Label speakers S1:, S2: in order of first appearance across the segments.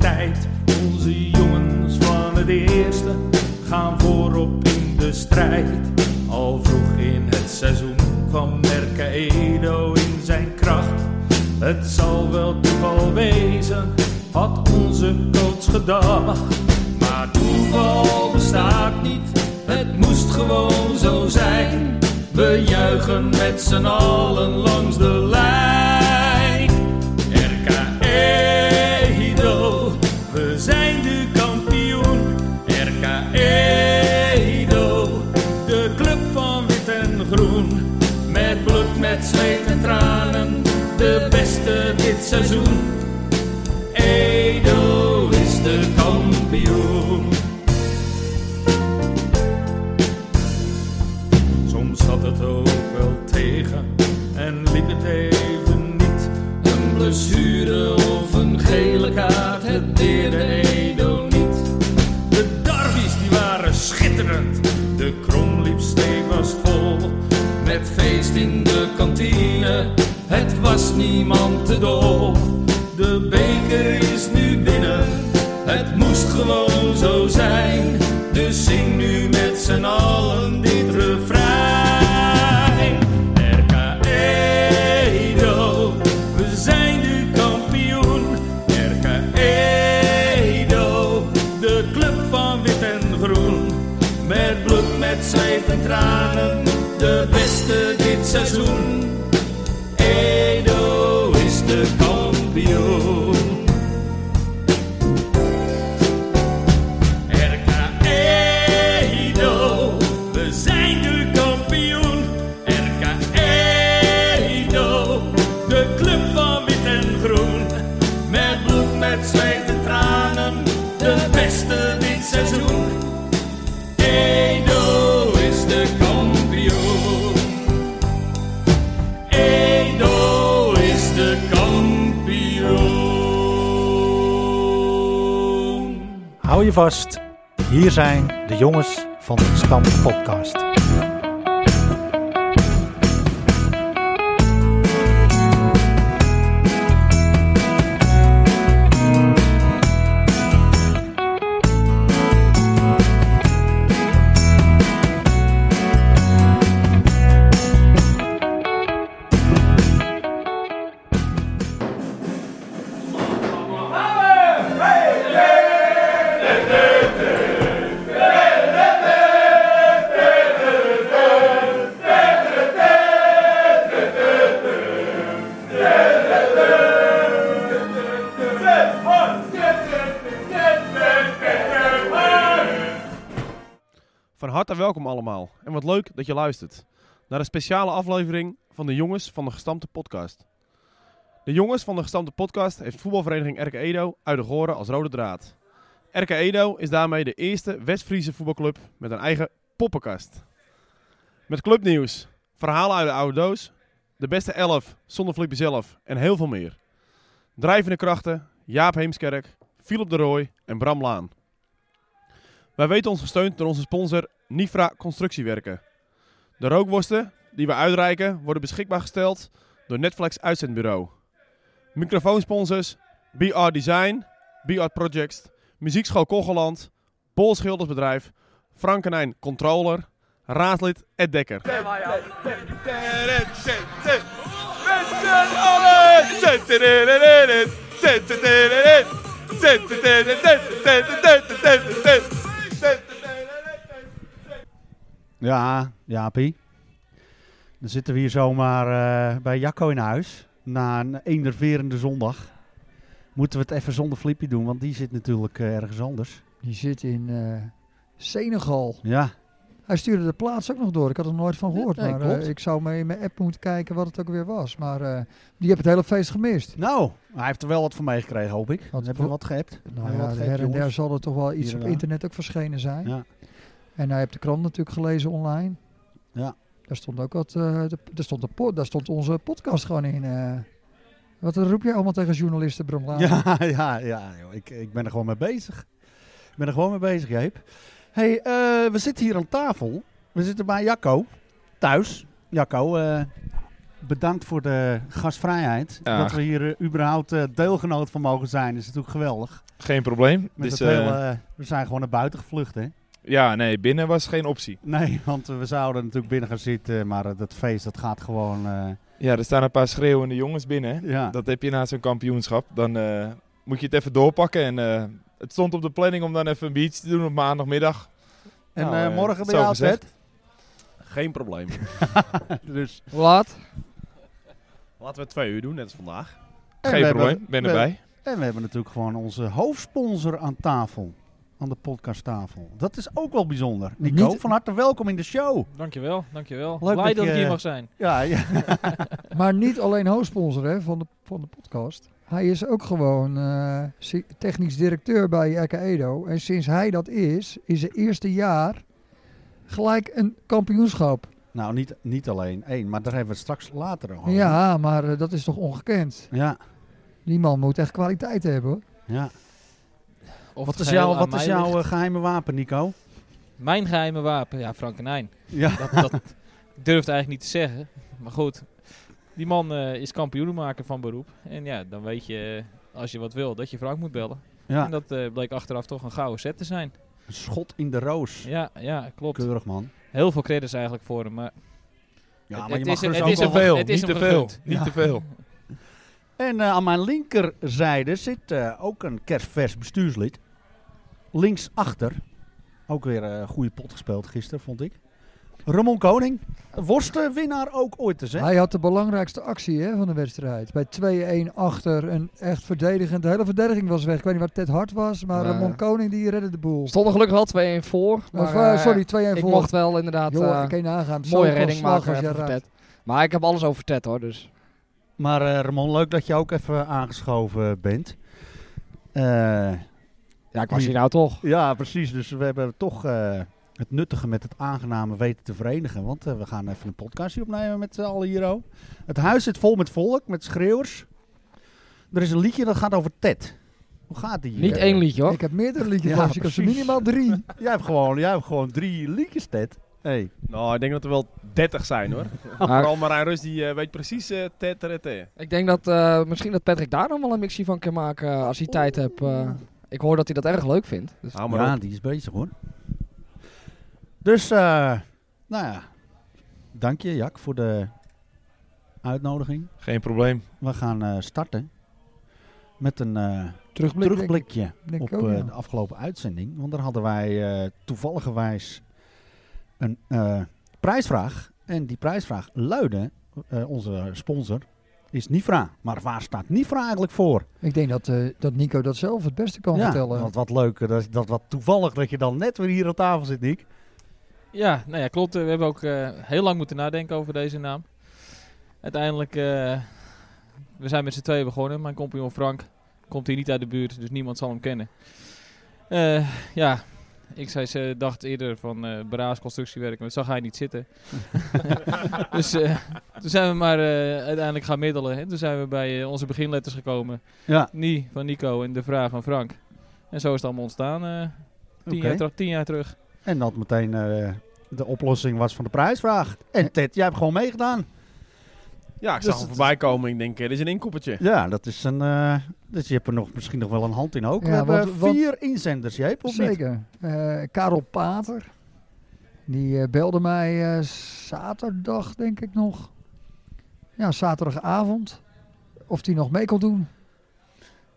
S1: tijd. Onze jongens van het eerste gaan voorop in de strijd. Al vroeg in het seizoen kwam Merke Edo in zijn kracht. Het zal wel toeval wezen, had onze coach gedacht. Maar toeval bestaat niet, het moest gewoon zo zijn. We juichen met z'n allen langs de lijn. RK Edo, we zijn de kampioen. RK Edo, de club van wit en groen. Met bloed, met zweet en tranen, de beste dit seizoen. Edo is de kampioen. Soms zat het ook wel tegen en liep het even niet. Een blessure of een gele kaart, het deerde Edo niet. De derbies die waren schitterend, de krom liep stevast vol. Met feest in de kantine, het was niemand te dol. De beker is nu binnen, het moest gewoon zo zijn. Dus zing nu met z'n allen dit refrein. RK Edo, we zijn nu kampioen. RK Edo, de club van wit en groen. Met bloed, met zweet en tranen, de beste dit seizoen. Edo is de kampioen. RK Edo, we zijn de kampioen. RK Edo, de club van wit en groen. Met bloed, met zweet en tranen, de beste dit seizoen. Edo is de kampioen. Edo is de kampioen.
S2: Hou je vast. Hier zijn de jongens van de Stam Podcast.
S3: Van harte welkom allemaal en wat leuk dat je luistert naar een speciale aflevering van de Jongens van de Gestampte Podcast. De Jongens van de Gestampte Podcast heeft voetbalvereniging RK Edo uit de Goren als rode draad. RK Edo is daarmee de eerste West-Friese voetbalclub met een eigen poppenkast. Met clubnieuws, verhalen uit de oude doos, de beste elf zonder Flippy zelf en heel veel meer. Drijvende krachten, Jaap Heemskerk, Philip de Rooij en Bram Laan. Wij weten ons gesteund door onze sponsor Nifra Constructiewerken. De rookworsten die we uitreiken worden beschikbaar gesteld door Netflix Uitzendbureau. Microfoonsponsors BR Design, BR Projects, Muziekschool Kogeland, Bol Schildersbedrijf, Frankenijn Controller, Raadslid Ed Dekker.
S2: Ja, Jaapie. Dan zitten we hier zomaar eh, bij Jacco in huis. Na een enerverende zondag. Moeten we het even zonder Flippy doen, want die zit natuurlijk eh, ergens anders.
S4: Die zit in eh, Senegal.
S2: Ja,
S4: Hij stuurde de plaats ook nog door. Ik had er nooit van gehoord.
S3: Nee,
S4: maar
S3: klopt.
S4: eh, ik zou maar in mijn app moeten kijken wat het ook weer was. Maar eh, die heb het hele feest gemist.
S2: nou, hij heeft er wel wat van meegekregen, hoop ik.
S4: Want-
S2: Heb je wat gehebt?
S4: Nou
S2: Heb je
S4: ja,
S2: wat gehebt,
S4: her en der
S2: jongens?
S4: zal er toch wel iets
S2: Hier en
S4: op
S2: daar.
S4: internet ook verschenen zijn.
S2: Ja.
S4: En hij heeft de krant natuurlijk gelezen online.
S2: Ja.
S4: Daar stond ook wat. eh, de, daar, stond de po- daar stond onze podcast gewoon in. eh. wat roep jij allemaal tegen journalisten, Bram Laan?
S2: Ja, ja, ja. joh. Ik, ik ben er gewoon mee bezig. Ik ben er gewoon mee bezig, Jeep. hey, eh, we zitten hier aan tafel. We zitten bij Jacco. Thuis. Jacco, eh, bedankt voor de gastvrijheid.
S5: Ja.
S2: Dat we hier eh, überhaupt eh, deelgenoot van mogen zijn, is natuurlijk geweldig.
S5: Geen probleem.
S2: Met
S5: Dus,
S2: dat hele,
S5: eh,
S2: eh, we zijn gewoon naar buiten gevlucht, hè?
S5: ja, nee, binnen was geen optie.
S2: Nee, want eh, we zouden natuurlijk binnen gaan zitten, maar eh, dat feest dat gaat gewoon. eh,
S5: Ja, er staan een paar schreeuwende jongens binnen. hè.
S2: ja.
S5: Dat heb je na zo'n kampioenschap. Dan eh, moet je het even doorpakken. En eh, het stond op de planning om dan even een biertje te doen op maandagmiddag.
S2: en
S5: Nou,
S2: eh,
S5: eh,
S2: morgen bij
S5: zo
S2: jou,
S5: gezegd.
S2: Ted?
S3: Geen probleem.
S2: Dus,
S4: Hoe laat?
S3: Laten we het twee uur doen, net als vandaag.
S2: en
S5: geen
S2: we
S5: probleem,
S2: hebben-
S5: ben
S2: we-
S5: erbij.
S2: En we hebben natuurlijk gewoon onze hoofdsponsor aan tafel. Aan de podcasttafel. Dat is ook wel bijzonder. Nico,
S4: Niet-
S2: van harte welkom in de show.
S6: Dankjewel, dankjewel.
S2: Leuk
S6: Blij
S2: dat
S6: dat,
S2: je-
S6: ik hier mag zijn.
S2: Ja, ja.
S4: Maar niet alleen hoofdsponsor hè, van, de, van de podcast. Hij is ook gewoon eh, si- technisch directeur bij Eka Edo. En sinds hij dat is, is zijn eerste jaar gelijk een kampioenschap.
S2: Nou, niet, niet alleen één, maar daar hebben we het straks later over.
S4: Ja, maar eh, dat is toch ongekend.
S2: Ja,
S4: Die man moet echt kwaliteit hebben. hoor.
S2: ja.
S6: Of
S2: Wat
S6: het
S2: is
S6: geheel
S2: jouw,
S6: aan
S2: wat
S6: mij
S2: is jouw
S6: ligt.
S2: eh, geheime wapen, Nico?
S6: Mijn geheime wapen? Ja, Frankenijn.
S2: Ja.
S6: Dat, dat ik durf het eigenlijk niet te zeggen. Maar goed, die man eh, is kampioenmaker van beroep. En ja, dan weet je, eh, als je wat wil, dat je Frank moet bellen.
S2: Ja.
S6: En dat eh, bleek achteraf toch een gouden set te zijn.
S2: Een schot in de roos.
S6: Ja, ja, klopt.
S2: Keurig, man.
S6: Heel veel credits eigenlijk voor hem. Maar
S2: Ja,
S6: het,
S2: maar
S6: het
S2: je mag
S6: is, hem-
S2: dus
S6: het is hem-
S2: ook wel-
S5: Veel,
S6: het is
S5: niet te
S6: hem
S5: veel.
S6: gegund.
S5: Niet te veel.
S2: En eh, aan mijn linkerzijde zit eh, ook een kerstvers bestuurslid. Linksachter. Ook weer een goede pot gespeeld gisteren, vond ik. Ramon Koning. Worstenwinnaar ook ooit te zijn.
S4: Hij had de belangrijkste actie hè, van de wedstrijd. Bij 2-1 achter en echt verdedigend. De hele verdediging was weg. Ik weet niet waar Ted Hart was, maar
S7: Nee.
S4: Ramon Koning die redde de boel.
S7: Stond er gelukkig wel 2-1 voor. Maar,
S4: Maar, eh,
S7: eh,
S4: sorry, 2-1 voor.
S7: Ik mocht wel inderdaad
S4: Joh,
S7: eh,
S4: ik kan je nagaan.
S7: mooie
S4: Zoveel
S7: redding
S4: slag
S7: maken
S4: als jij
S7: even voor
S4: raakt.
S7: Ted. Maar ik heb alles over Ted hoor, dus
S2: Maar eh, Ramon, leuk dat je ook even aangeschoven bent. Eh,
S7: ja, ik
S2: was
S7: was
S2: hier
S7: hier nou toch.
S2: ja, precies. Dus we hebben toch eh, het nuttige met het aangename weten te verenigen. Want eh, we gaan even een podcastje opnemen met z'n allen hier ook. Het huis zit vol met volk, met schreeuwers. Er is een liedje dat gaat over Ted. Hoe gaat die?
S7: Niet
S2: Eh,
S7: één liedje hoor.
S4: Ik heb meerdere liedjes
S2: Ja,
S4: langs. Ik heb ze
S2: precies.
S4: minimaal drie.
S2: Jij hebt gewoon, jij hebt gewoon drie liedjes, Ted. Hey.
S3: Nou, ik denk dat er wel 30 zijn hoor.
S7: Maar
S3: Vooral Marijn Rus, die eh, weet precies eh te, te, te.
S7: ik denk dat eh, misschien dat Patrick daar nog wel een mixie van kan maken eh, als hij tijd hebt. eh. ik hoor dat hij dat erg leuk vindt. Dus
S3: Hou maar
S2: Ja,
S3: op.
S2: die is bezig hoor. Dus, eh, nou ja. Dank je, Jack, voor de uitnodiging.
S5: Geen probleem.
S2: We gaan eh, starten met een eh,
S4: Terugblik.
S2: terugblikje
S4: denk- denk
S2: op
S4: ik ook,
S2: eh,
S4: ja.
S2: de afgelopen uitzending. Want daar hadden wij eh, toevalligerwijs een eh, prijsvraag. En die prijsvraag luidde, eh, onze sponsor, is Nifra. Maar waar staat Nifra eigenlijk voor?
S4: Ik denk dat, eh, dat Nico dat zelf het beste kan vertellen.
S2: Wat, wat leuk, eh, dat, dat wat toevallig dat je dan net weer hier aan tafel zit, Nick.
S6: Ja, nou ja, klopt. Eh, We hebben ook eh, heel lang moeten nadenken over deze naam. Uiteindelijk, eh, we zijn met z'n tweeën begonnen. Mijn compagnon Frank komt hier niet uit de buurt, dus niemand zal hem kennen. Eh, ja, ik zei, ze dacht eerder van eh braas constructiewerk, maar dat zag hij niet zitten. dus eh, toen zijn we maar eh, uiteindelijk gaan middelen. En toen zijn we bij eh, onze beginletters gekomen.
S2: Ja,
S6: Ni van Nico en de vraag van Frank. En zo is het allemaal ontstaan, eh, tien,
S2: Oké.
S6: jaar terug- tien jaar terug.
S2: en dat meteen eh, de oplossing was van de prijsvraag. En Ted, jij hebt gewoon meegedaan.
S3: Ja, ik
S2: Dus
S3: zag hem
S2: het-
S3: voorbij komen. Ik denk, eh, dit is een inkoppertje.
S2: Ja, dat is een. eh, dus je hebt er nog, misschien nog wel een hand in ook. We
S4: Ja,
S2: hebben
S4: want- want-
S2: vier inzenders, Jeep, of niet?
S4: Zeker. Eh, Karel Pater. Die eh, belde mij eh, zaterdag, denk ik nog. Ja, zaterdagavond. Of die nog mee kon doen.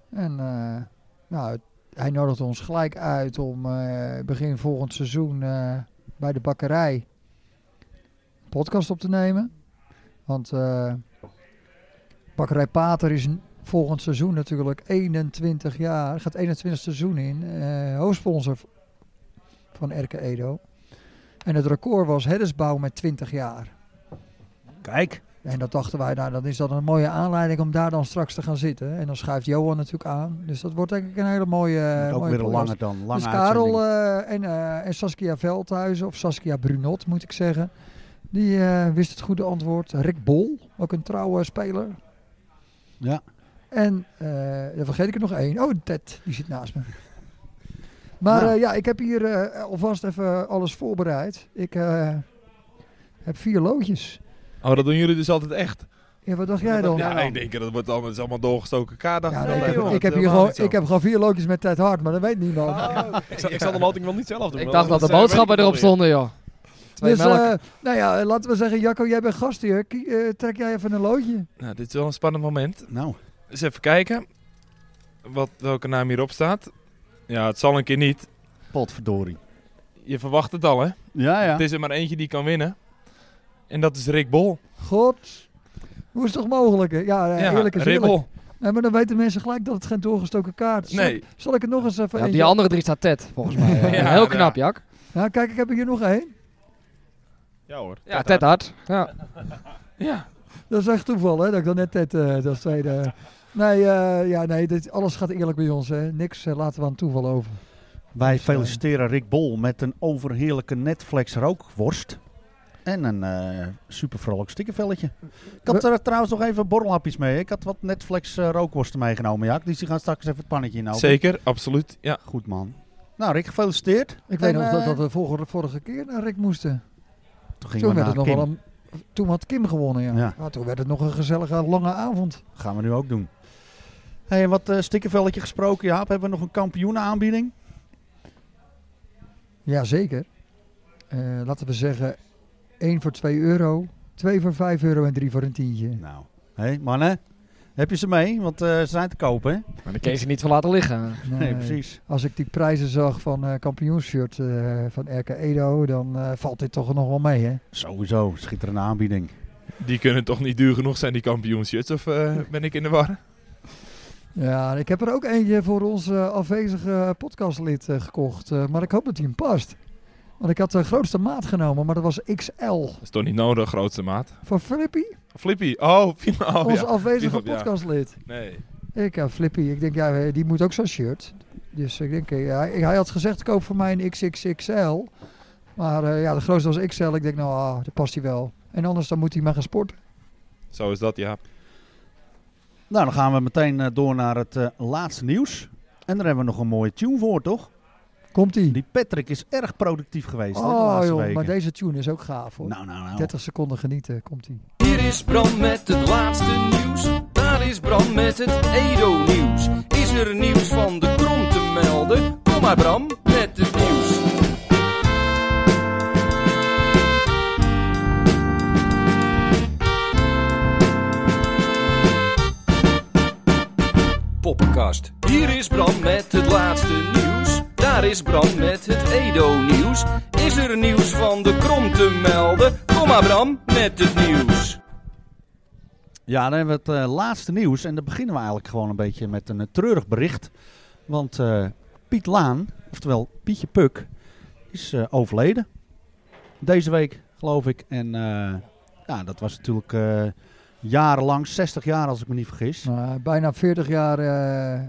S4: En eh, nou, het- hij nodigde ons gelijk uit om eh, begin volgend seizoen eh, bij de bakkerij een podcast op te nemen. Want eh, bakkerij Pater is n- volgend seizoen natuurlijk 21 jaar, gaat 21 seizoen in, eh hoofdsponsor v- van Erke Edo. En het record was Heddesbouw met 20 jaar.
S2: Kijk.
S4: En dat dachten wij, nou, dan is dat een mooie aanleiding om daar dan straks te gaan zitten. En dan schuift Johan natuurlijk aan. Dus dat wordt denk ik een hele mooie.
S2: Dat is ook
S4: mooie
S2: weer een
S4: podcast.
S2: lange dan. Lange
S4: Dus Karel
S2: uitzending.
S4: eh, en, eh, en Saskia Veldhuizen, of Saskia Brunot moet ik zeggen. Die eh, wist het goede antwoord. Rick Bol, ook een trouwe speler.
S2: Ja.
S4: En eh, dan vergeet ik er nog één. Oh, Ted, die zit naast me. Maar
S2: Nou.
S4: eh, ja, ik heb hier eh, alvast even alles voorbereid. Ik eh, heb vier loodjes.
S5: Oh, dat doen jullie dus altijd echt.
S4: Ja, wat dacht jij dan?
S5: Ja, ik denk dat wordt allemaal, het is allemaal doorgestoken kaart.
S4: Ja,
S5: dacht
S4: nee,
S5: ik
S4: ik,
S5: wel
S4: heb,
S5: even.
S4: ik, heb hier
S5: Helemaal
S4: gewoon,
S5: niet zo.
S4: ik heb gewoon vier loodjes met Ted Hart, maar dat weet niemand.
S3: Ik, zal- ik zal de loting wel niet zelf doen.
S7: Ik
S3: maar
S7: dacht dat de
S3: eh, weet ik
S7: boodschappen
S3: wel
S7: erop
S3: weer.
S7: stonden, joh. Twee
S4: dus
S7: melk.
S4: eh, nou ja, eh, laten we zeggen, Jacco, jij bent gast hier. Kie- eh, trek jij even een loodje?
S5: Nou, dit is wel een spannend moment.
S2: Nou,
S5: Eens even kijken wat, welke naam hierop staat. Ja, het zal een keer niet.
S2: potverdorie.
S5: Je verwacht het al, hè?
S2: Ja, ja.
S5: Het is er maar eentje die kan winnen. En dat is Rick
S2: Nou,
S5: Bol.
S4: God, hoe is het toch mogelijk? hè? Ja, eh, eerlijk is
S5: Rick
S4: eerlijk.
S5: Bol.
S4: Nee, maar dan weten mensen gelijk dat het geen doorgestoken kaart is.
S5: Nee.
S4: Zal, zal ik het nog eens even...
S7: Ja, op die
S4: eentje-
S7: andere drie staat Ted, volgens mij. Eh,
S5: Ja,
S7: Heel
S5: ja.
S7: knap, Jak.
S4: Ja, Ah, kijk, ik heb er hier nog één.
S3: Ja hoor.
S7: Ja, Ted Hart. Ja.
S5: Ja.
S4: Dat is echt toeval, hè, dat ik dan net Ted, eh dat tweede... Nee, eh, ja, nee dit, alles gaat eerlijk bij ons. Hè. Niks eh, laten we aan toeval over.
S2: Wij
S4: eh,
S2: feliciteren Rick Bol met een overheerlijke Netflix rookworst. En een eh super vrolijk stikkervelletje. Ik had er trouwens nog even borrelhapjes mee. Ik had wat Netflix eh, rookworsten meegenomen, Jaak. Dus die gaan straks even het pannetje in.
S5: Zeker, absoluut. Ja.
S2: Goed man. Nou, Rick, gefeliciteerd.
S4: Ik weet
S2: En,
S4: nog dat,
S2: eh,
S4: dat we vorige, vorige keer naar Rick moesten.
S2: Toen
S4: Toen,
S2: gingen we
S4: werd het
S2: naar
S4: nog
S2: Kim.
S4: wel een, toen had Kim gewonnen, ja.
S2: Ja.
S4: Maar toen werd het nog een gezellige lange avond.
S2: Gaan we nu ook doen. Hé, hey, wat eh stikkervelletje gesproken, Jaap. Hebben we nog een kampioenenaanbieding?
S4: Jazeker. Eh laten we zeggen, 1 voor 2 euro, 2 voor 5 euro en 3 voor een tientje.
S2: Nou, hé mannen. Heb je ze mee? Want eh, ze zijn te kopen, hè?
S7: Maar dan kun je ze niet voor laten liggen.
S2: Nee,
S4: Nee,
S2: precies.
S4: Als ik die prijzen zag van eh kampioenshirt eh, van RK Edo, dan eh, valt dit toch nog wel mee, hè?
S2: Sowieso, schitterende aanbieding.
S5: Die kunnen toch niet duur genoeg zijn, die kampioenshirts? Of eh, ben ik in de war?
S4: Ja, ik heb er ook eentje voor ons eh, afwezige podcastlid eh, gekocht. eh, maar ik hoop dat die hem past. Want ik had de grootste maat genomen, maar dat was XL.
S5: Dat is toch niet nodig, grootste maat?
S4: Van Flippy,
S5: Flippy. Oh, Fima. Oh,
S4: ons
S5: ja.
S4: afwezige
S5: Flippy, ja.
S4: podcastlid.
S5: Nee.
S4: Ik heb Flippy. Ik denk, ja, eh, die moet ook zo'n shirt. Dus ik denk, eh, ja, hij- hij had gezegd, koop voor mij een XXXL. Maar eh, ja, de grootste was XL. Ik denk, nou, ah, dat past hij wel. En anders dan moet hij maar gaan sporten.
S5: Zo is dat, ja.
S2: Nou, dan gaan we meteen eh, door naar het eh, laatste nieuws. En daar hebben we nog een mooie tune voor, toch?
S4: Komt hij?
S2: Die Patrick is erg productief geweest hè, de
S4: Oh
S2: laatste
S4: joh,
S2: weken.
S4: maar deze tune is ook gaaf hoor.
S2: Nou, nou, nou.
S4: 30 seconden genieten, komt hij.
S1: Hier is Bram met het laatste nieuws. Daar is Bram met het Edo-nieuws. Is er nieuws van de krom te melden? Kom maar Bram met het nieuws. Poppenkast. Hier is Bram met het laatste nieuws. Daar is Bram met het Edo-nieuws. Is er nieuws van de krom te melden? Kom maar Bram met het nieuws.
S2: Ja, dan hebben we het eh, laatste nieuws. En dan beginnen we eigenlijk gewoon een beetje met een eh, treurig bericht. Want eh, Piet Laan, oftewel Pietje Puk, is eh, overleden. Deze week, geloof ik. En eh, ja, dat was natuurlijk eh, jarenlang, 60 jaar als ik me niet vergis.
S4: Maar Nou, bijna 40 jaar eh,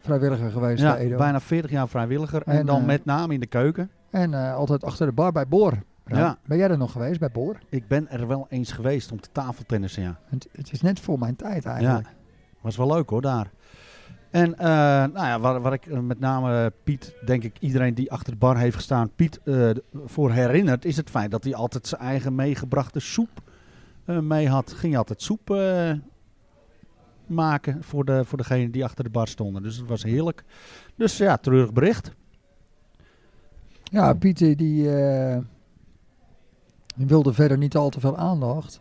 S4: vrijwilliger geweest
S2: Ja,
S4: bij Edo.
S2: bijna 40 jaar vrijwilliger. En,
S4: En,
S2: dan
S4: eh,
S2: met name in de keuken.
S4: En eh, altijd achter de bar bij Boor. Ram.
S2: Ja.
S4: Ben jij er nog geweest bij Boor?
S2: Ik ben er wel eens geweest om te tafeltennissen, ja.
S4: Het, het is net voor mijn tijd eigenlijk.
S2: Was wel leuk hoor, daar. En eh, nou ja, waar, waar ik eh, met name eh, Piet, denk ik iedereen die achter de bar heeft gestaan, Piet eh, d- voor herinnert, is het feit dat hij altijd zijn eigen meegebrachte soep eh, mee had. Ging hij altijd soep eh, maken voor, de, voor degene die achter de bar stonden. Dus het was heerlijk. Dus ja, treurig bericht.
S4: Ja, Pieter die, eh, die wilde verder niet al te veel aandacht.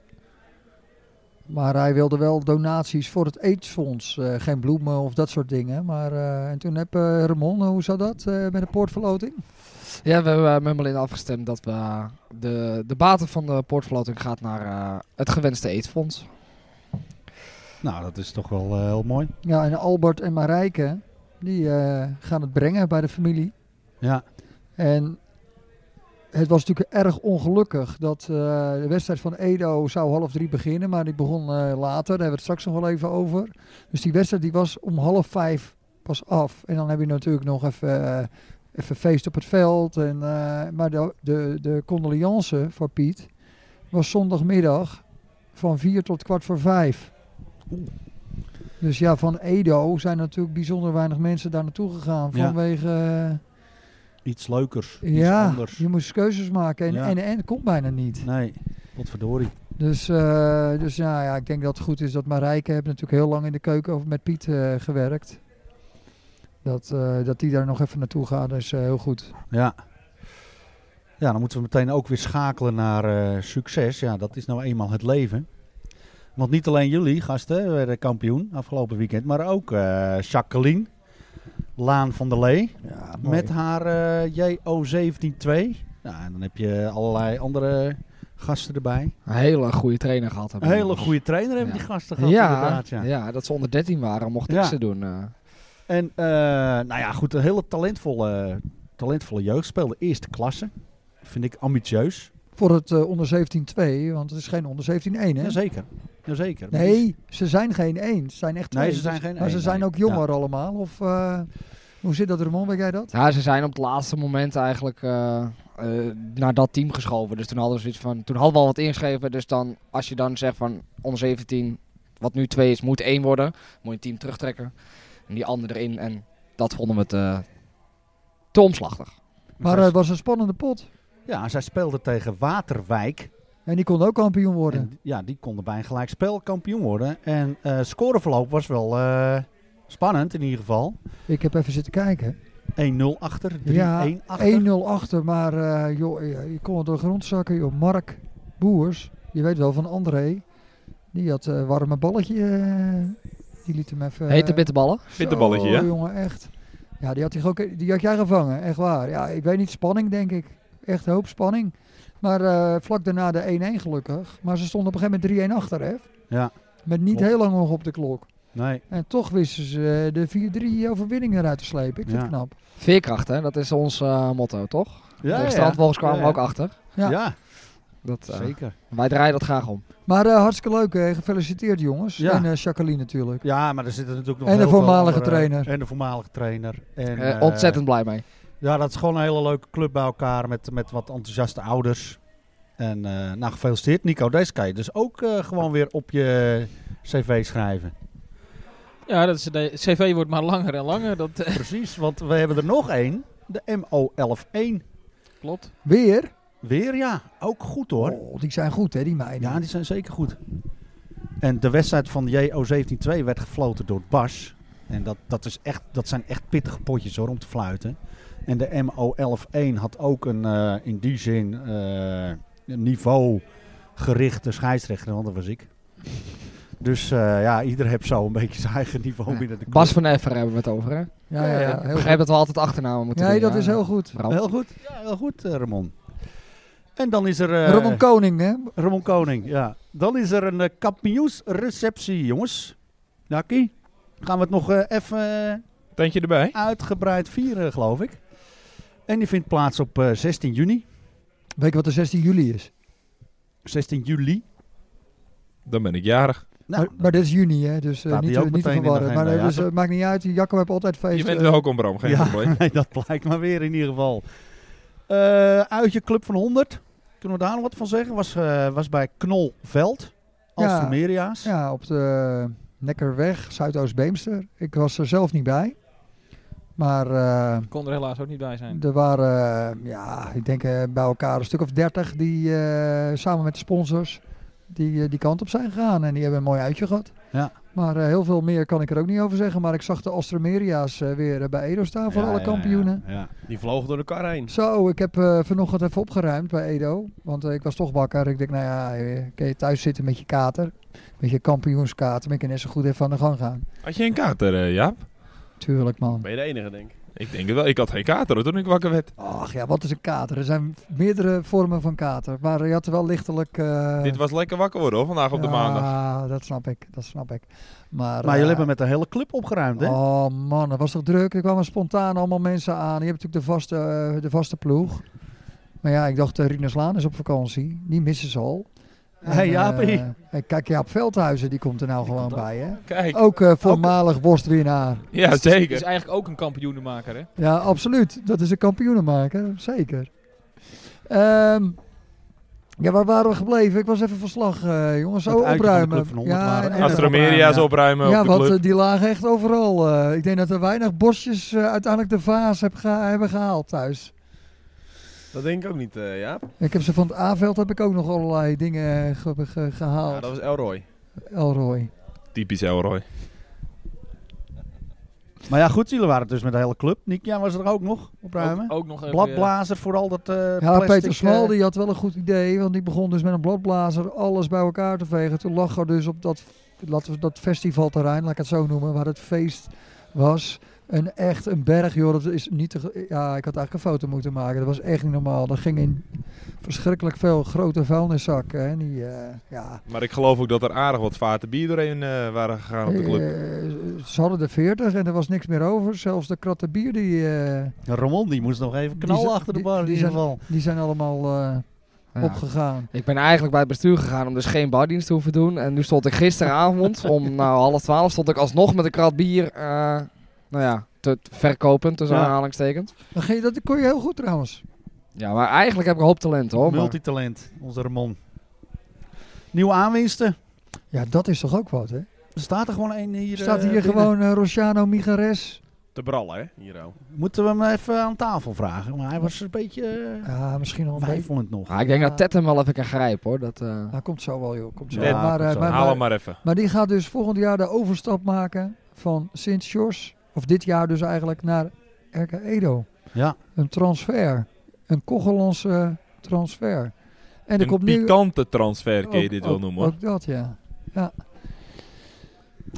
S4: Maar hij wilde wel donaties voor het aidsfonds. Eh, geen bloemen of dat soort dingen. Maar eh, en toen heb eh Ramon, hoe zou dat eh, met de poortverloting?
S7: Ja, we hebben eh, met Melinda afgestemd dat we eh, de, de baten van de poortverloting gaat naar eh, het gewenste eetfonds.
S2: Nou, dat is toch wel eh, heel mooi.
S4: Ja, en Albert en Marijke, die eh, gaan het brengen bij de familie.
S2: Ja,
S4: En het was natuurlijk erg ongelukkig dat eh, de wedstrijd van Edo zou half drie beginnen, maar die begon eh, later. Daar hebben we het straks nog wel even over. Dus die wedstrijd die was om half vijf pas af. En dan heb je natuurlijk nog even, eh, even feest op het veld. En, eh, maar de, de, de condoleance voor Piet was zondagmiddag van vier tot kwart voor vijf. Dus ja, van Edo zijn natuurlijk bijzonder weinig mensen daar naartoe gegaan
S2: Ja.
S4: vanwege... eh,
S2: iets leukers, iets
S4: ja,
S2: anders.
S4: je moest keuzes maken en
S2: Ja.
S4: en en komt bijna niet.
S2: Nee, wat verdorie.
S4: Dus, eh, dus ja, ja, ik denk dat het goed is dat Marijke heeft natuurlijk heel lang in de keuken over- met Piet eh, gewerkt. Dat, eh, dat die daar nog even naartoe gaat is eh, heel goed.
S2: Ja. Ja, dan moeten we meteen ook weer schakelen naar eh, succes. Ja, dat is nou eenmaal het leven. Want niet alleen jullie, gasten, werden kampioen afgelopen weekend. Maar ook eh Jacqueline Laan van der Lee.
S4: Ja,
S2: Met haar eh, JO172. Nou, en dan heb je allerlei andere gasten erbij.
S7: Een hele goede trainer gehad
S2: Een
S7: hebben.
S2: hele goede trainer hebben
S7: Ja.
S2: die gasten gehad
S7: ja,
S2: inderdaad.
S7: ja.
S2: Ja.
S7: dat ze onder 13 waren, mocht ik
S2: Ja.
S7: ze doen. eh.
S2: En eh, nou ja, goed, een hele talentvolle, talentvolle jeugd. Speelde eerste klasse. Vind ik ambitieus.
S4: Voor het eh, onder 17-2, want het is geen onder 17-1 hè?
S2: Jazeker. Jazeker. Maar die-
S4: Nee, ze zijn geen één. Ze zijn echt
S2: Nee,
S4: twee. Dus-
S2: ze zijn geen
S4: Maar ze
S2: één,
S4: zijn
S2: nee.
S4: ook jonger allemaal. Of, eh, hoe zit dat, Ramon? Weet jij dat?
S7: Ja, ze zijn op het laatste moment eigenlijk eh, eh, naar dat team geschoven. Dus toen hadden, we zoiets van, toen hadden we al wat ingeschreven. Dus dan, als je dan zegt van onder 17, wat nu 2 is, moet 1 worden. Moet je het team terugtrekken. En die andere erin. En dat vonden we te, te omslachtig.
S4: eh, Maar eh, het was een spannende pot.
S2: Ja, zij speelde tegen Waterwijk.
S4: En die kon ook kampioen worden.
S2: En, ja, die konden bij een gelijkspel kampioen worden. En eh scoreverloop was wel eh, spannend in ieder geval.
S4: Ik heb even zitten kijken.
S2: 1-0 achter, 3-1
S4: Ja,
S2: achter.
S4: 1-0 achter, maar eh, joh, je, je kon het door de grond zakken. Joh. Mark Boers, je weet wel van André. Die had eh warme balletje. eh, die liet hem even...
S7: Hete bitterballen.
S5: Bitterballetje,
S4: ja.
S5: ja.
S4: jongen, echt. Ja, die had, hij ook, die had jij gevangen, echt waar. Ja, ik weet niet, spanning denk ik. Echt een hoop spanning. Maar eh, vlak daarna de 1-1 gelukkig. Maar ze stonden op een gegeven moment 3-1 achter, hè?
S2: Ja.
S4: Met niet
S2: Klopt.
S4: heel lang nog op de klok.
S2: Nee,
S4: En toch wisten ze eh, de 4-3 overwinning eruit te slepen. Ik vind
S2: Ja.
S4: het knap.
S7: Veerkracht, hè? dat is ons eh, motto, toch?
S2: ja,
S7: de
S2: ja.
S7: strandvolgers kwamen
S2: Ja, ja.
S7: we ook achter.
S2: ja.
S4: Ja.
S7: Dat, eh,
S2: zeker.
S7: wij draaien dat graag om.
S4: Maar eh, hartstikke leuk. eh, gefeliciteerd jongens.
S2: Ja.
S4: En eh, Jacqueline natuurlijk.
S2: Ja, maar er zitten natuurlijk nog
S4: En de
S2: heel veel
S4: voormalige
S2: andere-
S4: trainer.
S2: En de voormalige trainer. En,
S7: Eh,
S2: eh,
S7: ontzettend blij mee.
S2: Ja, dat is gewoon een hele leuke club bij elkaar met, met wat enthousiaste ouders. En eh nou, gefeliciteerd Nico. Deze kan je dus ook eh, gewoon weer op je cv schrijven.
S6: Ja, dat is, de cv wordt maar langer en langer. Dat eh,
S2: Precies, want we hebben er nog één. De MO111.
S6: klopt.
S4: Weer.
S2: Weer ja, ook goed hoor.
S4: Oh, die zijn goed hè, die meiden.
S2: Ja, die zijn zeker goed. En de wedstrijd van JO172 werd gefloten door Bas. En dat, dat, is echt, dat zijn echt pittige potjes hoor, om te fluiten. En de MO111 had ook een, eh, in die zin, eh, een niveau gerichte scheidsrechter, want dat was ik. Dus eh, ja, ieder heeft zo een beetje zijn eigen niveau
S7: Ja.
S2: binnen de club.
S7: Bas van Effer hebben we het over, hè?
S4: ja, ja,
S2: Ja, ja.
S4: heel
S7: Ik begrijp dat we altijd achternamen
S4: goed.
S7: moeten
S4: Nee,
S7: doen,
S4: dat
S7: ja.
S4: is heel goed.
S7: Bram.
S2: Heel goed, ja, heel goed eh, Ramon. En dan is er... eh,
S4: Ramon Koning hè.
S2: Ramon Koning, ja. Dan is er een eh, kampioensreceptie, jongens. Naki, gaan we het nog eh, even eh,
S5: Tentje erbij.
S2: uitgebreid vieren, geloof ik. En die vindt plaats op eh, 16 juni.
S4: Weet je wat de 16 juli is?
S2: 16 juli.
S5: Dan ben ik jarig.
S2: Nou,
S4: maar, maar dit is juni, hè? dus eh,
S2: Staat
S4: niet,
S2: die ook
S4: te- niet te
S2: meteen in de
S4: verwarren. Maar
S2: agenda,
S4: eh,
S2: ja,
S4: dus,
S2: toch?
S4: eh, maakt niet uit, Jacco heeft altijd feest.
S5: Je bent
S4: eh,
S5: welkom, Bram. Geen
S2: ja.
S5: probleem.
S2: nee, dat blijkt maar weer in ieder geval. Eh uitje Club van 100. Kunnen we daar nog wat van zeggen? Was, eh, was bij Knolveld. Als
S4: Ja.
S2: Vermeria's.
S4: Ja, op de eh, Nekkerweg, Zuidoost-Beemster. Ik was er zelf niet bij. Maar eh,
S6: Ik kon er helaas ook niet bij zijn.
S4: er waren, eh, ja, ik denk eh, bij elkaar een stuk of dertig die eh, samen met de sponsors die, eh, die kant op zijn gegaan. En die hebben een mooi uitje gehad.
S2: Ja.
S4: Maar eh, heel veel meer kan ik er ook niet over zeggen. Maar ik zag de Astromeria's eh, weer eh, bij Edo staan voor
S2: Ja,
S4: alle
S2: ja,
S4: kampioenen.
S2: Ja, ja.
S3: Die vlogen door elkaar heen.
S4: Zo, ik heb eh, vanochtend even opgeruimd bij Edo. Want eh, ik was toch wakker. Ik denk, nou ja, eh, kun je thuis zitten met je kater. Met je kampioenskater. Maar ik kan net zo goed even aan de gang gaan.
S5: Had je een kater, eh, Jaap?
S4: Tuurlijk, man.
S3: Ben je de enige, denk ik.
S5: Ik denk het wel. Ik had geen kater hoor, toen ik wakker werd.
S4: Ach ja, wat is een kater? Er zijn meerdere vormen van kater. Maar je had er wel lichtelijk... eh,
S5: Dit was lekker wakker worden hoor, vandaag op de
S4: ja,
S5: maandag.
S4: dat snap ik. Dat snap ik. Maar,
S2: Maar jullie
S4: eh,
S2: hebben met de hele club opgeruimd, hè?
S4: Oh man, dat was toch druk. Er kwamen spontaan allemaal mensen aan. Je hebt natuurlijk de vaste, eh, de vaste ploeg. Maar ja, ik dacht, eh, Rienerslaan is op vakantie. Die missen ze al. En,
S2: Hey, Jaapie.
S4: eh, en kijk, Jaap Veldhuizen, die komt er nou gewoon bij. Hè?
S5: Kijk.
S4: Ook eh, voormalig worstwinnaar.
S5: Ja,
S6: Dus Is
S5: zeker.
S6: eigenlijk ook een kampioenenmaker, hè?
S4: Ja, absoluut. Dat is een kampioenenmaker, zeker. Ehm, ja, waar waren we gebleven? Ik was even van slag, eh, jongens.
S2: Dat
S4: Zo
S2: uitje van de
S4: opruimen.
S2: Club van Honderd
S4: ja,
S2: waren.
S4: en-
S5: Astromeria's
S2: Ja.
S5: opruimen
S4: ja,
S5: op de
S4: want
S5: club.
S4: eh, die lagen echt overal. eh. ik denk dat er weinig bosjes eh, uiteindelijk de vaas heb geha- hebben gehaald thuis.
S3: Dat denk ik ook niet, eh Jaap.
S4: Ik heb ze van het A-veld heb ik ook nog allerlei dingen eh, ge- ge-
S3: Ja,
S4: gehaald.
S3: dat was Elroy.
S4: Elroy.
S5: Typisch Elroy.
S2: Maar ja, goed, jullie waren het dus met de hele club. Nikja was er ook nog op ruimen.
S6: Ook, ook nog even,
S2: Bladblazer voor al dat eh
S4: Ja,
S2: plastic,
S4: Peter Smal
S2: eh,
S4: die had wel een goed idee, want die begon dus met een bladblazer alles bij elkaar te vegen. Toen lag er dus op dat, laten we dat festivalterrein, laat ik het zo noemen, waar het feest was, een echt een berg, joh. Dat is niet te, ge- ja, ik had eigenlijk een foto moeten maken. Dat was echt niet normaal. Dat ging in verschrikkelijk veel grote vuilniszakken. Hè. Die, eh, ja,
S5: Maar ik geloof ook dat er aardig wat vaten bier doorheen eh, waren gegaan op de club.
S4: Eh, ze hadden er 40 en er was niks meer over. Zelfs de kratten bier, die, eh,
S2: Ramon die moest nog even
S4: Die
S2: knallen
S4: zijn-
S2: achter de
S4: die-
S2: bar in
S4: die
S2: ieder
S4: zijn-
S2: geval.
S4: die zijn allemaal eh,
S7: Ja.
S4: opgegaan.
S7: Ik ben eigenlijk bij het bestuur gegaan om dus geen bardienst te hoeven doen. En nu stond ik gisteravond om nou, half twaalf stond ik alsnog met een krat bier, eh, nou ja, te te verkopen tussen
S2: Ja.
S7: aanhalingstekens.
S4: Dan ging je- Dat kon je heel goed trouwens.
S7: Ja, maar eigenlijk heb ik een hoop talent hoor. maar-
S2: Multitalent, onze Ramon. Nieuwe aanwinsten.
S4: Ja, dat is toch ook wat, hè?
S2: Er staat er gewoon één hier.
S4: Staat
S2: eh,
S4: hier
S2: binnen.
S4: gewoon eh, Rociano Migares.
S3: Te brallen, hè, hier ook.
S2: Moeten we hem even aan tafel vragen? Nou, Maar hij was een beetje eh,
S4: Ja, misschien nog een beetje.
S2: twijfelend nog.
S7: Ah, ik denk
S4: Ja.
S7: dat Ted hem wel even kan grijpen hoor. Dat, eh,
S4: Hij komt zo wel, joh. Komt zo.
S2: Ja,
S4: wel. maar,
S2: komt
S4: eh,
S2: zo.
S4: maar,
S5: Haal hem
S4: maar,
S5: maar even.
S4: maar die gaat dus volgend jaar de overstap maken van Sint George, of dit jaar dus eigenlijk, naar RK Edo.
S2: Ja.
S4: Een transfer. Een Kogelandse eh, transfer. En er
S5: Een
S4: komt nu...
S5: pikante transfer, kun je
S4: ook-
S5: dit wel
S4: ook-
S5: noemen hoor.
S4: Ook dat, ja. ja.
S7: ja,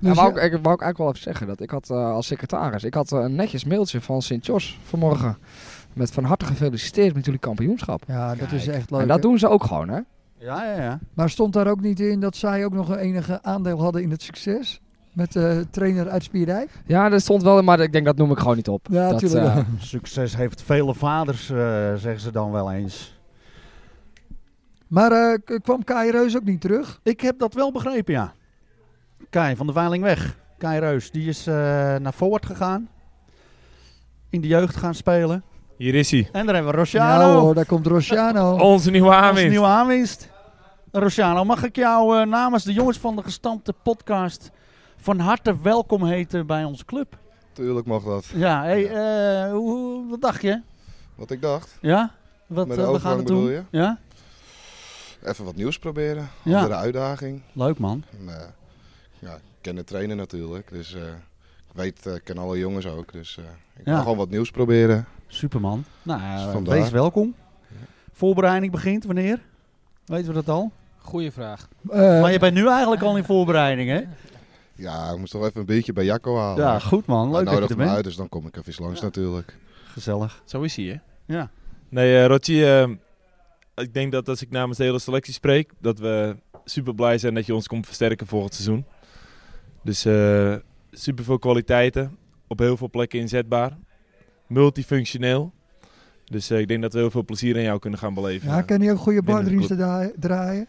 S4: Dus
S7: wou
S4: ja,
S7: ik, ik wou ik eigenlijk wel even zeggen dat ik had eh, als secretaris, ik had eh, een netjes mailtje van Sint-Jos vanmorgen. Met van harte gefeliciteerd met jullie kampioenschap.
S4: ja, dat is
S2: Kijk.
S4: echt leuk.
S7: en
S4: hè.
S7: dat doen ze ook gewoon hè.
S2: Ja, ja, ja.
S4: Maar stond daar ook niet in dat zij ook nog een enige aandeel hadden in het succes? Met de trainer uit Spierdijk?
S7: Ja, dat stond wel in, maar ik denk dat noem ik gewoon niet op.
S4: Ja,
S7: dat,
S4: tuurlijk.
S7: eh,
S2: Succes heeft vele vaders, eh, zeggen ze dan wel eens.
S4: Maar eh, k- kwam Kai Reus ook niet terug?
S2: Ik heb dat wel begrepen, ja. Kai van de Veiling weg. Kai Reus, die is eh, naar Forward gegaan. In de jeugd gaan spelen.
S5: Hier is hij.
S2: En daar hebben
S4: Nou
S2: we Rociano.
S4: hoor, daar komt Rociano.
S5: Onze nieuwe
S2: Als
S5: aanwinst.
S2: nieuwe aanwinst. Rociano, mag ik jou eh, namens de jongens van de gestampte podcast van harte welkom heten bij onze club?
S8: Tuurlijk mag dat.
S2: Ja, hey, eh, hoe- hoe, wat dacht je?
S8: Wat ik dacht.
S2: Ja? Wat
S8: Met
S2: eh,
S8: de
S2: we gaan
S8: overgang
S2: het
S8: bedoel
S2: doen?
S8: je?
S2: Ja?
S8: Even wat nieuws proberen.
S2: Ja.
S8: Andere uitdaging.
S2: Leuk man.
S8: En, eh, ja, ik ken de trainer natuurlijk. Dus eh, ik weet, eh, ik ken alle jongens ook. Dus eh, ik
S2: Ja.
S8: ga gewoon wat nieuws proberen.
S2: Superman. Nou, eh,
S8: Vandaar.
S2: wees welkom. Voorbereiding begint wanneer? Weten we dat al?
S6: Goeie vraag.
S4: Eh,
S2: maar je bent nu eigenlijk al in voorbereiding, hè?
S8: Ja, ik moest toch even een beetje bij Jacco halen.
S2: Ja, goed man.
S8: Hij
S2: Leuk dat je
S8: nodigt
S2: er
S8: me
S2: bent.
S8: uit, dus dan kom ik even eens langs natuurlijk.
S2: Gezellig.
S3: Zo is hij, hè.
S2: Ja.
S5: Nee, eh Rotje, eh, ik denk dat als ik namens de hele selectie spreek, dat we super blij zijn dat je ons komt versterken volgend seizoen. Dus eh super veel kwaliteiten, op heel veel plekken inzetbaar, multifunctioneel. Dus eh, ik denk dat we heel veel plezier aan jou kunnen gaan beleven. eh,
S4: ja, kan hij ook goede
S5: Binnen de
S4: bardriensten draa- draaien?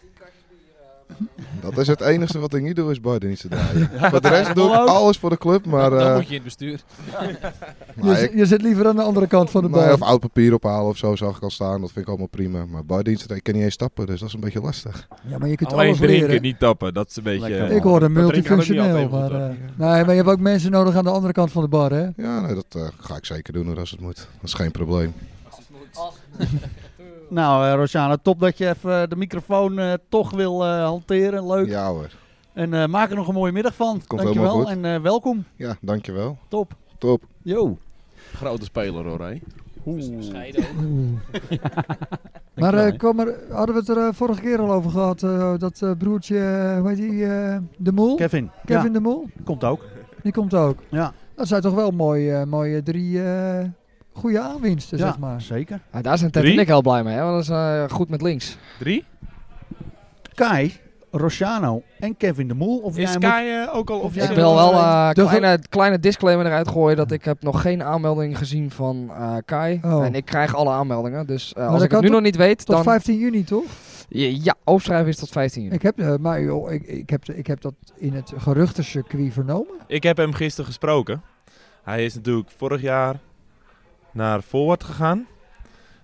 S8: Dat is het enige wat ik niet doe, is bardiensten draaien. voor de rest doe ik alles voor de club, maar...
S6: dan
S8: eh,
S6: moet je in het bestuur.
S8: nou,
S4: je,
S8: ik-
S4: zi- je zit liever aan de andere kant van de
S8: nou ja,
S4: bal.
S8: of oud papier ophalen of zo zag ik al staan, dat vind ik allemaal prima. Maar bardiensten, ik kan niet eens stappen, dus dat is een beetje lastig.
S4: Ja, maar je kunt
S5: Alleen
S4: alles
S5: drinken,
S4: leren.
S5: niet tappen. Dat is een beetje...
S2: Lekker,
S5: eh,
S2: man.
S4: Ik hoor hem
S5: dat drinken kan ook niet
S4: multifunctioneel.
S5: altijd
S4: Maar,
S5: even goed,
S4: eh, nee, maar je hebt ook mensen nodig aan de andere kant van de bar, hè?
S8: Ja, nee, dat eh, ga ik zeker doen hoor, als het moet. Dat is geen probleem.
S2: Nou, eh Rociano, top dat je even eh, de microfoon eh, toch wil eh, hanteren. Leuk.
S8: Ja hoor.
S2: En eh, maak er nog een mooie middag van.
S8: komt
S2: Dankjewel
S8: helemaal
S2: en eh, welkom.
S8: Ja, dankjewel.
S2: Top.
S8: Top.
S2: Yo.
S3: Grote speler, hoor, hè.
S6: Bescheiden ook.
S4: Maar
S2: Dankjewel,
S4: eh,
S2: hè.
S4: kwam er, hadden we het er eh, vorige keer al over gehad? eh, dat eh, broertje, eh, hoe heet die? eh, de Mol?
S2: Kevin.
S4: Kevin de Mol?
S2: Ja, komt ook.
S4: Die komt ook.
S2: Ja.
S4: Dat zijn toch wel mooie, eh, mooie drie eh, goede aanwinsten,
S2: ja,
S4: zeg maar.
S2: zeker.
S7: nou, daar zijn Ted en
S5: Drie?
S7: ik heel blij mee, hè, want dat is eh, goed met links.
S5: Drie?
S2: Kai, Rociano en Kevin de Moel. Of jij
S5: Is
S2: moet-
S5: Kai eh, ook al of
S2: Ja,
S7: ik
S2: maar
S7: wil
S2: dat
S7: wel
S2: is wel
S7: een
S4: de
S7: kleine, kleine disclaimer eruit gooien dat ik heb nog geen aanmelding gezien van eh, Kai.
S4: Oh.
S7: En ik krijg alle aanmeldingen, dus eh,
S4: dat
S7: als ik
S4: kan
S7: het nu
S4: tot-
S7: nog niet weet,
S4: Tot
S7: dan...
S4: 15 juni, toch?
S7: Ja, opschrijven is tot 15 juni.
S4: Ik heb, eh, maar joh, ik, ik, heb, ik heb dat in het geruchtencircuit vernomen.
S5: Ik heb hem gisteren gesproken. Hij is natuurlijk vorig jaar naar Forward gegaan.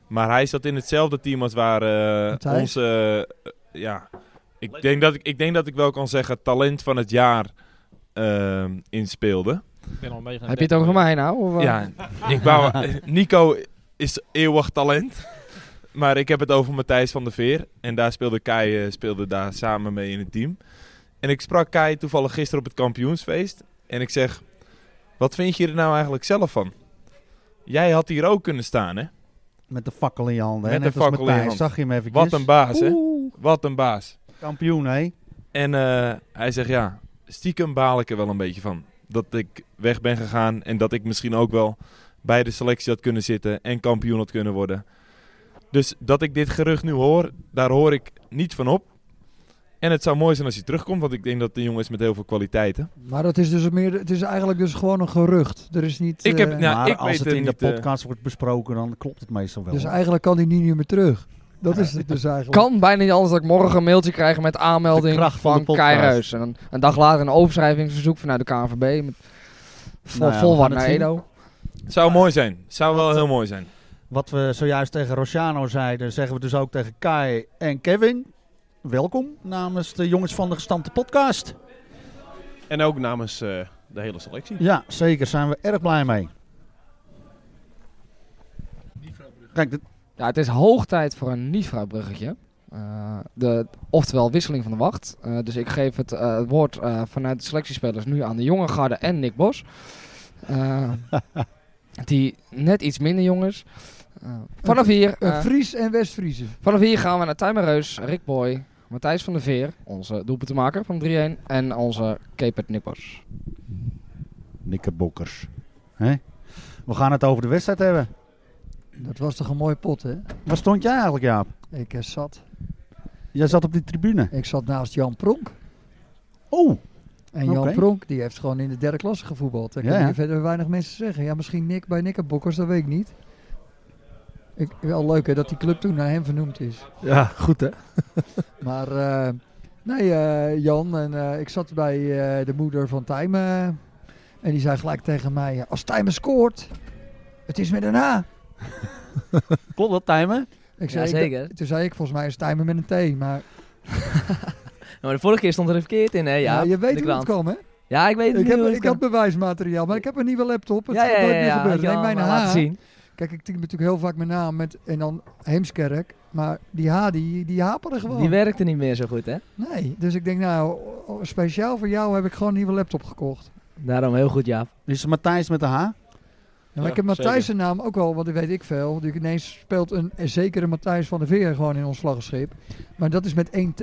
S5: Maar hij zat in hetzelfde team als waar eh,
S4: Matthijs?
S5: onze... eh, ja, ik denk, dat ik, ik denk dat ik wel kan zeggen talent van het jaar ehm, in speelde.
S6: Ik ben al meegegaan.
S7: heb je het over mij nou? Of, eh?
S5: Ja, ik wou, Nico is eeuwig talent. Maar ik heb het over Matthijs van der Veer. En daar speelde Kai eh, speelde daar samen mee in het team. En ik sprak Kai toevallig gisteren op het kampioensfeest. En ik zeg, wat vind je er nou eigenlijk zelf van? Jij had hier ook kunnen staan, hè?
S2: Met de fakkel in je handen. hè?
S5: Met
S2: Net
S5: de
S2: als
S5: fakkel in je
S2: Matthijs,
S5: hand.
S2: Zag je hem even
S5: Wat een baas, hè? Wat een baas.
S2: Kampioen, hè?
S5: En eh, hij zegt ja, stiekem baal ik er wel een beetje van. Dat ik weg ben gegaan en dat ik misschien ook wel bij de selectie had kunnen zitten en kampioen had kunnen worden. Dus dat ik dit gerucht nu hoor, daar hoor ik niets van op. En het zou mooi zijn als hij terugkomt, want ik denk dat de jongen is met heel veel kwaliteiten.
S4: Maar dat is dus meer, het is eigenlijk dus gewoon een gerucht. Er is niet.
S5: Ik heb-
S4: eh,
S5: Ja,
S2: maar
S5: ik
S2: als
S5: weet
S2: het
S5: het
S2: in de
S5: niet, eh.
S2: podcast wordt besproken, dan klopt het meestal wel.
S4: dus eigenlijk kan die niet meer terug. Dat is het dus eigenlijk.
S7: Kan bijna niet anders dat ik morgen een mailtje krijg met
S2: De
S7: aanmelding
S2: kracht van
S7: van,
S2: de
S7: Kai
S2: podcast.
S7: Reus. En dan een dag later een overschrijvingsverzoek vanuit de KNVB. Met vol,
S2: Nou ja,
S7: vol
S2: we
S7: wat
S2: gaan
S7: naar
S2: het zien.
S7: Edo.
S5: Zou mooi zijn, zou wel heel mooi zijn.
S2: Wat we zojuist tegen Rociano zeiden, zeggen we dus ook tegen Kai en Kevin. Welkom namens de jongens van de gestampte podcast.
S3: En ook namens eh, de hele selectie.
S2: Ja, zeker. Zijn we erg blij mee. Kijk, dit-
S7: Ja, het is hoog tijd voor een Nifra-bruggetje. Eh, de, oftewel wisseling van de wacht. Eh, dus ik geef het eh, het woord eh, vanuit de selectiespelers nu aan de jonge garde en Nick Bos. Eh, die net iets minder jong is. Eh, vanaf hier...
S4: Een
S7: eh,
S4: Fries en West-Vriezen.
S7: Vanaf hier gaan we naar Tijmen Reus, Rick Boy, Matthijs van der Veer, onze doelpuntenmaker van 3-1 en onze keeper Nick Bos.
S2: Nikkebokkers. Hè? We gaan het over de wedstrijd hebben.
S4: Dat was toch een mooie pot, hè?
S2: Waar stond jij eigenlijk, Jaap?
S4: Ik eh, zat.
S2: Jij zat op die tribune.
S4: Ik zat naast Jan Pronk.
S2: Oh,
S4: En Jan
S2: Oké.
S4: Pronk, die heeft gewoon in de derde klasse gevoetbald. Daar
S2: Ja,
S4: kunnen
S2: ja.
S4: verder weinig mensen zeggen. Ja, misschien Nick bij Nikkerbokkers, dat weet ik niet. Ik, wel leuk hè, dat die club toen naar hem vernoemd is.
S2: ja, goed hè?
S4: Maar eh, nee, eh, Jan, en, eh, ik zat bij eh, de moeder van Tijmen. eh, en die zei gelijk tegen mij, eh, als Tijmen scoort, het is met een A.
S2: Klopt dat, Tijmen?
S4: Ik zei,
S9: Jazeker.
S4: Ik, toen zei ik, volgens mij is Tijmen met een T. Maar
S9: Nou, Maar de vorige keer stond er even verkeerd in, hè? Ja,
S4: ja, je
S9: de
S4: weet hoe het
S9: krant.
S4: kwam, hè?
S9: Ja, ik weet het
S4: Ik,
S9: niet
S4: heb,
S9: hoe het
S4: ik
S9: kwam.
S4: had bewijsmateriaal, maar ik heb een nieuwe laptop. Het
S9: ja, ja,
S4: gaat
S9: ja,
S4: nooit meer
S9: ja,
S4: gebeuren.
S9: had je
S4: Neem
S9: al
S4: mijn
S9: maar
S4: H.
S9: laten zien.
S4: Kijk, ik typ natuurlijk heel vaak mijn naam met en dan Heemskerk. Maar die H, die, die haperde gewoon.
S9: Die werkte niet meer zo goed, hè?
S4: nee, dus ik denk nou, oh, speciaal voor jou heb ik gewoon een nieuwe laptop gekocht.
S9: Daarom heel goed, Jaap.
S2: Is het Matthijs met de H?
S4: Ja, maar
S5: Ja,
S4: ik heb Matthijs zijn naam ook wel, want die weet ik veel. Die ineens speelt een een zekere Matthijs van der Veer gewoon in ons vlaggenschip. Maar dat is met één T.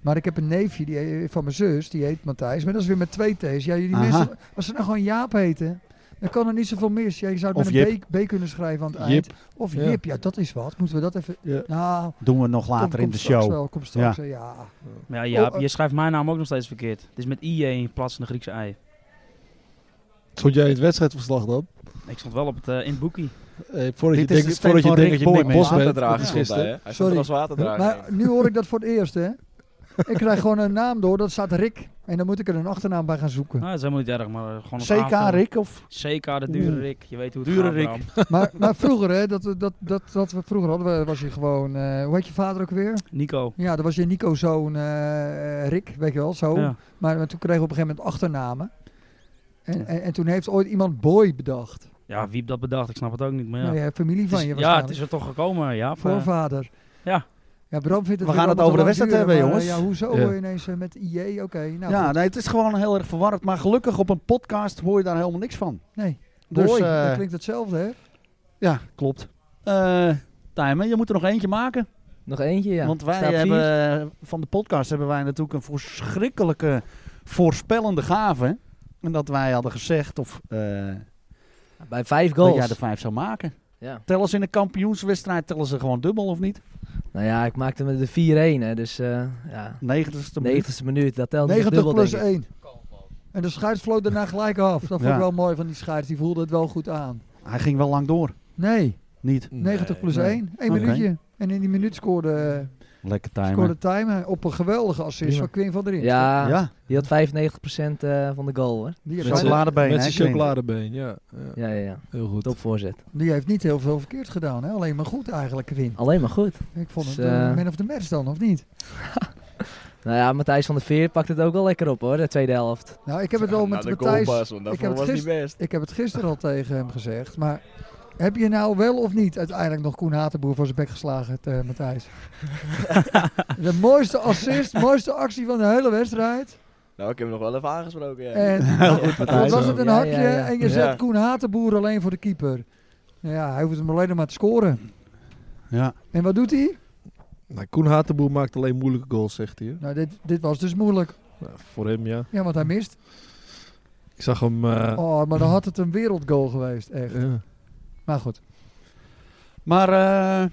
S4: Maar ik heb een neefje die, he- van mijn zus, die heet Matthijs. Maar dat is weer met twee T's. Ja, jullie
S2: Aha.
S4: mensen, als ze nou gewoon Jaap heten, dan kan er niet zoveel mis. Ja, je zou het
S2: Of
S4: met een B, B kunnen schrijven aan het eind. Of
S2: Ja.
S4: Jip, ja dat is wat. Moeten we dat even...
S2: Ja.
S4: Nou,
S2: Doen we nog later
S4: Kom-
S2: in
S4: kom
S2: de
S4: straks
S2: show.
S4: Wel, kom straks, ja. ja.
S10: Maar ja, Jaap,
S4: Oh, eh.
S10: je schrijft mijn naam ook nog steeds verkeerd. Het is met IJ in plaats van de Griekse ei.
S11: Stond jij in het wedstrijdverslag dan?
S10: Ik stond wel op het, eh, in het boekie.
S11: Eh, voordat
S2: Dit
S11: je
S2: is de
S11: denkt dat
S2: stem
S11: je,
S2: van
S11: denkt
S2: Rick
S11: dat je Nick
S2: Boy,
S11: Bos bent, dat
S5: Waterdrager
S11: is
S5: stond hij, hè?
S11: gisteren.
S5: Hij stond
S4: Sorry. Nou,
S5: er als waterdrager.
S4: Maar nu hoor ik dat voor het eerst, hè. Ik krijg gewoon een naam door, dat staat Rick. En dan moet ik er een achternaam bij gaan zoeken.
S10: Nou, dat is helemaal niet erg, maar eh, gewoon een
S2: CK, Rick? Of?
S10: CK, de dure Rick. Je weet hoe het
S5: Dure
S10: gaat,
S5: Rick.
S10: Bram.
S4: Hmm. Maar, maar vroeger, hè, dat, dat, dat, dat we vroeger hadden, we- was je gewoon... eh, hoe heet je vader ook weer?
S10: Nico.
S4: Ja, dat was je Nico-zoon eh, Rick, weet je wel, zo.
S10: Ja.
S4: Maar, maar toen kregen we op een gegeven moment achternamen. En, en, en toen heeft ooit iemand Boy bedacht.
S10: ja, wie heeft dat bedacht? Ik snap het ook niet, maar ja.
S4: Nou ja, familie
S10: Het
S4: van
S10: is-
S4: je
S10: ja, het
S4: waarschijnlijk.
S10: is er toch gekomen, ja.
S4: Voorvader.
S10: ja.
S4: Ja, Bram vindt het
S2: We gaan
S4: natuurlijk
S2: het over de
S4: allemaal
S2: wedstrijd
S4: te lang
S2: hebben,
S4: duren, maar,
S2: jongens.
S4: eh, Ja, hoezo
S11: Ja.
S4: eh, ineens eh, met IJ? Oké, nou
S2: ja,
S4: goed.
S2: nee, het is gewoon heel erg verwarrend. Maar gelukkig op een podcast hoor je daar helemaal niks van.
S4: Nee.
S2: Dus,
S4: Boy,
S2: eh,
S4: dat klinkt hetzelfde, hè?
S2: Ja, klopt. Eh Tijmen, je moet er nog eentje maken.
S9: Nog eentje, ja.
S2: want wij
S9: Staat vier.
S2: hebben eh, van de podcast hebben wij natuurlijk een verschrikkelijke voorspellende gave. En dat wij hadden gezegd of eh
S9: Bij vijf
S2: dat
S9: goals.
S2: jij de vijf zou maken.
S9: Ja.
S2: Tellen ze in een kampioenswedstrijd, tellen ze gewoon dubbel of niet?
S9: Nou ja, ik maakte met de 4-1, hè. Dus eh ja,
S2: 90ste minuut.
S9: 90ste minuut, dat telt
S4: 90
S9: niet dubbel,
S4: plus
S9: denk ik.
S4: 1. En de scheids vloot daarna gelijk af. Dat vond
S2: Ja.
S4: ik wel mooi van die scheids. Die voelde het wel goed aan.
S2: Hij ging wel lang door.
S4: Nee,
S2: Niet.
S4: 90 plus
S9: Nee.
S4: 1. 1
S2: Oké.
S4: minuutje. En in die minuut scoorde,
S2: Lekker
S4: scoorde
S2: Tijmen.
S4: Timer op een geweldige assist
S9: Prima.
S4: van Quinn van der Rijn.
S9: Ja,
S2: Ja,
S9: die had 95% eh, van de goal, hoor.
S4: Die
S11: Met
S4: heeft,
S11: zijn-
S4: bijna-
S2: chocoladebeen.
S11: Met
S2: hè,
S11: zijn
S2: Quinn?
S11: chocoladebeen, ja. Ja,
S9: Ja, ja, ja.
S11: Heel goed.
S9: Top voorzet.
S4: die heeft niet heel veel verkeerd gedaan. Hè? Alleen maar goed eigenlijk, Quinn.
S9: Alleen maar goed.
S4: Ik vond het
S9: Dus,
S4: eh,
S9: eh,
S4: man of the match dan, of niet?
S9: Nou ja, Matthijs van der Veer pakt het ook wel lekker op, hoor. De tweede helft.
S4: Nou, ik heb het wel met Matthijs... Ik heb het, gisteren, ik heb het gisteren al tegen hem gezegd, maar Heb je nou wel of niet uiteindelijk nog Koen Hatenboer voor zijn bek geslagen, eh, Matthijs? de mooiste assist, mooiste actie van de hele wedstrijd.
S9: Nou, ik heb hem nog wel even aangesproken. Ja.
S4: En wat was het een hakje en je zet
S9: Ja.
S4: Koen Hatenboer alleen voor de keeper. Nou Ja, hij hoeft hem alleen nog maar te scoren.
S2: Ja.
S4: En wat doet hij?
S11: Nou, Koen Hatenboer maakt alleen moeilijke goals, zegt hij. hè.
S4: Nou, dit, dit was dus moeilijk.
S11: Nou, voor hem, ja.
S4: Ja, want hij mist.
S11: Ik zag hem... eh,
S4: Oh, maar dan had het een wereldgoal geweest, echt.
S11: ja.
S4: Maar goed.
S2: Maar eh,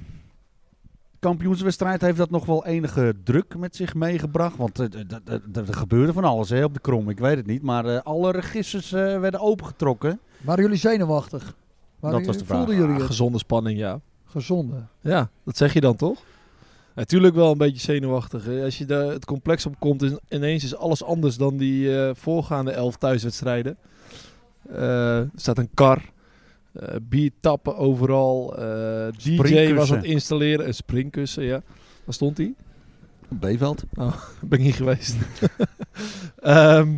S2: kampioenswedstrijd heeft dat nog wel enige druk met zich meegebracht. Want eh, d- d- d- d- er gebeurde van alles hè, op de krom, ik weet het niet. Maar eh, alle registers eh, werden opengetrokken.
S4: Waren jullie zenuwachtig? Waren
S2: Dat was de
S4: jullie- Voelden
S2: vraag.
S4: jullie
S11: Ah,
S4: het?
S11: gezonde spanning, ja.
S4: Gezonde.
S11: Ja, dat zeg je dan toch? Natuurlijk wel een beetje zenuwachtig. hè. Als je daar het complex op komt, is- ineens is alles anders dan die eh, voorgaande elf thuiswedstrijden. Eh, er staat een kar, eh biertappen overal, eh, DJ was
S2: Springkussen.
S11: aan het installeren, een springkussen, ja. Waar stond hij?
S2: Beeveld.
S11: Oh, ben ik niet geweest. Ehm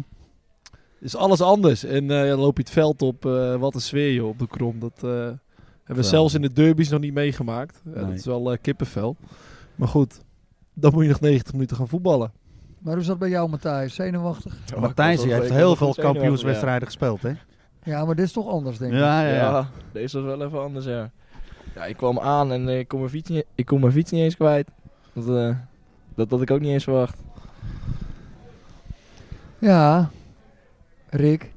S11: is alles anders. En eh, ja, dan loop je het veld op. eh, wat een sfeer joh, op de krom. Dat eh, hebben
S2: Geweldig.
S11: we zelfs in de derbies nog niet meegemaakt. Ja,
S2: Nee.
S11: Dat is wel eh, kippenvel. Maar goed, dan moet je nog 90 minuten gaan voetballen.
S4: Maar hoe zat het bij jou, Matthijs? Zenuwachtig?
S2: Matthijs
S9: was wel
S2: die heeft
S9: zeker
S2: heel
S9: nog
S2: veel
S9: goed zenuwachtig,
S2: kampioenswedstrijden gespeeld, hè?
S4: Ja, maar dit is toch anders, denk ik.
S2: Ja, ja,
S9: Ja.
S2: ja.
S9: deze was wel even anders, ja. Ja, ik kwam aan en eh, ik, kon mijn fiets niet, ik kon mijn fiets niet eens kwijt. Dat, eh, dat had ik ook niet eens verwacht.
S4: Ja, Rick.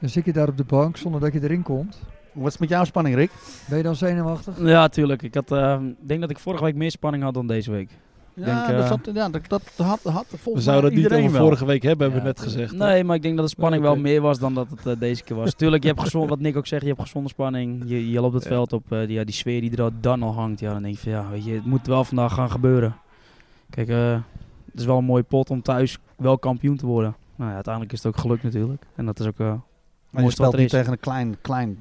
S4: Dan zit je daar op de bank zonder dat je erin komt.
S2: Wat is het met jouw spanning, Rick?
S4: Ben je dan zenuwachtig?
S10: Ja, tuurlijk. Ik had, eh, ik denk dat ik vorige week meer spanning had dan deze week.
S2: Ja,
S10: denk,
S2: dat,
S10: eh,
S2: zat, ja dat, dat had, had
S11: We
S2: volgens mij
S11: zouden dat niet
S2: iedereen
S11: over
S2: wel.
S11: vorige week hebben, hebben
S10: Ja,
S11: we net gezegd. hè?
S10: Nee, maar ik denk dat de spanning
S11: Ja, oké.
S10: wel meer was dan dat het eh, deze keer was. Tuurlijk, je hebt gezond, wat Nick ook zegt, je hebt gezonde spanning. Je, je loopt het
S11: Ja.
S10: veld op, eh, die, ja, die sfeer die er al, dan al hangt. Ja, dan denk je van, ja, weet je, het moet wel vandaag gaan gebeuren. Kijk, eh, het is wel een mooie pot om thuis wel kampioen te worden. Nou ja, uiteindelijk is het ook gelukt natuurlijk. En dat is ook... eh,
S2: Maar je
S10: Mooiste
S2: speelt
S10: wat er
S2: niet
S10: is.
S2: tegen een klein, klein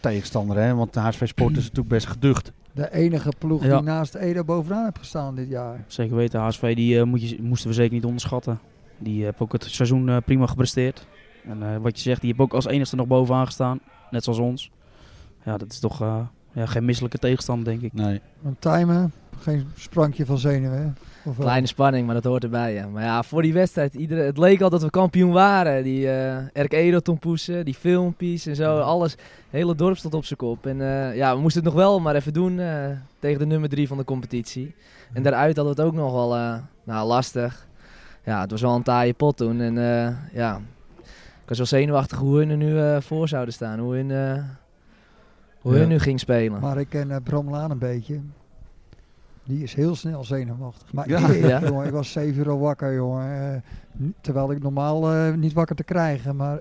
S2: tegenstander, hè? Want de HSV Sport is natuurlijk best geducht.
S4: De enige ploeg
S10: Ja.
S4: die naast Edo bovenaan heeft gestaan dit jaar.
S10: Zeker weten, HSV die, eh, moet je, moesten we zeker niet onderschatten. Die hebben ook het seizoen eh, prima gepresteerd. En eh, wat je zegt, die hebben ook als enigste nog bovenaan gestaan. Net zoals ons. Ja, dat is toch eh, ja, geen misselijke tegenstander, denk ik.
S2: Nee.
S4: Want timen, geen sprankje van zenuwen. hè? Of wel?
S9: Kleine spanning, maar dat hoort erbij. Ja. Maar ja, voor die wedstrijd, iedereen, het leek al dat we kampioen waren. Die eh Erk Edo-tompoesen, die filmpjes en zo, alles. Het hele dorp stond op zijn kop. En eh, ja, we moesten het nog wel maar even doen eh, tegen de nummer drie van de competitie. En daaruit hadden we het ook nog wel eh, nou, lastig. Ja, het was wel een taaie pot toen. En eh, ja, ik was wel zenuwachtig hoe hun er nu eh, voor zouden staan. Hoe hun, eh, hoe
S11: Ja.
S9: hun nu ging spelen.
S4: Maar ik ken eh, Bram Laan een beetje. Die is heel snel zenuwachtig. Maar
S2: Ja.
S4: ik,
S9: Ja.
S4: jongen, ik was zeven uur al wakker, jongen. Eh, n- terwijl ik normaal eh, niet wakker te krijgen. Maar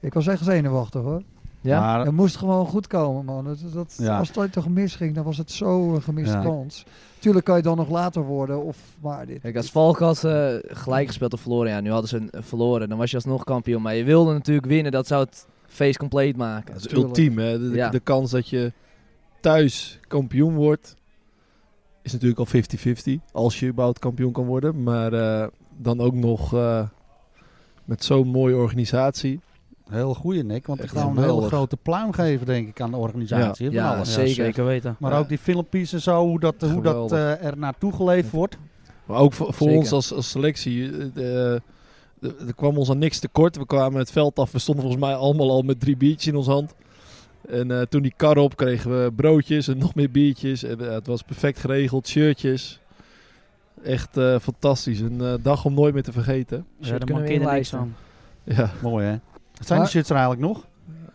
S4: ik was echt zenuwachtig, hoor.
S9: ja?
S2: Maar
S4: Het moest gewoon goed komen, man. Dat, dat,
S2: Ja.
S4: Als het toch misging, dan was het zo een gemiste
S2: Ja.
S4: kans. Tuurlijk kan je dan nog later worden. Of, maar dit,
S9: Kijk, als Valk had eh, gelijk gespeeld of verloren, ja, nu hadden ze een- eh, verloren, dan was je alsnog kampioen. Maar je wilde natuurlijk winnen, dat zou het feest compleet maken.
S11: Dat is
S4: tuurlijk.
S11: ultiem. Hè? De, de-
S9: Ja.
S11: de kans dat je thuis kampioen wordt is natuurlijk al 50-50. Als je überhaupt kampioen kan worden. Maar eh, dan ook nog eh, met zo'n mooie organisatie.
S2: heel goede nek, want ik
S11: Echt
S2: ga hem een hele
S11: geweldig.
S2: grote pluim geven, denk ik, aan de organisatie. van
S9: Ja,
S2: alles.
S9: zeker.
S10: weten.
S2: Maar
S11: Ja.
S2: ook die filmpjes en zo, hoe dat, hoe dat
S11: Geweldig.
S2: eh, er naartoe geleefd wordt.
S11: Maar ook voor, voor
S9: Zeker.
S11: ons als, als selectie. eh, de- de- Er kwam ons aan niks tekort. We kwamen het veld af. We stonden volgens mij allemaal al met drie biertjes in ons hand. En eh, toen die kar op kregen we broodjes en nog meer biertjes. En, eh, het was perfect geregeld. Shirtjes. Echt eh, fantastisch. Een eh, dag om nooit meer te vergeten.
S10: Ja, daar
S9: kunnen we
S10: mankeerde niks
S9: inlijsten.
S10: aan.
S11: Ja,
S2: Mooi, hè? Zijn
S4: Maar-
S2: die shirts er eigenlijk nog?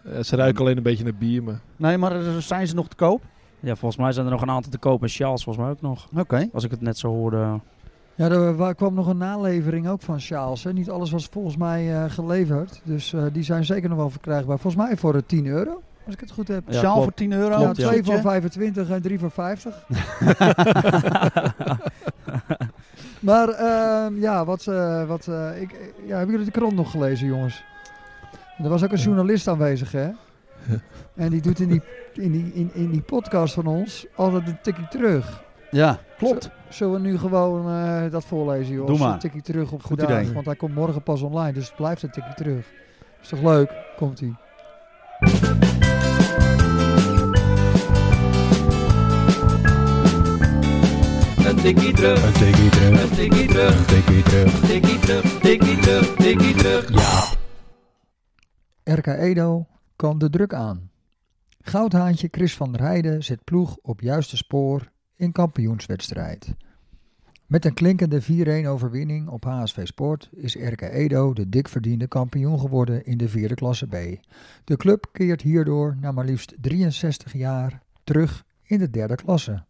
S11: eh, ze ruiken alleen een beetje naar bier. Maar
S2: Nee, maar eh, zijn ze nog te koop?
S10: Ja, volgens mij zijn er nog een aantal te kopen. Sjaals volgens mij ook nog.
S2: Oké.
S10: Als ik het net zo hoorde.
S4: Ja, er wa- kwam nog een nalevering ook van Sjaals. Hè. Niet alles was volgens mij eh, geleverd. Dus eh, die zijn zeker nog wel verkrijgbaar. Volgens mij voor eh, 10 euro, als ik het goed heb.
S10: Ja,
S2: Sjaal
S10: klopt.
S2: voor 10 euro.
S4: ja,
S2: een
S4: twee
S2: shirtje.
S4: voor 25 en drie voor 50. maar ehm, ja, wat, eh, wat eh, ik, ja, hebben jullie de krant nog gelezen, jongens? Er was ook een journalist aanwezig, hè? En die doet in die, in die, in, in die podcast van ons altijd een tikkie terug.
S2: Ja, klopt.
S4: Zullen we nu gewoon eh, dat voorlezen, joh?
S2: Doe maar.
S4: Een tikkie terug op
S2: Goed
S4: vandaag,
S2: idee.
S4: Want hij komt morgen pas online, dus het blijft een tikkie terug. Is toch leuk? Komt-ie.
S1: Thank tikkie terug. Een tikkie terug. Een tikkie terug. Een tikkie terug. Tikkie terug. Tikkie terug. Tikkie terug. Ja.
S4: RK Edo kwam de druk aan. Goudhaantje Chris van der Heijden zet ploeg op juiste spoor in kampioenswedstrijd. Met een klinkende 4-1 overwinning op HSV Sport is RK Edo de dikverdiende kampioen geworden in de vierde klasse B. De club keert hierdoor na maar liefst 63 jaar terug in de derde klasse.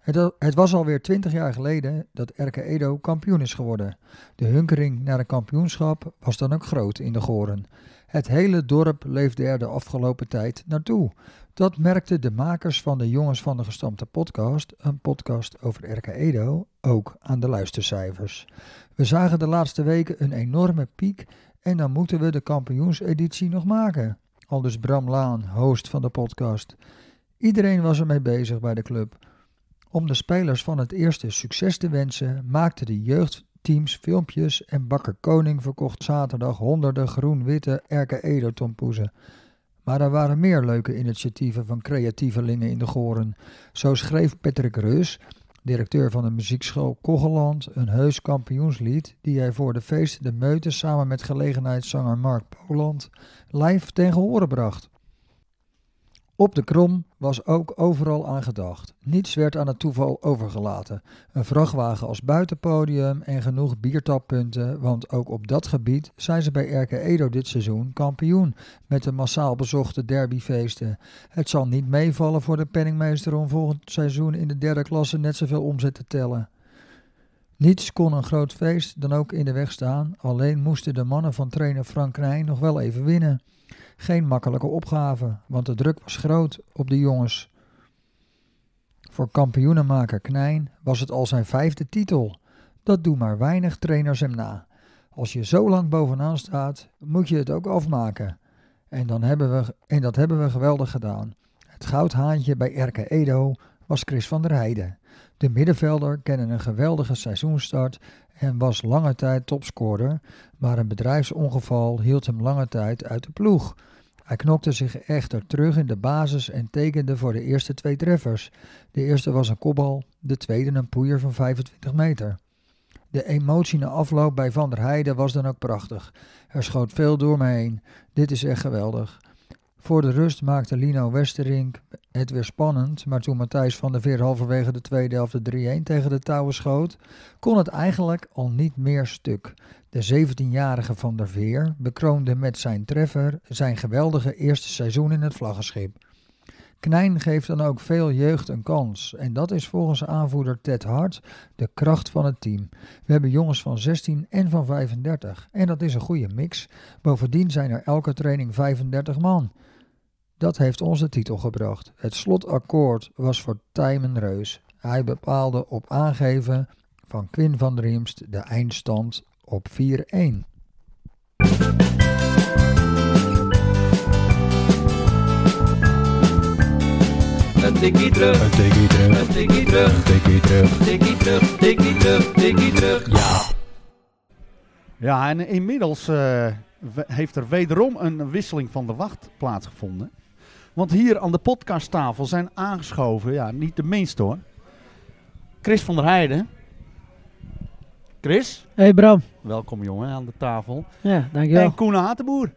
S4: Het, al- het was alweer 20 jaar geleden dat RK Edo kampioen is geworden. De hunkering naar een kampioenschap was dan ook groot in de Goren. Het hele dorp leefde er de afgelopen tijd naartoe. Dat merkten de makers van de Jongens van de Gestampte podcast, een podcast over RK Edo, ook aan de luistercijfers. We zagen de laatste weken een enorme piek en dan moeten we de kampioenseditie nog maken. Aldus Bram Laan, host van de podcast. Iedereen was ermee bezig bij de club. Om de spelers van het eerste succes te wensen, maakten de jeugdteams filmpjes en Bakker Koning verkocht zaterdag honderden groen-witte RK Edo-tompoezen. Maar er waren meer leuke initiatieven van creatievelingen in de Goren. Zo schreef Patrick Reus, directeur van de muziekschool Kogeland, een heus kampioenslied die hij voor de feest de Meute samen met gelegenheidszanger Mark Poland live ten gehore bracht. Op de krom was ook overal aan gedacht. Niets werd aan het toeval overgelaten. Een vrachtwagen als buitenpodium en genoeg biertappunten, want ook op dat gebied zijn ze bij RK Edo dit seizoen kampioen met de massaal bezochte derbyfeesten. Het zal niet meevallen voor de penningmeester om volgend seizoen in de derde klasse net zoveel omzet te tellen. Niets kon een groot feest dan ook in de weg staan, alleen moesten de mannen van trainer Frank Rijn nog wel even winnen. Geen makkelijke opgave, want de druk was groot op de jongens. Voor kampioenenmaker Knijn was het al zijn vijfde titel. Dat doen maar weinig trainers hem na. Als je zo lang bovenaan staat, moet je het ook afmaken. En, dan hebben we, en dat hebben we geweldig gedaan. Het goudhaantje bij Erke Edo was Chris van der Heijden. De middenvelder kende een geweldige seizoenstart en was lange tijd topscorer, maar een bedrijfsongeval hield hem lange tijd uit de ploeg. Hij knokte zich echter terug in de basis en tekende voor de eerste twee treffers. De eerste was een kopbal, de tweede een poeier van 25 meter. De emotie na afloop bij Van der Heijden was dan ook prachtig. Er schoot veel door me heen. Dit is echt geweldig. Voor de rust maakte Lino Westerink het weer spannend, maar toen Matthijs van der Veer halverwege de tweede helft de 3-1 tegen de touwen schoot, kon het eigenlijk al niet meer stuk. De 17-jarige Van der Veer bekroonde met zijn treffer zijn geweldige eerste seizoen in het vlaggenschip. Knijn geeft dan ook veel jeugd een kans en dat is volgens aanvoerder Ted Hart de kracht van het team. We hebben jongens van 16 en van 35 en dat is een goede mix. Bovendien zijn er elke training 35 man. Dat heeft ons de titel gebracht. Het slotakkoord was voor Tijmen Reus. Hij bepaalde op aangeven van Quinn van Riemst de eindstand op 4-1.
S1: Een tikkie terug. Een tikkie terug. Een tikkie terug. Tikkie terug. Tikkie terug. Tikkie terug. Tikkie terug. Ja.
S2: Ja, en inmiddels eh, we- heeft er wederom een wisseling van de wacht plaatsgevonden. Want hier aan de podcasttafel zijn aangeschoven, ja, niet de minste hoor. Chris van der Heijden. Chris,
S12: Hey Bram.
S2: welkom jongen aan de tafel.
S12: Ja, dankjewel.
S2: En Koen Hatenboer.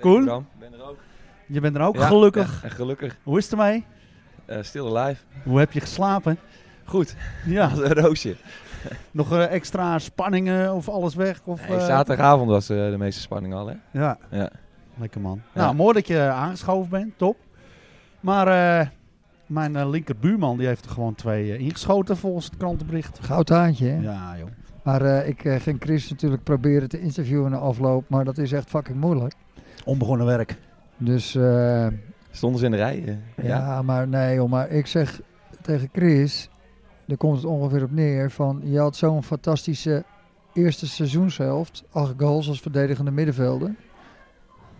S2: Koen?
S5: ben er ook.
S2: Je bent er ook,
S5: Ja,
S2: gelukkig.
S5: ja, en gelukkig.
S2: Hoe is het ermee?
S5: Eh still alive.
S2: Hoe heb je geslapen?
S5: Goed.
S2: Ja.
S5: Als een roosje.
S2: Nog eh, extra spanningen of alles weg? Of,
S5: Nee,
S2: eh,
S5: zaterdagavond was eh, de meeste spanning al, hè?
S2: Ja.
S5: ja.
S2: Lekker man.
S5: Ja.
S2: Nou, mooi dat je aangeschoven bent, top. Maar eh, mijn eh, linkerbuurman die heeft er gewoon twee eh, ingeschoten volgens het krantenbericht.
S4: Goudhaantje, hè?
S2: Ja, joh.
S4: Maar eh, ik eh, ging Chris natuurlijk proberen te interviewen na afloop, maar dat is echt fucking moeilijk.
S2: Onbegonnen werk.
S4: Dus eh,
S5: Stonden ze in de rij? eh?
S4: ja, maar nee joh, maar ik zeg tegen Chris, daar komt het ongeveer op neer, van je had zo'n fantastische eerste seizoenshelft, acht goals als verdedigende middenvelder.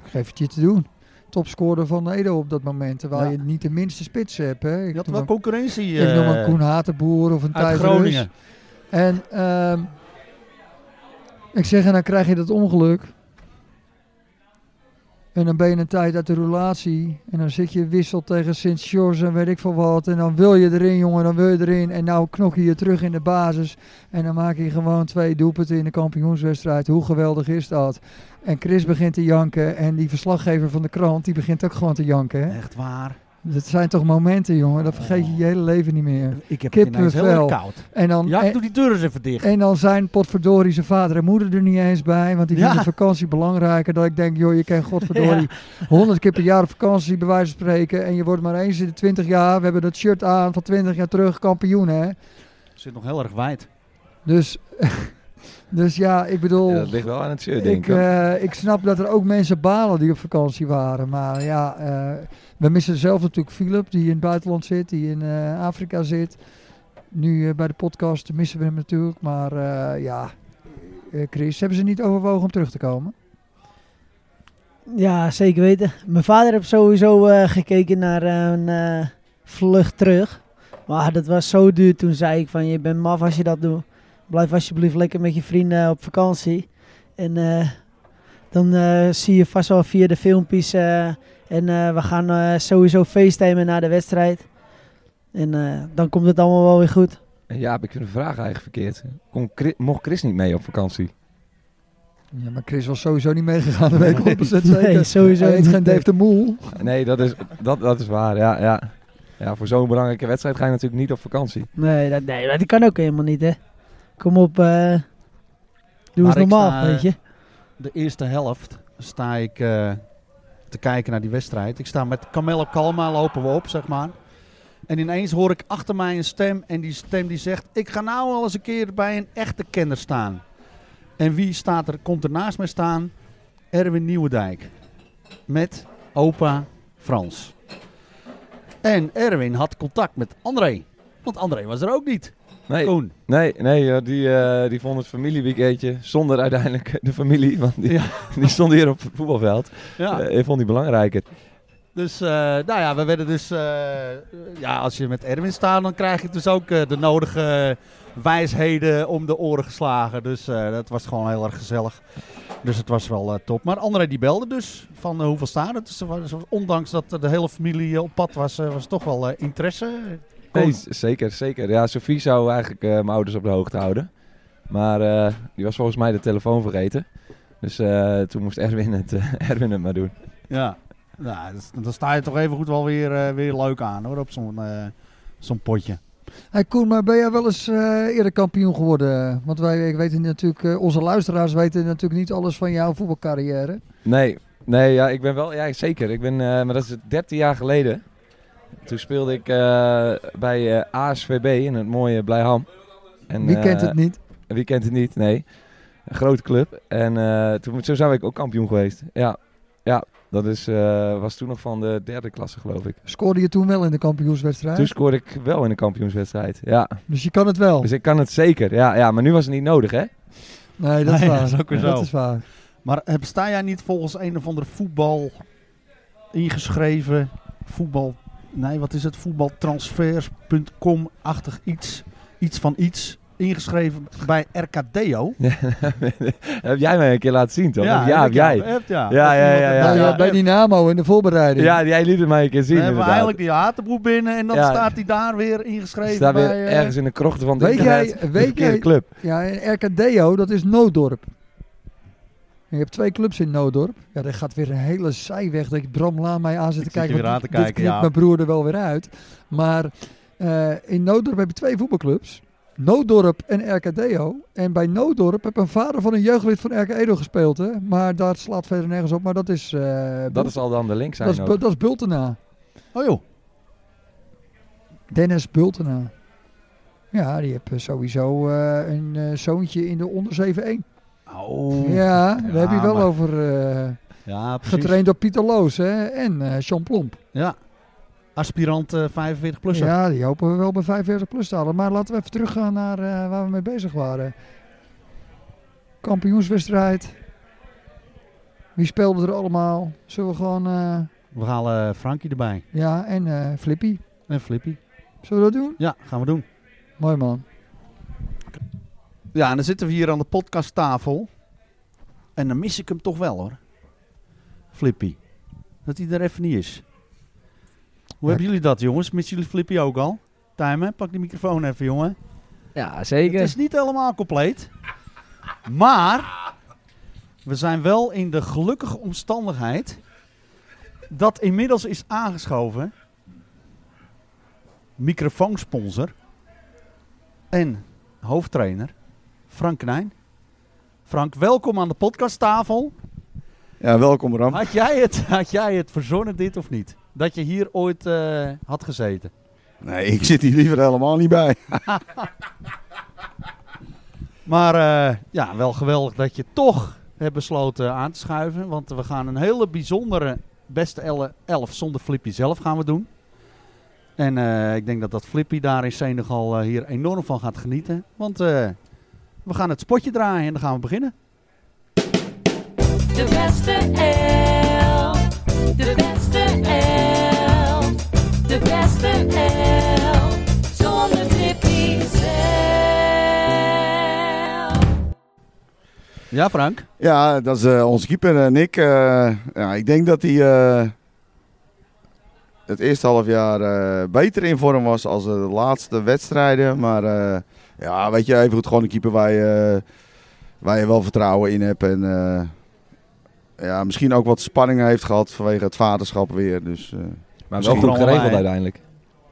S4: Ik geef het je te doen. Topscorer van Edo op dat moment, terwijl
S2: Ja.
S4: je niet de minste spits hebt. Hè. Ik
S2: Je had
S4: noem
S2: wel
S4: een-
S2: concurrentie.
S4: ik noem een
S2: eh,
S4: Koen Hatenboer of een
S2: uit
S4: Thijs
S2: Groningen.
S4: Reus. En ehm, ik zeg, en dan krijg je dat ongeluk. En dan ben je een tijd uit de roulatie. En dan zit je wissel tegen Sint-Georges en weet ik veel wat. En dan wil je erin, jongen, dan wil je erin. En nou knok je je terug in de basis. En dan maak je gewoon twee doelpunten in de kampioenswedstrijd. Hoe geweldig is dat? En Chris begint te janken. En die verslaggever van de krant, die begint ook gewoon te janken. Hè?
S2: Echt waar. Oh.
S4: Dat zijn toch momenten, jongen. Dat vergeet je je hele leven niet meer.
S2: Ik heb het ineens heel erg
S4: Kippenvel.
S2: koud.
S4: En dan, eh,
S2: Ja,
S4: en-
S2: ik doe die deur eens even dicht.
S4: en dan zijn potverdorie zijn vader en moeder er niet eens bij. Want die
S2: Ja.
S4: vinden vakantie belangrijker. Dat ik denk, joh, je kan godverdorie honderd keer per jaar op vakantie bij wijze van spreken. En je wordt maar eens in de twintig jaar. We hebben dat shirt aan van twintig jaar terug kampioen, hè.
S2: Zit nog heel erg wijd.
S4: Dus, dus ja, ik bedoel...
S2: Ja,
S8: dat ligt wel aan het shirt, denk
S4: ik,
S8: ik. hoor.
S4: eh, ik snap dat er ook mensen balen die op vakantie waren. Maar ja, eh, we missen zelf natuurlijk Philip, die in het buitenland zit, die in eh, Afrika zit. Nu eh, bij de podcast missen we hem natuurlijk. Maar eh, ja, eh, Chris, hebben ze niet overwogen om terug te komen?
S12: Ja, zeker weten. Mijn vader heeft sowieso eh, gekeken naar een eh, vlucht terug. Maar dat was zo duur. Toen zei ik van, je bent maf als je dat doet. Blijf alsjeblieft lekker met je vrienden eh, op vakantie. En eh, dan eh, zie je vast wel via de filmpjes. eh, en eh, we gaan eh, sowieso facetimen na de wedstrijd. En eh, dan komt het allemaal wel weer goed.
S13: En Jaap, ik vind de vraag eigenlijk verkeerd. Kon Chri- mocht Chris niet mee op vakantie?
S4: Ja, maar Chris was sowieso niet meegegaan, dat weet ik 100%
S12: Nee,
S4: zeker.
S12: sowieso
S4: Hij heet
S12: niet.
S4: geen Dave de Moel.
S13: Nee, dat is, dat, dat is waar. Ja, ja. ja voor zo'n belangrijke wedstrijd ga je natuurlijk niet op vakantie.
S12: Nee, dat, nee, maar dat kan ook helemaal niet, hè. Kom op, eh, doe
S2: Maar
S12: eens
S2: ik
S12: normaal,
S2: sta, eh,
S12: weet je.
S2: De eerste helft sta ik eh, te kijken naar die wedstrijd. Ik sta met Camelo Kalma, lopen we op, zeg maar. En ineens hoor ik achter mij een stem en die stem die zegt... Ik ga nou al eens een keer bij een echte kenner staan. En wie staat er, komt er naast mij staan? Erwin Nieuwendijk. Met opa Frans. En Erwin had contact met André. Want André was er ook niet.
S13: Nee,
S2: Koen.
S13: nee, nee joh, die, eh, die vond het familieweekendje zonder uiteindelijk de familie. Want die, die stond hier op het voetbalveld.
S2: Ja.
S13: Eh, ik vond die belangrijker.
S2: Dus, eh, nou ja, we werden dus... eh, ja, als je met Erwin staat, dan krijg je dus ook eh, de nodige wijsheden om de oren geslagen. Dus eh, dat was gewoon heel erg gezellig. Dus het was wel eh, top. Maar André die belde dus van eh, hoeveel staan het. Dus er was- ondanks dat de hele familie eh, op pad was, eh, was toch wel eh, interesse.
S13: Nee, z- zeker, zeker. Ja, Sophie zou eigenlijk eh, mijn ouders op de hoogte houden. Maar eh, die was volgens mij de telefoon vergeten. Dus eh, toen moest Erwin het, eh, Erwin het maar doen.
S2: Ja, nou, dus, dan sta je toch even goed wel weer, eh, weer leuk aan hoor, op zo'n eh, zo'n potje.
S4: Hey Koen, maar ben jij wel eens eh, eerder kampioen geworden? Want wij ik weten natuurlijk, eh, onze luisteraars weten natuurlijk niet alles van jouw voetbalcarrière.
S13: Nee, nee ja, ik ben wel, ja, zeker. Ik ben, eh, maar dat is 13 jaar geleden. Toen speelde ik eh, bij eh, ASVB in het mooie Blijham. En,
S4: Wie kent
S13: eh,
S4: het niet?
S13: Wie kent het niet, nee. Een grote club. En eh, toen, zo zijn we ook kampioen geweest. Ja, ja dat is, eh, was toen nog van de derde klasse, geloof ik.
S4: Scoorde je toen wel in de kampioenswedstrijd?
S13: Toen scoorde ik wel in de kampioenswedstrijd, ja.
S4: Dus je kan het wel?
S13: Dus ik kan het zeker, ja. ja maar nu was het niet nodig, hè?
S4: Nee, dat is
S2: Nee,
S4: waar.
S2: dat is ook weer
S4: Dat
S2: zo.
S4: is waar.
S2: Maar eh, sta jij niet volgens een of andere voetbal ingeschreven voetbal? Nee, wat is het? Voetbaltransfers.com-achtig iets. Iets van iets. Ingeschreven bij RKDO.
S13: Ja, heb jij mij een keer laten zien, toch?
S2: Ja,
S13: Of
S2: heb
S13: ja,
S2: ik
S13: heb jij.
S2: jou geappt, ja.
S13: ja, ja, ja, ja,
S4: Nou ja,
S13: ja.
S4: bij Dynamo in de voorbereiding.
S13: Ja, jij liet het mij een keer zien,
S2: we hebben
S13: inderdaad.
S2: eigenlijk die hatenbroek binnen en dan
S13: Ja.
S2: staat hij daar weer ingeschreven.
S13: Staat weer
S2: bij, eh,
S13: ergens in de krochten van de
S4: Weet
S13: internet.
S4: jij,
S13: de
S4: weet
S13: verkeerde
S4: jij,
S13: club.
S4: Ja, en RKDO, dat is Nooddorp. En je hebt twee clubs in Nooddorp. Ja, daar gaat weer een hele zijweg dat ik Bram Laan mij aan zit te
S2: zit
S4: kijken.
S2: je weer
S4: want
S2: aan te
S4: dit
S2: kijken,
S4: knipt
S2: ja.
S4: mijn broer er wel weer uit. Maar eh, in Nooddorp heb je twee voetbalclubs. Nooddorp en RKDO. En bij Nooddorp heb een vader van een jeugdlid van RKEDO gespeeld. Hè? Maar daar slaat verder nergens op. Maar dat is... eh,
S13: Dat
S4: Bult-
S13: is al dan de link zijn
S4: dat is, Bu-
S13: ook.
S4: dat is Bultena.
S2: Oh joh.
S4: Dennis Bultena. Ja, die heeft eh, sowieso eh, een eh, zoontje in de onder 7-1.
S2: Oh.
S4: Ja, daar heb je wel
S2: maar-
S4: over eh,
S2: Ja, precies.
S4: getraind door Pieter Loos hè, en eh Sean Plomp.
S2: Ja. Aspirant eh, 45-plusser.
S4: Ja, die hopen we wel bij 45 plus te halen. Maar laten we even teruggaan naar eh, waar we mee bezig waren. Kampioenswedstrijd. Wie speelde er allemaal? Zullen we gewoon... eh,
S2: We halen Frankie erbij.
S4: ja, en eh, Flippy.
S2: En Flippy.
S4: Zullen we dat doen?
S2: Ja, gaan we doen.
S4: Mooi man.
S2: Ja, en dan zitten we hier aan de podcasttafel. En dan mis ik hem toch wel hoor. Flippy. Dat hij er even niet is. Hoe hebben jullie dat, jongens? Missen jullie Flippy ook al? Timer, pak die microfoon even, jongen.
S7: Ja, zeker.
S2: Het is niet helemaal compleet. Maar we zijn wel in de gelukkige omstandigheid dat inmiddels is aangeschoven microfoonsponsor en hoofdtrainer Frank Knijn. Frank, welkom aan de podcasttafel.
S14: Ja, welkom Ram.
S2: Had jij het, had jij het verzonnen dit of niet? Dat je hier ooit eh, had gezeten?
S14: Nee, ik zit hier liever helemaal niet bij.
S2: Maar eh, ja, wel geweldig dat je toch hebt besloten aan te schuiven. Want we gaan een hele bijzondere beste elle- elf zonder Flippy zelf gaan we doen. En eh, ik denk dat dat Flippy daar in Senegal eh, hier enorm van gaat genieten. Want eh, we gaan het spotje draaien en dan gaan we beginnen.
S15: De beste elf. De beste elf. De beste elf. Zonder Tippy zelf.
S2: Ja, Frank?
S14: Ja, dat is eh, onze keeper en ik. ja, ik denk dat hij eh, het eerste half jaar eh, beter in vorm was als de laatste wedstrijden. Maar eh, ja, weet je, even goed gewoon een keeper waar je, eh, waar je wel vertrouwen in hebt. En eh, ja, misschien ook wat spanningen heeft gehad vanwege het vaderschap weer. Dus, eh,
S13: wel
S14: misschien-
S13: goed geregeld uiteindelijk.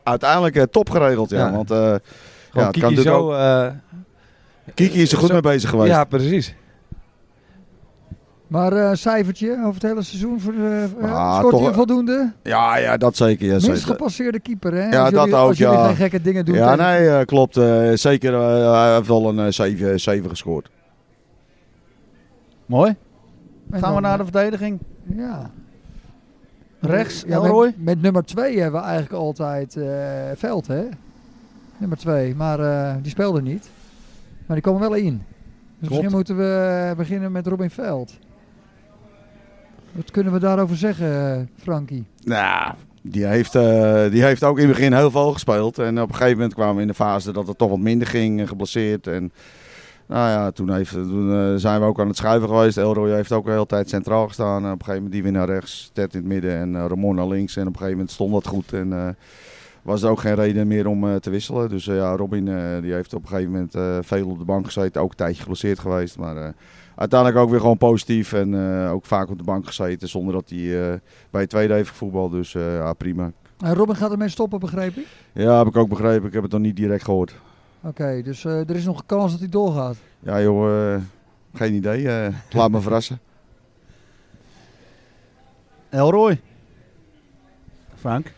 S14: Uiteindelijk eh, top geregeld, ja.
S13: Ja.
S14: Want, eh, ja,
S13: Gewoon
S14: het
S13: Kiki
S14: kan natuurlijk
S13: zo...
S14: ook-
S13: eh,
S14: Kiki is er goed
S13: zo-
S14: mee bezig geweest.
S13: Ja, precies.
S4: Maar eh, cijfertje over het hele seizoen voor de, eh,
S14: Ah,
S4: scoort
S14: toch
S4: hij
S14: een-
S4: voldoende?
S14: Ja, ja, dat zeker. Ja,
S4: Minst
S14: zeker.
S4: gepasseerde keeper, hè?
S14: Ja,
S4: als
S14: dat
S4: jullie,
S14: ook,
S4: als
S14: ja.
S4: jullie geen gekke dingen doen.
S14: Ja,
S4: tegen-
S14: nee, eh, klopt. eh, zeker, eh, hij heeft wel een eh, 7, 7 gescoord.
S2: Mooi.
S4: En
S2: Gaan we
S4: dan,
S2: naar de
S4: eh,
S2: verdediging?
S4: Ja.
S2: Rechts,
S4: Ja, met-
S2: Elroy?
S4: Met, nummer 2 hebben we eigenlijk altijd eh, veld, hè? Nummer 2, maar eh, die speelde niet. Maar die komen wel in. Dus misschien moeten we eh, beginnen met Robin Veld. Wat kunnen we daarover zeggen, eh, Frankie?
S14: Nou, die heeft, eh, die heeft ook in het begin heel veel gespeeld. En op een gegeven moment kwamen we in de fase dat het toch wat minder ging, eh, geblesseerd. En nou ja, toen, heeft, toen eh, zijn we ook aan het schuiven geweest. Elroy heeft ook de hele tijd centraal gestaan. En op een gegeven moment die weer naar rechts, Ted in het midden en eh, Ramon naar links. En op een gegeven moment stond dat goed. En eh, was er ook geen reden meer om eh, te wisselen. Dus eh, ja, Robin eh, die heeft op een gegeven moment eh, veel op de bank gezeten. Ook een tijdje geblesseerd geweest. Maar eh, uiteindelijk ook weer gewoon positief. En eh, ook vaak op de bank gezeten zonder dat hij eh, bij het tweede heeft gevoetbald. Dus eh, ja, prima.
S4: En Robin gaat ermee stoppen, begreep ik?
S14: Ja, heb ik ook begrepen. Ik heb het nog niet direct gehoord.
S4: Oké, dus eh, er is nog een kans dat hij doorgaat.
S14: Ja joh, eh, geen idee. Eh, laat me verrassen.
S2: Elroy. Frank?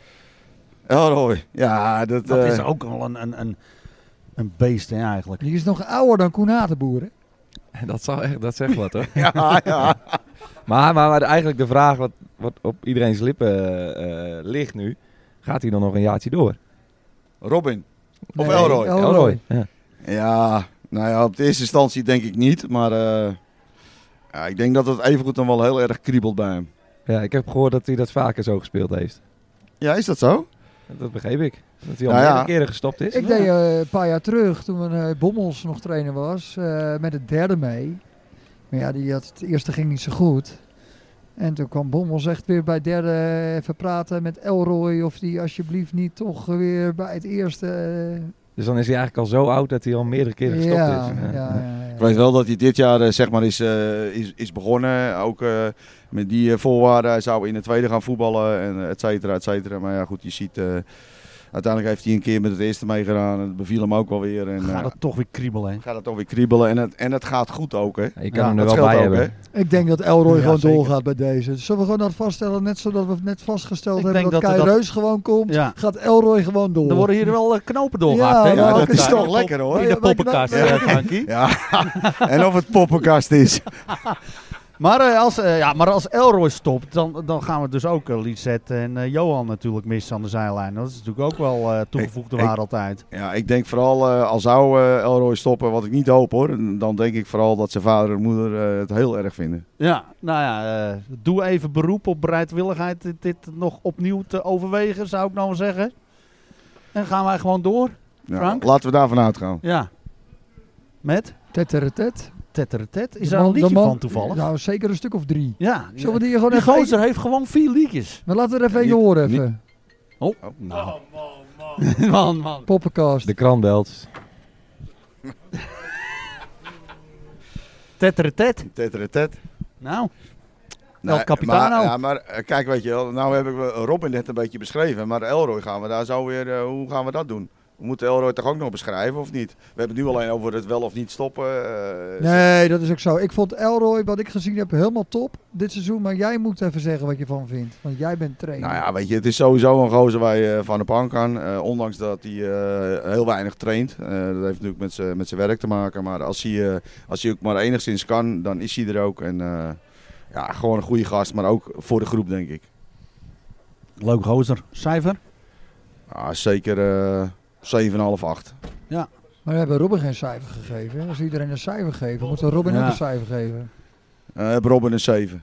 S14: Elroy, ja. Dat,
S2: Dat
S14: eh,
S2: is ook al een, een, een, een beest hè, eigenlijk.
S4: Die is nog ouder dan Koen Hatenboer, hè?
S13: Dat, zou echt, dat zegt wat, hoor.
S14: ja, ja.
S13: Maar, maar, maar eigenlijk de vraag wat, wat op iedereen's lippen eh, eh, ligt nu... Gaat hij dan nog een jaartje door?
S14: Robin. Of
S13: Nee,
S14: Elroy.
S13: Elroy. Elroy, ja.
S14: Ja, nou ja, op de eerste instantie denk ik niet. Maar eh, ja, ik denk dat het evengoed dan wel heel erg kriebelt bij hem.
S13: Ja, ik heb gehoord dat hij dat vaker zo gespeeld heeft.
S14: Ja, is dat zo?
S13: Dat begreep ik. Dat hij al
S14: Nou ja.
S13: meerdere keren gestopt is.
S4: Ik deed eh, een paar jaar terug, toen eh, Bommels nog trainer was, eh, met het derde mee. Maar ja, die had, het eerste ging niet zo goed. En toen kwam Bommels echt weer bij het derde eh, even praten met Elroy... of die alsjeblieft niet toch weer bij het eerste... eh,
S13: Dus dan is hij eigenlijk al zo oud dat hij al meerdere keren gestopt
S4: Ja, ja,
S13: is.
S4: ja,
S14: Ik weet wel dat hij dit jaar eh, zeg maar is, eh, is, is begonnen. Ook eh, met die eh, voorwaarden. Hij zou in de tweede gaan voetballen en eh, et cetera, et cetera. Maar ja, goed, je ziet... eh, uiteindelijk heeft hij een keer met het eerste meegedaan. Het beviel hem ook wel weer. En,
S2: Gaat
S14: eh,
S2: het toch weer kriebelen, hè?
S14: gaat het toch weer kriebelen. En het, en het gaat goed ook, hè?
S13: Je
S4: kan hem er
S14: dat
S13: wel bij
S14: scheelt ook,
S13: hebben.
S14: hè?
S4: Ik denk dat Elroy
S14: Ja,
S4: gewoon
S14: zeker.
S4: doorgaat bij deze. Zullen we gewoon dat vaststellen, net zodat we net vastgesteld
S2: Ik
S4: hebben
S2: denk
S4: dat,
S2: dat
S4: Kai
S2: er dat-
S4: Reus gewoon komt,
S2: Ja.
S4: gaat Elroy gewoon door.
S2: Er worden hier wel eh, knopen
S4: Ja,
S2: doorgehakt, hè?
S4: Ja, maar dat
S14: Dat is toch lekker, hoor.
S2: In de poppenkast, eh, Frankie.
S14: Ja, en of het poppenkast is.
S2: Maar, eh, als, eh, ja, maar als Elroy stopt, dan, dan gaan we dus ook eh, Lisette en eh, Johan natuurlijk missen aan de zijlijn. Dat is natuurlijk ook wel eh, toegevoegde
S14: Ik- ik-
S2: waarde altijd.
S14: Ja, ik denk vooral eh, al zou eh, Elroy stoppen, wat ik niet hoop hoor. Dan denk ik vooral dat zijn vader en moeder eh, het heel erg vinden.
S2: Ja, nou ja, eh, doe even beroep op bereidwilligheid dit, dit nog opnieuw te overwegen, zou ik nou zeggen. En gaan wij gewoon door,
S14: Ja,
S2: Frank?
S14: Laten we daarvan uitgaan.
S2: Ja. Met?
S4: Tetteret.
S2: Tetteretet. Is
S4: De
S2: daar
S4: man-
S2: een
S4: de
S2: liedje
S4: man-
S2: van toevallig?
S4: Nou, zeker een stuk of drie.
S2: Ja.
S4: Zullen we die gewoon
S2: die
S4: even...
S2: gozer heeft gewoon vier liedjes.
S4: Maar laten we er even één horen.
S2: niet-
S4: Even.
S2: Oh, nou. man, man.
S4: Poppenkast.
S13: De krant belt.
S2: Tetteretet.
S14: Tetteretet.
S2: Nou.
S14: Nou,
S2: El Capitano.
S14: Maar, ja, maar eh, kijk, weet je wel, nou heb ik eh, Robin net een beetje beschreven, maar Elroy gaan we daar zo weer, eh, hoe gaan we dat doen? We moeten Elroy toch ook nog beschrijven, of niet? We hebben het nu alleen over het wel of niet stoppen. eh,
S4: Nee, dat is ook zo. Ik vond Elroy, wat ik gezien heb, helemaal top dit seizoen. Maar jij moet even zeggen wat je van vindt. Want jij bent trainer.
S14: Nou ja, weet je, het is sowieso een gozer waar je van de bank aan. Eh, ondanks dat hij eh, heel weinig traint. Eh, dat heeft natuurlijk met zijn- met zijn werk te maken. Maar als hij, eh, als hij ook maar enigszins kan, dan is hij er ook. En eh, ja, gewoon een goede gast, maar ook voor de groep, denk ik.
S2: Leuk gozer. Cijfer?
S14: Ja, zeker eh 7,5, 8.
S2: Ja.
S4: Maar we hebben Robin geen cijfer gegeven. Als iedereen een cijfer geeft, dan moeten we Robin
S14: Ja.
S4: ook een cijfer geven.
S14: Eh Robin een 7.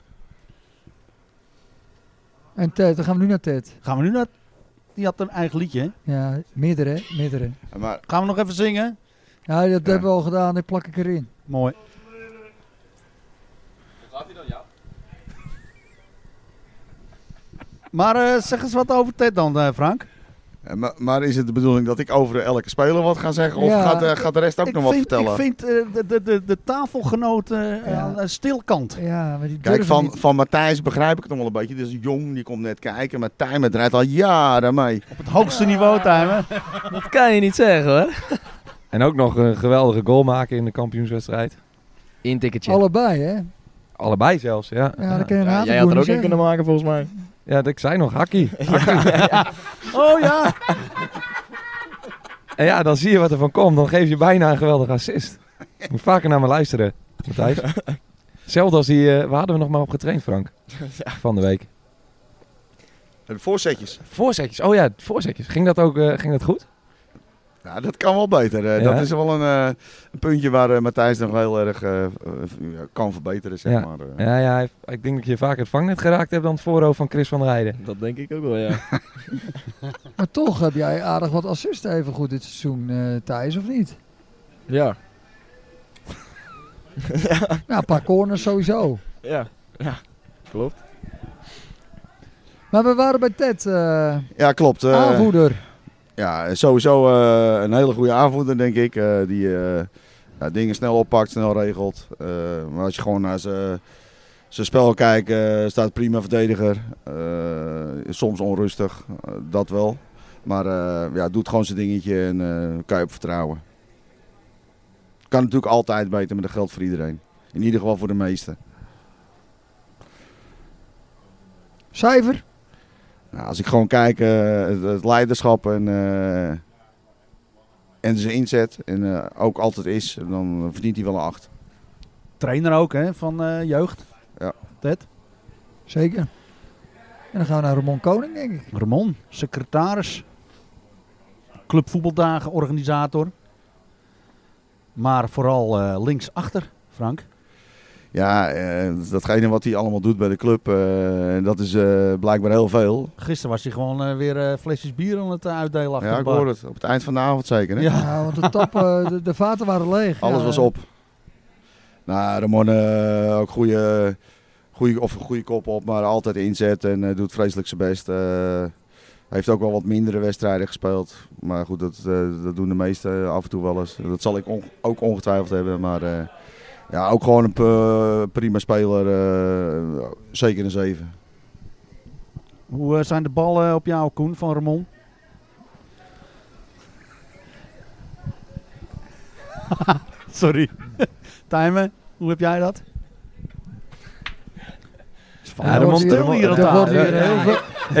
S4: En Ted, dan gaan we nu naar Ted.
S2: Gaan we nu naar... Die had een eigen liedje, hè?
S4: Ja, meerdere, hè? meerdere.
S14: Maar...
S2: Gaan we nog even zingen?
S4: Ja, dat hebben we al gedaan. Dit plak ik erin.
S2: Mooi. Maar eh, zeg eens wat over Ted dan, eh, Frank.
S14: Eh, maar, maar is het de bedoeling dat ik over elke speler wat ga zeggen? Of
S2: Ja,
S14: gaat, eh, gaat de rest ook
S2: ik
S14: nog wat
S2: vind-
S14: vertellen?
S2: Ik vind eh, de, de, de, de tafelgenoten eh, aan de stilkant.
S4: Ja, maar die
S14: Kijk, van, van Matthijs begrijp ik het nog wel een beetje. Dit is jong, die komt net kijken. Maar Tijmen draait al jaren mee. Op
S2: het hoogste niveau, Tijmen.
S9: Dat kan je niet zeggen hoor.
S13: En ook nog een geweldige goal maken in de kampioenswedstrijd.
S9: Intikketje.
S4: Allebei, hè?
S13: Allebei zelfs, ja.
S4: Ja, dat kan je een aantal
S9: jij had er
S4: doen,
S9: ook
S4: zeg.
S9: in kunnen maken volgens mij.
S13: Ja, dat ik zei nog, hakkie.
S2: Oh ja!
S13: En ja, dan zie je wat er van komt. Dan geef je bijna een geweldige assist. Je Moet vaker naar me luisteren, Matthijs. Hetzelfde als die... eh, waar hadden we nog maar op getraind, Frank? Van de week.
S14: De voorzetjes.
S13: Voorzetjes. Oh ja, voorzetjes. Ging dat ook eh, ging dat goed?
S14: Nou, dat kan wel beter. eh.
S13: Ja.
S14: Dat is wel een, eh, een puntje waar eh, Matthijs nog heel erg eh, eh, kan verbeteren, zeg
S13: ja.
S14: maar. eh.
S13: ja, ja, hij- ik denk dat je vaker het vangnet geraakt hebt dan het voorhoofd van Chris van der Heijden.
S9: Dat denk ik ook wel, ja.
S4: Maar toch heb jij aardig wat assisten even goed dit seizoen, eh, Thijs, of niet?
S9: Ja.
S4: ja. Nou, een paar corners sowieso.
S9: Ja. Ja. Klopt.
S4: Maar we waren bij Ted. eh,
S14: Ja, klopt. eh,
S4: Aanvoerder.
S14: Ja, sowieso eh, een hele goede aanvoerder, denk ik. eh, die eh, ja, dingen snel oppakt, snel regelt. Eh, maar als je gewoon naar zijn zijn spel kijkt, eh, staat prima verdediger. Eh, is soms onrustig, eh, dat wel. Maar eh, ja, doet gewoon zijn dingetje en eh kan je op vertrouwen. Kan natuurlijk altijd beter, maar dat geldt voor iedereen. In ieder geval voor de meesten.
S4: Cijfer?
S14: Nou, als ik gewoon kijk, eh, het, het leiderschap en, eh, en zijn inzet en eh, ook altijd is, dan verdient hij wel een 8.
S2: Trainer ook, hè, van eh, jeugd.
S14: Ja.
S2: Ted.
S4: Zeker. En dan gaan we naar Ramon Koning, denk ik.
S2: Ramon, secretaris. Clubvoetbaldagen, organisator. Maar vooral eh, linksachter, Frank.
S14: Ja, eh, datgene wat hij allemaal doet bij de club, eh, dat is eh, blijkbaar heel veel.
S2: Gisteren was hij gewoon eh, weer eh, flesjes bier aan het eh, uitdelen achter
S14: Ja,
S2: de
S14: ik
S2: bar.
S14: hoor het. Op het eind van de avond zeker, hè?
S2: Ja.
S4: Ja, want de, tap, eh, de, de vaten waren leeg.
S14: Alles
S4: Ja,
S14: was
S4: eh,
S14: op. Nou, Ramon, eh, ook goede, goede, of een goede kop op, maar altijd inzet en eh, doet vreselijk zijn best. Eh, Hij heeft ook wel wat mindere wedstrijden gespeeld. Maar goed, dat, eh, dat doen de meesten af en toe wel eens. Dat zal ik on- ook ongetwijfeld hebben. Maar eh, ja, ook gewoon een p- prima speler. eh, zeker een 7.
S2: Hoe eh, zijn de ballen op jou, Koen, van Ramon? Sorry. Timen, hoe heb jij dat?
S13: Ja, Ramon
S2: wordt
S13: stil
S2: hier-
S13: hier
S2: er
S13: aan tafel.
S2: wordt hier heel veel-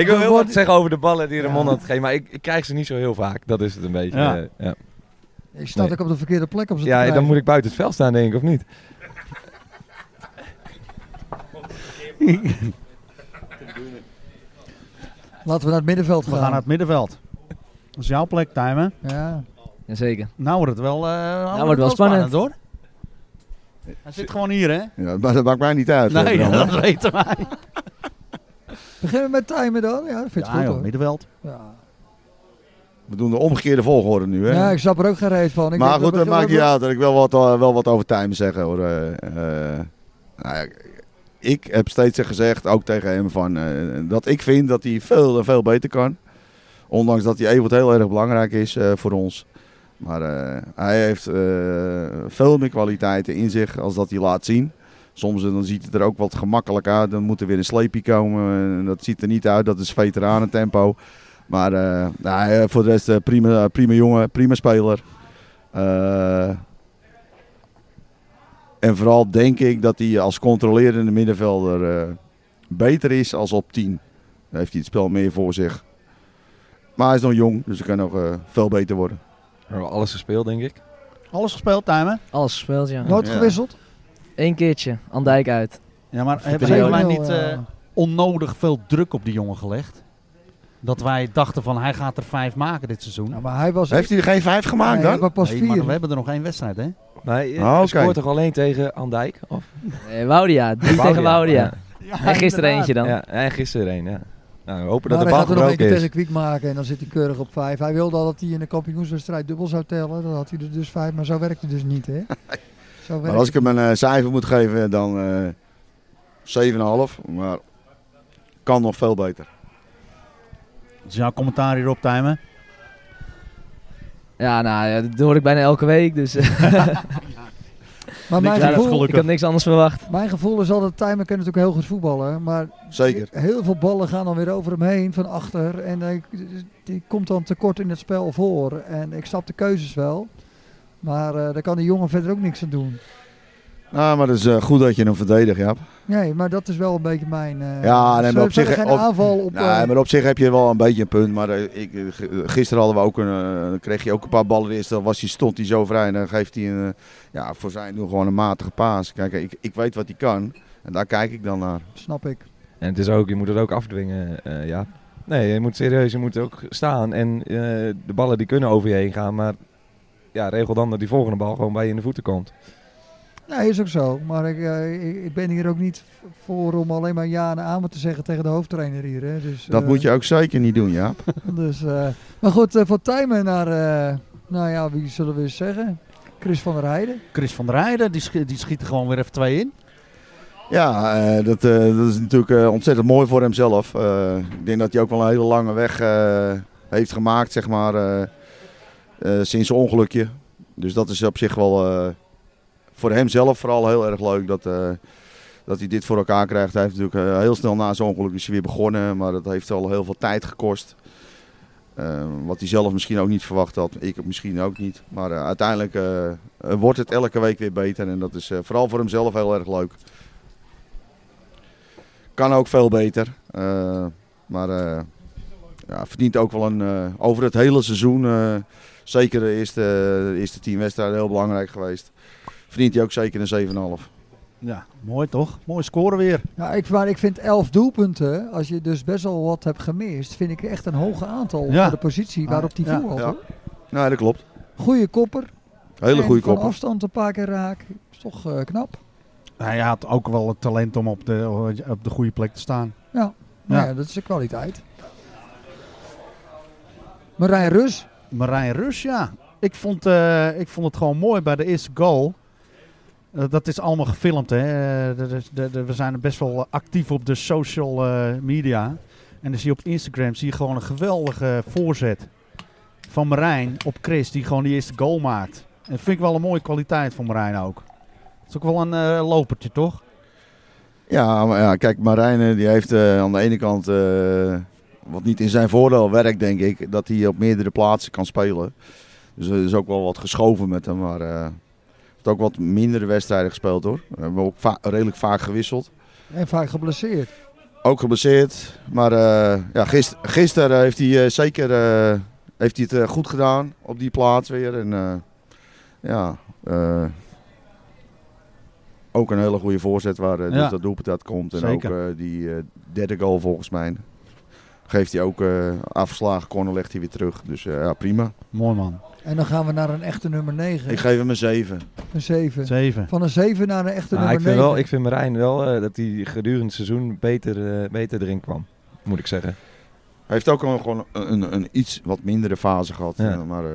S13: Ik wil
S2: er
S13: heel
S2: wordt-
S13: wat zeggen over de ballen die Ramon had gegeven, maar ik, ik krijg ze niet zo heel vaak. Dat is het een beetje.
S4: Ja.
S13: eh, ja.
S4: Ik sta
S13: Nee.
S4: ook op de verkeerde plek om ze te
S13: Ja, dan
S4: krijgen.
S13: moet ik buiten het veld staan, denk ik, of niet?
S4: Laten we naar het middenveld
S2: We
S4: gaan.
S2: gaan naar het middenveld. Dat is jouw plek, Timen.
S4: Ja.
S9: Jazeker.
S2: Nou wordt het wel, eh nou
S9: wordt wel spannend.
S2: hoor. Hij zit gewoon hier, hè?
S14: Ja, maar dat maakt mij niet uit.
S2: Nee,
S14: eh, Ramon.
S2: dat weten wij.
S4: Beginnen we met timen dan? Ja, dat vind ik
S2: Ja,
S4: goed
S2: joh,
S4: hoor.
S2: middenveld.
S4: Ja.
S14: We doen de omgekeerde volgorde nu, hè?
S4: Ja, ik snap er ook geen reet van. Ik
S14: maar
S4: denk
S14: goed, dat
S4: we-
S14: maakt
S4: we-
S14: niet uit. Dat ik wil wel wat, eh, wel wat over time zeggen hoor. Eh, eh, nou ja, ik heb steeds gezegd, ook tegen hem, van, eh, dat ik vind dat hij veel en veel beter kan. Ondanks dat hij Evert heel erg belangrijk is eh, voor ons. Maar eh, hij heeft eh, veel meer kwaliteiten in zich als dat hij laat zien. Soms eh, dan ziet het er ook wat gemakkelijk uit. Dan moet er weer een sleepie komen. En dat ziet er niet uit. Dat is veteranentempo. Maar eh, nou, eh, voor de rest eh, prima, prima jongen, prima speler. Eh, en vooral denk ik dat hij als controlerende middenvelder eh, beter is als op 10. Dan heeft hij het spel meer voor zich. Maar hij is nog jong, dus hij kan nog eh, veel beter worden.
S13: alles gespeeld, denk ik.
S2: Alles gespeeld, Timer?
S9: Alles gespeeld, ja.
S2: Nooit Ja. gewisseld?
S9: Eén keertje, aan Dijk uit.
S2: Ja, maar hebben
S9: Vertel.
S2: jullie mij niet eh, onnodig veel druk op die jongen gelegd? Dat wij dachten van hij gaat er vijf maken dit seizoen.
S4: maar hij was- Heeft hij er geen vijf gemaakt
S2: Nee,
S4: dan? maar pas
S2: Nee, maar
S4: vier.
S2: we hebben er nog één wedstrijd, hè?
S13: Nee, je
S4: Oh,
S2: Ah, oké.
S13: eh, scoort toch alleen tegen Andijk? Of? oh
S9: Nee, Eh, Woudia. Drie tegen Woudia. en gisteren eentje dan.
S13: Ja, en gisteren één, ja. Nou, we hopen
S4: Maar
S13: dat
S4: hij
S13: de bal
S4: gaat er nog een
S13: gebroken
S4: keer tegen
S13: is.
S4: Kwiek maken en dan zit hij keurig op vijf. Hij wilde al dat hij in de kampioenswedstrijd dubbel zou tellen. Dan had hij er dus vijf, maar zo werkt het dus niet, hè? Zo
S14: Maar
S4: werkt
S14: als ik hem een eh, cijfer moet geven, dan eh 7,5. Maar kan nog veel beter.
S2: Dat is jouw commentaar hierop, Timer.
S9: Ja, nou, ja, dat hoor ik bijna elke week, dus...
S4: Maar mijn gevoel,
S9: ik had niks anders verwacht.
S4: Mijn gevoel is altijd, Timer kan natuurlijk heel goed voetballen. Maar
S14: Zeker.
S4: heel veel ballen gaan dan weer over hem heen, van achter. En hij, die komt dan tekort in het spel voor. En ik snap de keuzes wel. Maar eh, daar kan die jongen verder ook niks aan doen.
S14: Nou, maar het is eh, goed dat je hem verdedigt, Jaap.
S4: Nee, maar dat is wel een beetje mijn... eh,
S14: Ja, nee,
S4: ze
S14: maar
S4: hebben
S14: op zich,
S4: verder geen
S14: op-
S4: aanval op... eh,
S14: nee, maar op zich heb je wel een beetje een punt. Maar eh, ik, eh, g- gisteren hadden we ook een, eh, kreeg je ook een paar ballen eerst. Dan was hij, stond hij zo vrij en dan geeft hij een, eh, ja, voor zijn doen gewoon een matige paas. Kijk, ik, ik weet wat hij kan en daar kijk ik dan naar.
S4: Snap ik.
S13: En het is ook, je moet het ook afdwingen, eh, ja. Nee, je moet serieus, je moet ook staan. En eh, de ballen die kunnen over je heen gaan, maar ja, regel dan dat die volgende bal gewoon bij je in de voeten komt.
S4: Nee, is ook zo. Maar ik, eh, ik- ik ben hier ook niet voor om alleen maar ja en amen te zeggen tegen de hoofdtrainer hier. Hè. Dus,
S14: Dat
S4: eh,
S14: moet je ook zeker niet doen, Jaap.
S4: Dus, eh, maar goed, eh, van Tijmen naar, eh, nou ja, wie zullen we eens zeggen? Chris van der Heijden.
S2: Chris van der Heijden, die, schi- die schiet er gewoon weer even twee in.
S14: Ja, eh, dat, eh, dat is natuurlijk eh, ontzettend mooi voor hemzelf. Eh, ik denk dat hij ook wel een hele lange weg eh, heeft gemaakt, zeg maar, eh, eh, sinds zijn ongelukje. Dus dat is op zich wel eh, voor hemzelf vooral heel erg leuk dat, eh, dat hij dit voor elkaar krijgt. Hij heeft natuurlijk eh, heel snel na zijn ongeluk is hij weer begonnen, maar dat heeft al heel veel tijd gekost. Eh, wat hij zelf misschien ook niet verwacht had, ik misschien ook niet. Maar eh, uiteindelijk eh, eh, wordt het elke week weer beter en dat is eh, vooral voor hemzelf heel erg leuk. Kan ook veel beter. Eh, maar eh, ja, verdient ook wel een. eh, over het hele seizoen. eh, zeker de eerste, de eerste tien wedstrijden heel belangrijk geweest. Verdient hij ook zeker een 7,5.
S2: Ja, mooi toch? Mooi scoren weer.
S4: Ja, ik, maar ik vind 11 doelpunten, als je dus best wel wat hebt gemist, vind ik echt een hoog aantal
S14: Ja. Ah,
S4: voor de positie waarop die
S14: Ja,
S4: voetbal.
S14: ja. Nou, dat klopt.
S4: Goeie kopper.
S14: Hele
S4: En
S14: goede
S4: van
S14: kopper.
S4: afstand een paar keer raak. Is toch eh, knap.
S2: Hij had ook wel het talent om op de, op de goede plek te staan.
S4: Ja. Nou
S2: Ja.
S4: ja, dat is de kwaliteit. Marijn Rus.
S2: Marijn Rus, ja. Ik vond, eh, ik vond het gewoon mooi bij de eerste goal. Eh, dat is allemaal gefilmd, hè. Eh, dat is- dat- dat- we zijn best wel actief op de social eh, media. En dan zie je op Instagram zie je gewoon een geweldige voorzet van Marijn op Chris, die gewoon die eerste goal maakt. En dat vind ik wel een mooie kwaliteit van Marijn ook. Het is ook wel een eh, lopertje, toch?
S14: Ja, maar ja, kijk, Marijn eh, die heeft eh, aan de ene kant, eh, wat niet in zijn voordeel werkt, denk ik, dat hij op meerdere plaatsen kan spelen. Dus er is ook wel wat geschoven met hem, maar eh, hij heeft ook wat mindere wedstrijden gespeeld hoor. We hebben ook va- redelijk vaak gewisseld.
S4: En vaak geblesseerd.
S14: Ook geblesseerd. Maar eh, ja, gister, gisteren heeft hij eh, zeker eh, heeft hij het eh, goed gedaan op die plaats weer. En, eh, ja, eh, ook een hele goede voorzet waar eh, dus
S2: Ja.
S14: dat doelpunt uit komt. En
S2: Zeker.
S14: ook eh, die eh, derde goal volgens mij geeft hij ook eh, afgeslagen. Corner legt hij weer terug. Dus eh, ja, prima.
S2: Mooi man.
S4: En dan gaan we naar een echte nummer 9.
S14: Ik geef hem een 7.
S4: Een 7.
S2: Zeven.
S4: Van een 7 naar een echte
S2: Nou,
S13: Maar ik,
S4: nummer
S13: vind
S4: 9.
S13: wel, ik vind Marijn wel eh, dat hij gedurende het seizoen beter, eh, beter erin kwam, moet ik zeggen.
S14: Hij heeft ook een, gewoon een, een, een iets wat mindere fase gehad.
S13: Ja.
S14: eh, Maar, eh,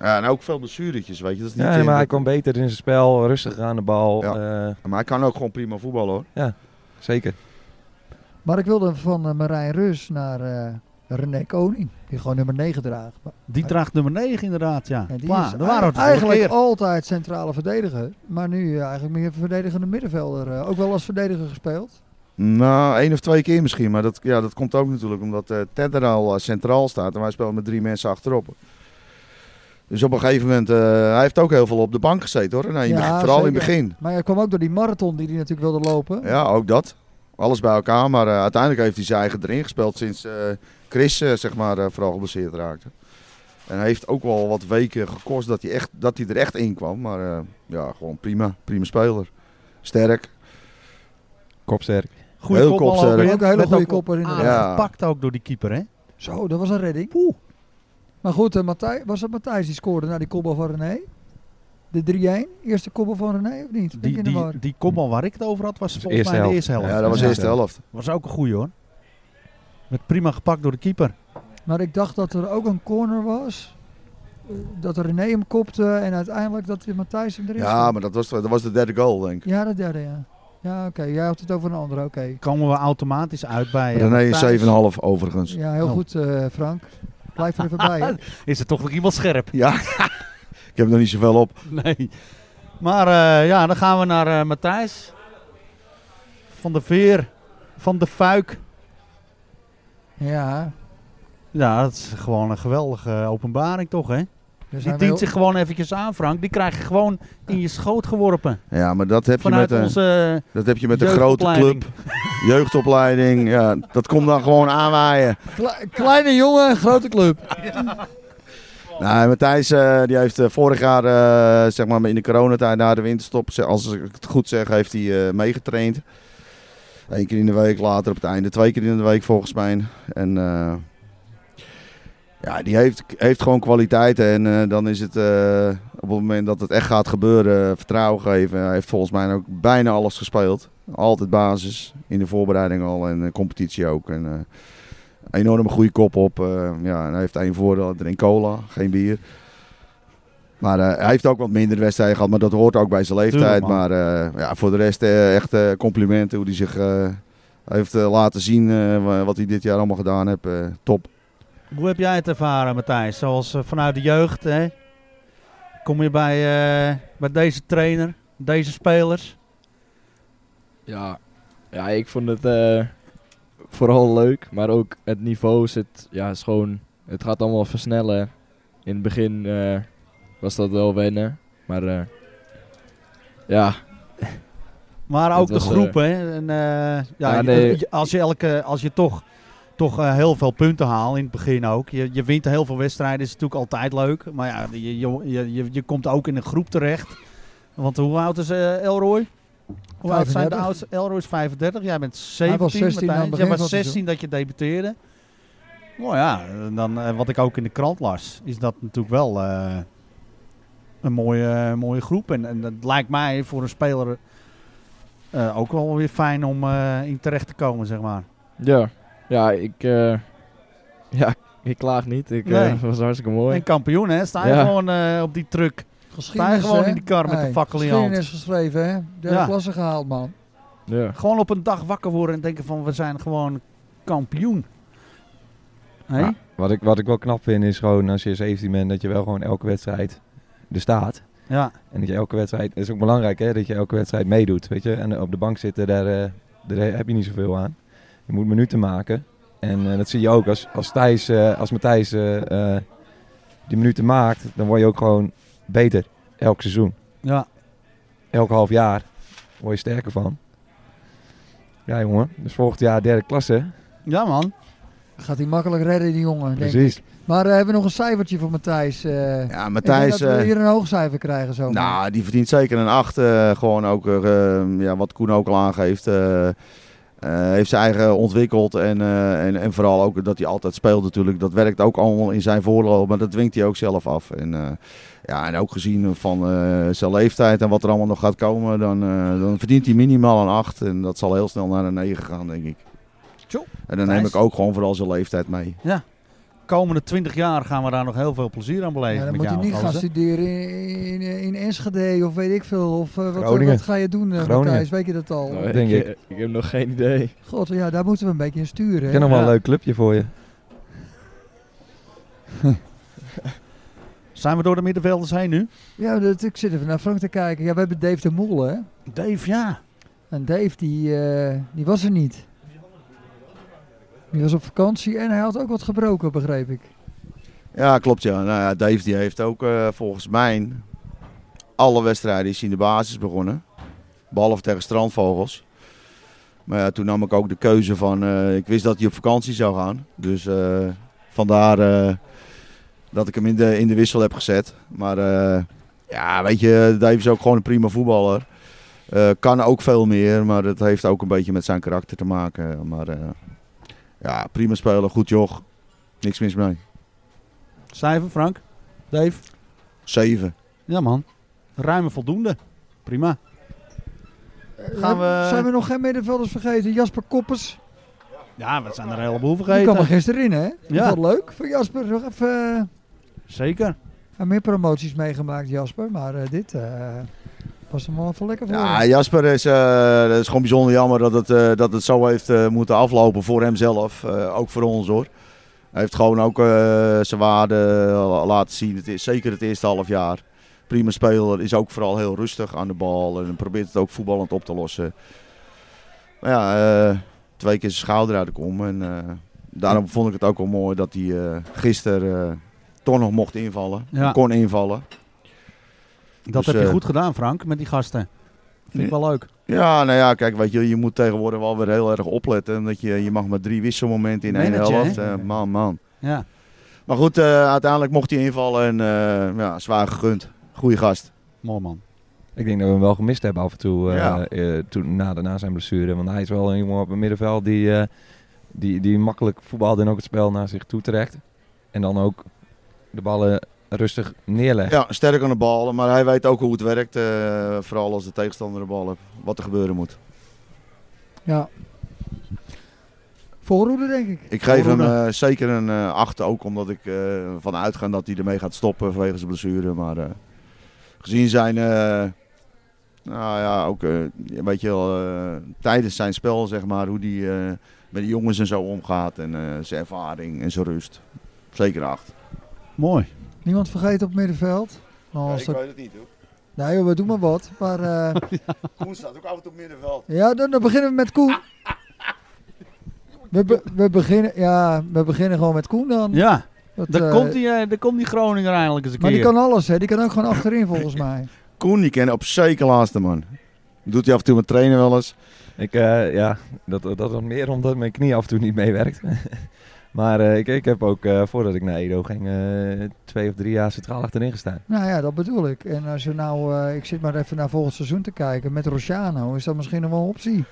S14: ja, en ook veel blessuretjes, weet je. Dat is niet
S13: Ja,
S14: eh,
S13: maar hij
S14: dat-
S13: kwam beter in zijn spel, rustig aan de bal. eh.
S14: maar hij kan ook gewoon prima voetballen hoor.
S13: Ja, zeker.
S4: Maar ik wilde van eh, Marijn Rus naar eh, René Koning, die gewoon nummer 9 draagt. Maar-
S2: Die draagt nummer 9 inderdaad, ja.
S4: die
S2: Klaar,
S4: is
S2: daar waren we het vorige
S4: eigenlijk
S2: keer.
S4: altijd centrale verdediger, maar nu eh, eigenlijk meer verdedigende middenvelder. eh, ook wel als verdediger gespeeld.
S14: Nou, één of twee keer misschien. Maar dat, ja, dat komt ook natuurlijk omdat eh Ted er al eh, centraal staat. En wij spelen met drie mensen achterop. Dus op een gegeven moment... eh, hij heeft ook heel veel op de bank gezeten hoor. Nee, in het begin- Nou, vooral in het
S4: zeker.
S14: begin.
S4: Maar hij kwam ook door die marathon die hij natuurlijk wilde lopen.
S14: Ja, ook dat. Alles bij elkaar. Maar eh, uiteindelijk heeft hij zijn eigen erin gespeeld sinds eh, Chris eh, zeg maar, eh, vooral geblesseerd raakte. En hij heeft ook wel wat weken gekost dat hij, echt, dat hij er echt in kwam. Maar eh, ja, gewoon prima. Prima speler. Sterk.
S13: Kopsterk.
S2: Goeie
S14: Heel
S2: kopbal ook
S14: kopsterk.
S2: weer.
S4: Ook een hele
S2: Werd
S4: goede kopper inderdaad.
S2: Aangepakt ook door die keeper, hè?
S4: Zo, dat was een redding. Maar goed, eh, Matthij- was het Matthijs die scoorde na die kopbal van René? De 3-1, eerste kopbal van René of niet? nou Ben ik
S2: Die,
S4: in de
S2: die,
S4: war?
S2: die kopbal waar ik het over had, was volgens
S13: eerste
S2: mij de
S13: helft.
S2: eerste helft.
S14: Ja, dat was de eerste helft.
S2: Was ook een goeie hoor. Werd prima gepakt door de keeper.
S4: Maar ik dacht dat er ook een corner was. eh, Dat René hem kopte en uiteindelijk dat die Matthijs hem erin
S14: Ja,
S4: schoot.
S14: maar dat was, dat was de derde goal, denk ik.
S4: Ja, dat derde, ja. Ja, oké. Jij had het over een andere, oké.
S2: Komen we automatisch uit bij... eh,
S14: René is
S2: Matthijs.
S14: 7,5 overigens.
S4: Ja, heel
S2: Oh.
S4: goed, eh, Frank. Blijf er even bij. hè.
S2: Is er toch nog iemand scherp?
S14: Ja, ik heb nog niet zoveel op.
S2: Nee. Maar eh, ja, dan gaan we naar eh, Matthijs. Van de Veer. Van de Fuik.
S4: Ja.
S2: Ja, dat is gewoon een geweldige openbaring toch, hè?
S4: zijn
S2: Die
S4: we
S2: dient
S4: heel-
S2: zich gewoon eventjes aan, Frank. Die krijg je gewoon in je schoot geworpen.
S14: Ja, maar dat heb
S2: Vanuit
S14: je met,
S2: onze,
S14: een,
S2: eh,
S14: dat heb je met een grote
S2: jeugdopleiding.
S14: club. Jeugdopleiding. Ja, dat komt dan gewoon aanwaaien.
S4: Kle- kleine jongen, grote club.
S14: Nou, en Matthijs eh, die heeft eh, vorig jaar, eh, zeg maar in de coronatijd na de winterstop, ze- als ik het goed zeg, heeft hij eh, meegetraind. Eén keer in de week, later op het einde twee keer in de week volgens mij. En eh, ja, die heeft, heeft gewoon kwaliteiten. En eh, dan is het eh, op het moment dat het echt gaat gebeuren, eh, vertrouwen geven. Hij heeft volgens mij ook bijna alles gespeeld. Altijd basis, in de voorbereiding al en eh, competitie ook. En, eh, enorme goede kop op. eh, ja, en hij heeft één voordeel, drink cola, geen bier. Maar eh, hij heeft ook wat minder wedstrijden gehad, maar dat hoort ook bij zijn leeftijd.
S2: Tuurlijk,
S14: maar
S2: man.
S14: eh, ja, voor de rest eh, echt eh, complimenten hoe hij zich eh, heeft eh, laten zien eh, wa- wat hij dit jaar allemaal gedaan heeft. eh, top.
S2: Hoe heb jij het ervaren, Matthijs? Zoals eh, vanuit de jeugd, hè? Kom je bij, eh, bij deze trainer, deze spelers?
S16: Ja, ja ik vond het eh, vooral leuk, maar ook het niveau zit, ja, is gewoon, het gaat allemaal versnellen. In het begin eh, was dat wel wennen, maar eh, ja.
S2: Maar
S16: Het
S2: ook de
S16: was, eh,
S2: groep, hè? En, eh, ja,
S16: Ja,
S2: je-
S16: nee.
S2: je- als, je elke, als je toch, toch eh, heel veel punten haalt in het begin ook. Je, je wint heel veel wedstrijden, is natuurlijk altijd leuk. Maar ja, je, je, je, je, je komt ook in een groep terecht. Want hoe oud is eh, Elroy? Hoe oud zijn de
S4: 35.
S2: oudste? Elroy is 35, jij bent 17.
S4: was 16 aan het
S2: Matthijs.
S4: begin van
S2: Jij was
S4: het seizoen.
S2: 16 dat je debuteerde. Nou ja, en dan, eh, wat ik ook in de krant las, is dat natuurlijk wel eh, een mooie, mooie groep. En, en dat lijkt mij voor een speler eh, ook wel weer fijn om eh, in terecht te komen, zeg maar.
S16: Ja, ja, ik, eh, ja, ik klaag niet. Ik, eh,
S2: Nee.
S16: was hartstikke mooi.
S2: En kampioen, hè? Sta je
S16: Ja.
S2: gewoon eh, op die truck. Sta je
S4: Geschiedenis,
S2: gewoon
S4: hè?
S2: in die kar met
S4: Hey,
S2: de fakkel in je hand.
S4: Geschiedenis geschreven, hè? Derde
S2: Ja.
S4: klasse gehaald, man.
S16: Ja.
S2: Gewoon op een dag wakker worden en denken van, we zijn gewoon kampioen. Hé?
S13: Ja, wat, ik, wat ik wel knap vind is gewoon als je 17 bent dat je wel gewoon elke wedstrijd er staat.
S2: Ja.
S13: En dat je elke wedstrijd, het is ook belangrijk hè, dat je elke wedstrijd meedoet. Weet je? En op de bank zitten, daar, eh, daar heb je niet zoveel aan. Je moet minuten maken. En eh, dat zie je ook als, als, Thijs, eh, als Matthijs eh, eh, die minuten maakt, dan word je ook gewoon beter elk seizoen.
S2: Ja.
S13: Elk half jaar word je sterker van. Ja jongen, dus volgend jaar derde klasse.
S2: Ja, man.
S4: Gaat hij makkelijk redden, die jongen. denk
S13: Precies.
S4: ik. Maar eh, hebben we nog een cijfertje voor Matthijs? eh?
S14: Ja, Matthijs,
S4: Ik denk dat we
S14: eh,
S4: hier een hoog cijfer krijgen zo.
S14: Nou, die verdient zeker een 8. gewoon ook, eh, ja, wat Koen ook al aangeeft. eh, eh, heeft zijn eigen ontwikkeld. En, eh, en, en vooral ook dat hij altijd speelt natuurlijk. Dat werkt ook allemaal in zijn voordeel. Maar dat dwingt hij ook zelf af. En, eh, ja, en ook gezien van eh, zijn leeftijd en wat er allemaal nog gaat komen. Dan, eh, dan verdient hij minimaal een 8. En dat zal heel snel naar een 9 gaan, denk ik. En dan neem
S2: Thijs.
S14: ik ook gewoon vooral zijn leeftijd mee.
S2: Ja. Komende 20 jaar gaan we daar nog heel veel plezier aan beleven.
S4: Ja, dan
S2: met
S4: moet je
S2: jou,
S4: niet gaan
S2: gozer.
S4: studeren in, in, in Enschede of weet ik veel. Of eh, wat,
S13: Groningen.
S4: wat ga je doen, eh,
S13: Groningen.
S4: Matthijs? Weet je dat al?
S13: Nou, Denk ik-
S16: Ik heb nog geen idee.
S4: God, ja, daar moeten we een beetje in sturen.
S13: Ik
S4: hè?
S13: ken nog wel
S4: Ja.
S13: een leuk clubje voor je.
S2: Zijn we door de middenvelders heen nu?
S4: Ja, dat, ik zit even naar Frank te kijken. Ja, we hebben Dave de Mol, hè?
S2: Dave, ja.
S4: En Dave, die, eh, die was er niet. Die was op vakantie en hij had ook wat gebroken, begreep ik.
S14: Ja, klopt ja. Nou ja, Dave die heeft ook eh, volgens mij alle wedstrijden is hij in de basis begonnen. Behalve tegen Strandvogels. Maar ja, toen nam ik ook de keuze van, eh, ik wist dat hij op vakantie zou gaan. Dus eh, vandaar eh, dat ik hem in de, in de wissel heb gezet. Maar eh, ja, weet je, Dave is ook gewoon een prima voetballer. Eh, kan ook veel meer, maar dat heeft ook een beetje met zijn karakter te maken. Maar eh, ja, prima speler, goed joch. Niks mis mee.
S2: Cijfer, Frank? Dave?
S14: Zeven.
S2: Ja, man. Ruime voldoende. Prima. Gaan we-
S4: Eh, Zijn we nog geen middenvelders vergeten? Jasper Koppers.
S2: Ja, we zijn er een heleboel
S4: Die
S2: vergeten.
S4: kwam er gisteren in, hè?
S2: Ja.
S4: Ja. Wat leuk voor Jasper. Nog even... eh,
S2: Zeker.
S4: Hij heeft meer promoties meegemaakt, Jasper. Maar eh, dit eh, was hem wel even lekker voor.
S14: Ja,
S4: hem.
S14: Jasper is, eh, dat is gewoon bijzonder jammer dat het, eh, dat het zo heeft eh, moeten aflopen voor hemzelf. eh, ook voor ons hoor. Hij heeft gewoon ook eh, zijn waarde eh, laten zien. Het is, zeker het eerste half jaar. Prima speler, is ook vooral heel rustig aan de bal en probeert het ook voetballend op te lossen. Maar ja, eh, twee keer zijn schouder uit de kom. En eh, daarom vond ik het ook wel mooi dat hij eh, gisteren eh, toch nog mocht invallen.
S2: Ja.
S14: Kon invallen.
S2: Dat
S14: Dus,
S2: heb je
S14: eh,
S2: goed gedaan, Frank, met die gasten. Vind ik
S14: Ja.
S2: wel leuk.
S14: Ja, nou ja, kijk, weet je, je moet tegenwoordig wel weer heel erg opletten. Omdat je, je mag maar drie wisselmomenten in één
S2: Manager,
S14: helft.
S2: hè?
S14: Eh, man, man.
S2: Ja.
S14: Maar goed, eh, uiteindelijk mocht hij invallen en eh, ja, zwaar gegund. Goeie gast.
S2: Mooi man.
S13: Ik denk dat we hem wel gemist hebben af en toe eh,
S14: Ja.
S13: eh, toen, na, na zijn blessure. Want hij is wel een jongen op het middenveld die, eh, die, die makkelijk voetbalde en ook het spel naar zich toe trekt. En dan ook de ballen rustig neerlegt.
S14: Ja, sterk aan de bal, maar hij weet ook hoe het werkt. eh, vooral als de tegenstander de bal heeft, wat er gebeuren moet.
S4: Ja. Voorhoede, denk ik.
S14: Ik geef hem
S4: Voorhoede.
S14: eh, zeker een eh acht, ook omdat ik eh, ervan uitga dat hij ermee gaat stoppen vanwege zijn blessure. Maar eh, gezien zijn, eh, nou ja, ook eh, een beetje wel, eh, tijdens zijn spel, zeg maar, hoe hij eh, met de jongens en zo omgaat en eh, zijn ervaring en zijn rust. Zeker een acht.
S2: Mooi.
S4: Niemand vergeten op het middenveld. Nou, Als dat-
S14: het niet hoor.
S4: Nee joh, we doen maar wat. Maar, eh,
S14: Koen staat ook altijd op middenveld.
S4: ja, dan, dan beginnen we met Koen. We, be- we, beginnen, ja, we beginnen gewoon met Koen dan.
S2: Ja,
S4: Dat,
S2: daar,
S4: eh,
S2: komt die, eh, daar komt die Groninger eindelijk eens een
S4: Maar die
S2: keer.
S4: kan alles, hè. Die kan ook gewoon achterin, volgens mij.
S14: Koen, die ken op zeker laatste man. Doet hij af en toe met trainen wel eens.
S13: Ik, eh, ja, dat, dat was meer omdat mijn knie af en toe niet meewerkt. maar eh, ik, ik heb ook, eh, voordat ik naar Edo ging, eh, twee of drie jaar centraal achterin gestaan.
S4: Nou ja, dat bedoel ik. En als je nou, eh, ik zit maar even naar volgend seizoen te kijken. Met Rociano is dat misschien nog wel een optie.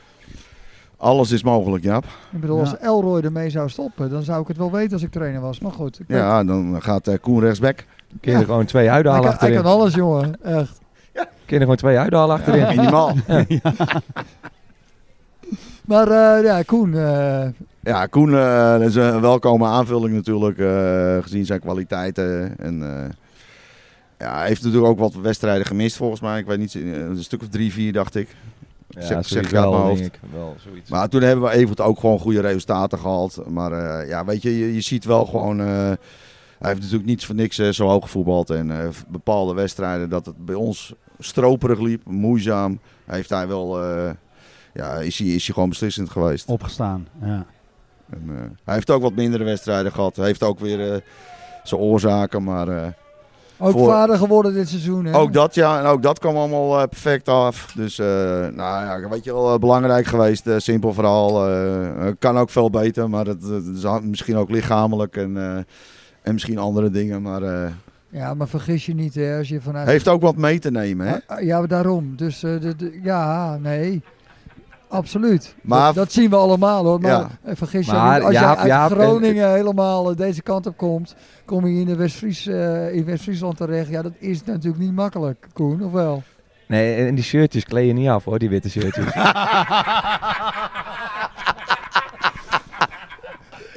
S14: Alles is mogelijk, Jaap.
S4: Ik bedoel,
S14: Ja.
S4: als Elroy ermee zou stoppen, dan zou ik het wel weten als ik trainer was. Maar goed. Ik weet-
S14: Ja, dan gaat eh, Koen rechtsback.
S13: Kun je er gewoon twee
S4: hij,
S13: uithalen
S4: kan, hij
S13: achterin.
S4: kan alles, jongen. Echt.
S13: Kun je er gewoon twee uithalen achterin.
S4: Ja, minimaal.
S13: Ja.
S4: Maar eh, ja, Koen. eh,
S14: Ja, Koen eh, dat is een welkome aanvulling natuurlijk, eh, gezien zijn kwaliteiten. En, eh, ja, hij heeft natuurlijk ook wat wedstrijden gemist volgens mij. Ik weet niet, eh, een stuk of drie, vier dacht ik.
S13: Ja,
S14: zeg
S13: zoiets
S14: zeg ik uit
S13: wel,
S14: mijn hoofd.
S13: denk ik. Wel, zoiets.
S14: maar toen hebben we Evert ook gewoon goede resultaten gehaald. Maar eh, ja, weet je, je, je ziet wel gewoon... eh, hij heeft natuurlijk niets voor niks eh, zo hoog gevoetbald. En eh, bepaalde wedstrijden dat het bij ons stroperig liep, moeizaam. Heeft hij wel... eh, ja, is hij, is hij gewoon beslissend geweest.
S2: Opgestaan, ja.
S14: En, eh, hij heeft ook wat mindere wedstrijden gehad. Hij heeft ook weer eh, zijn oorzaken, maar... eh,
S4: ook
S14: voor-
S4: vader geworden dit seizoen. Hè?
S14: Ook dat, ja. En ook dat kwam allemaal eh, perfect af. Dus, eh, nou ja, weet je wel, eh, belangrijk geweest. eh, simpel verhaal. eh, eh, kan ook veel beter, maar dat, dat is ha- misschien ook lichamelijk en, eh, en misschien andere dingen. Maar eh,
S4: Ja, maar vergis je niet, hè. Als je vanuit...
S14: heeft ook wat mee te nemen, hè?
S4: Ah, Ja, maar daarom. Dus eh, de, de- ja, nee. Absoluut.
S14: Maar-
S4: dat, dat zien we allemaal hoor. Maar
S14: Ja.
S4: eh, vergis je
S13: Maar
S4: niet, als
S13: Jaap-
S4: je uit
S13: Jaap en-
S4: Groningen helemaal eh, deze kant op komt, kom je in, de West-Fries, eh, in West-Friesland terecht. Ja, dat is natuurlijk niet makkelijk, Koen, of wel?
S13: Nee, en die shirtjes kleden niet af hoor, die witte shirtjes.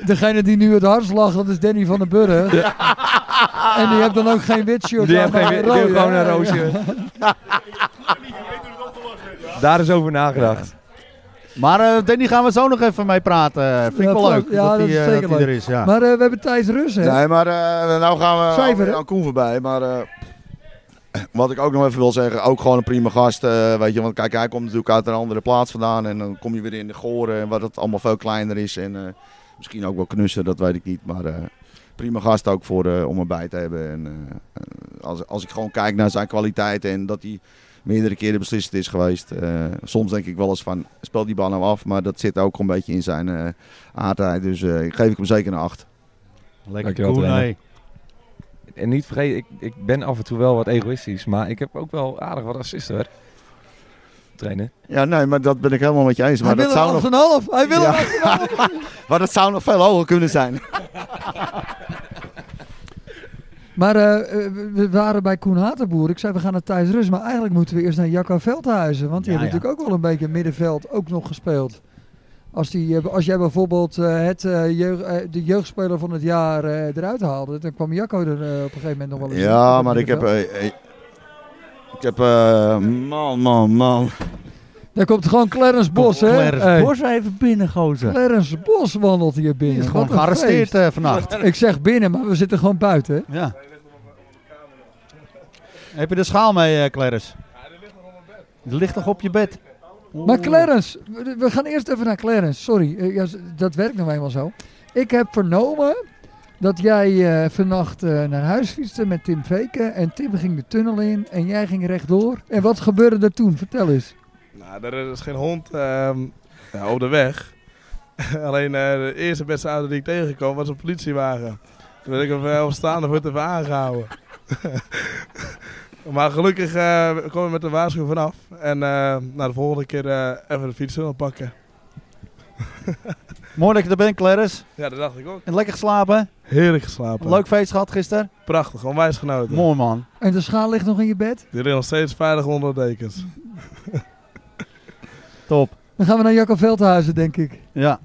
S4: Degene die nu het hardst lacht, dat is Danny van den Burg. En die heeft dan ook geen wit shirt.
S13: Die
S4: aan,
S13: heeft geen
S4: maar
S13: wit-
S4: een
S13: die
S4: rode,
S13: heeft gewoon
S4: hè?
S13: een rood
S2: Daar is over nagedacht. Maar eh Danny gaan we zo nog even mee praten. Vind ik
S4: Ja,
S2: wel
S4: klopt.
S2: leuk
S4: Ja,
S2: dat,
S4: dat
S2: die,
S4: is
S2: eh,
S4: zeker
S2: dat die
S4: leuk.
S2: er is. Ja.
S4: Maar eh, we hebben Thijs Rus, hè?
S14: Nee, maar eh, nou gaan we
S4: Cijfer, hè?
S14: aan Koen voorbij. Maar eh, wat ik ook nog even wil zeggen, ook gewoon een prima gast. eh, weet je, want kijk, hij komt natuurlijk uit een andere plaats vandaan. En dan kom je weer in de goren en wat het allemaal veel kleiner is. En eh, misschien ook wel knussen, dat weet ik niet. Maar eh, prima gast ook voor, eh, om erbij te hebben. En eh, eh, als, als ik gewoon kijk naar zijn kwaliteiten en dat hij meerdere keren beslissend is geweest. eh, soms denk ik wel eens van, speel die bal nou af. Maar dat zit ook een beetje in zijn eh aardheid. Dus eh, geef ik hem zeker een acht.
S13: Lekker Dankjewel, Koen, trainer. En niet vergeten, ik, ik ben af en toe wel wat egoïstisch, maar ik heb ook wel aardig wat assisten hoor. Trainen.
S14: Ja, nee, maar dat ben ik helemaal met je eens. Maar
S13: Hij
S14: dat
S13: wil
S14: zou
S13: een
S14: nog...
S4: half. Hij wil
S14: Ja.
S4: een half.
S14: maar dat zou nog veel hoger kunnen zijn.
S4: Maar eh, eh, we- we waren bij Koen Hatenboer. Ik zei, we gaan naar Thijs Rus. Maar eigenlijk moeten we eerst naar Jacco Veldhuizen. Want die
S2: Ja,
S4: heeft
S2: ja.
S4: natuurlijk ook wel een beetje middenveld ook nog gespeeld. Als, die, eh, als jij bijvoorbeeld eh, het, eh, jeugd- eh, de jeugdspeler van het jaar eh, eruit haalde... dan kwam Jacco er eh, op een gegeven moment nog wel eens in, op
S14: Ja,
S4: het
S14: maar ik heb...
S4: middenveld.
S14: eh, eh, ik heb... eh, man, man, man.
S4: Daar komt gewoon Clarence Bos, hè?
S14: Clarence Bos
S4: even binnen, gozer. Clarence Bos wandelt hier binnen.
S2: Die is gewoon
S4: Wat een
S2: gearresteerd,
S4: feest.
S2: eh, vannacht.
S4: Ik zeg binnen, maar we zitten gewoon buiten, hè?
S2: Ja. Heb je de schaal mee, eh Clarence? Die ligt nog op je bed.
S4: Maar Clarence, we we gaan eerst even naar Clarence. Sorry, eh, ja, z- dat werkt nou eenmaal zo. Ik heb vernomen dat jij eh, vannacht eh, naar huis fietste met Tim Veken. En Tim ging de tunnel in en jij ging rechtdoor. En wat gebeurde er toen? Vertel eens.
S17: Nou, er is geen hond ehm, ja, op de weg. Alleen eh, de eerste beste auto die ik tegenkwam was een politiewagen. Toen werd ik op, eh, op staande voet even aangehouden. maar gelukkig eh kwam ik met de waarschuwing vanaf. En eh nou, de volgende keer eh, even de fietsen pakken.
S2: Mooi dat je er bent, Clarence.
S17: Ja, dat dacht ik ook.
S2: En lekker geslapen?
S17: Heerlijk geslapen.
S2: Leuk feest gehad gisteren?
S17: Prachtig, onwijs genoten.
S2: Mooi man.
S4: En de schaal ligt nog in je bed?
S17: Die ligt nog steeds veilig onder de dekens.
S2: Top.
S4: Dan gaan we naar Jacco Veldhuizen, denk ik.
S2: Ja.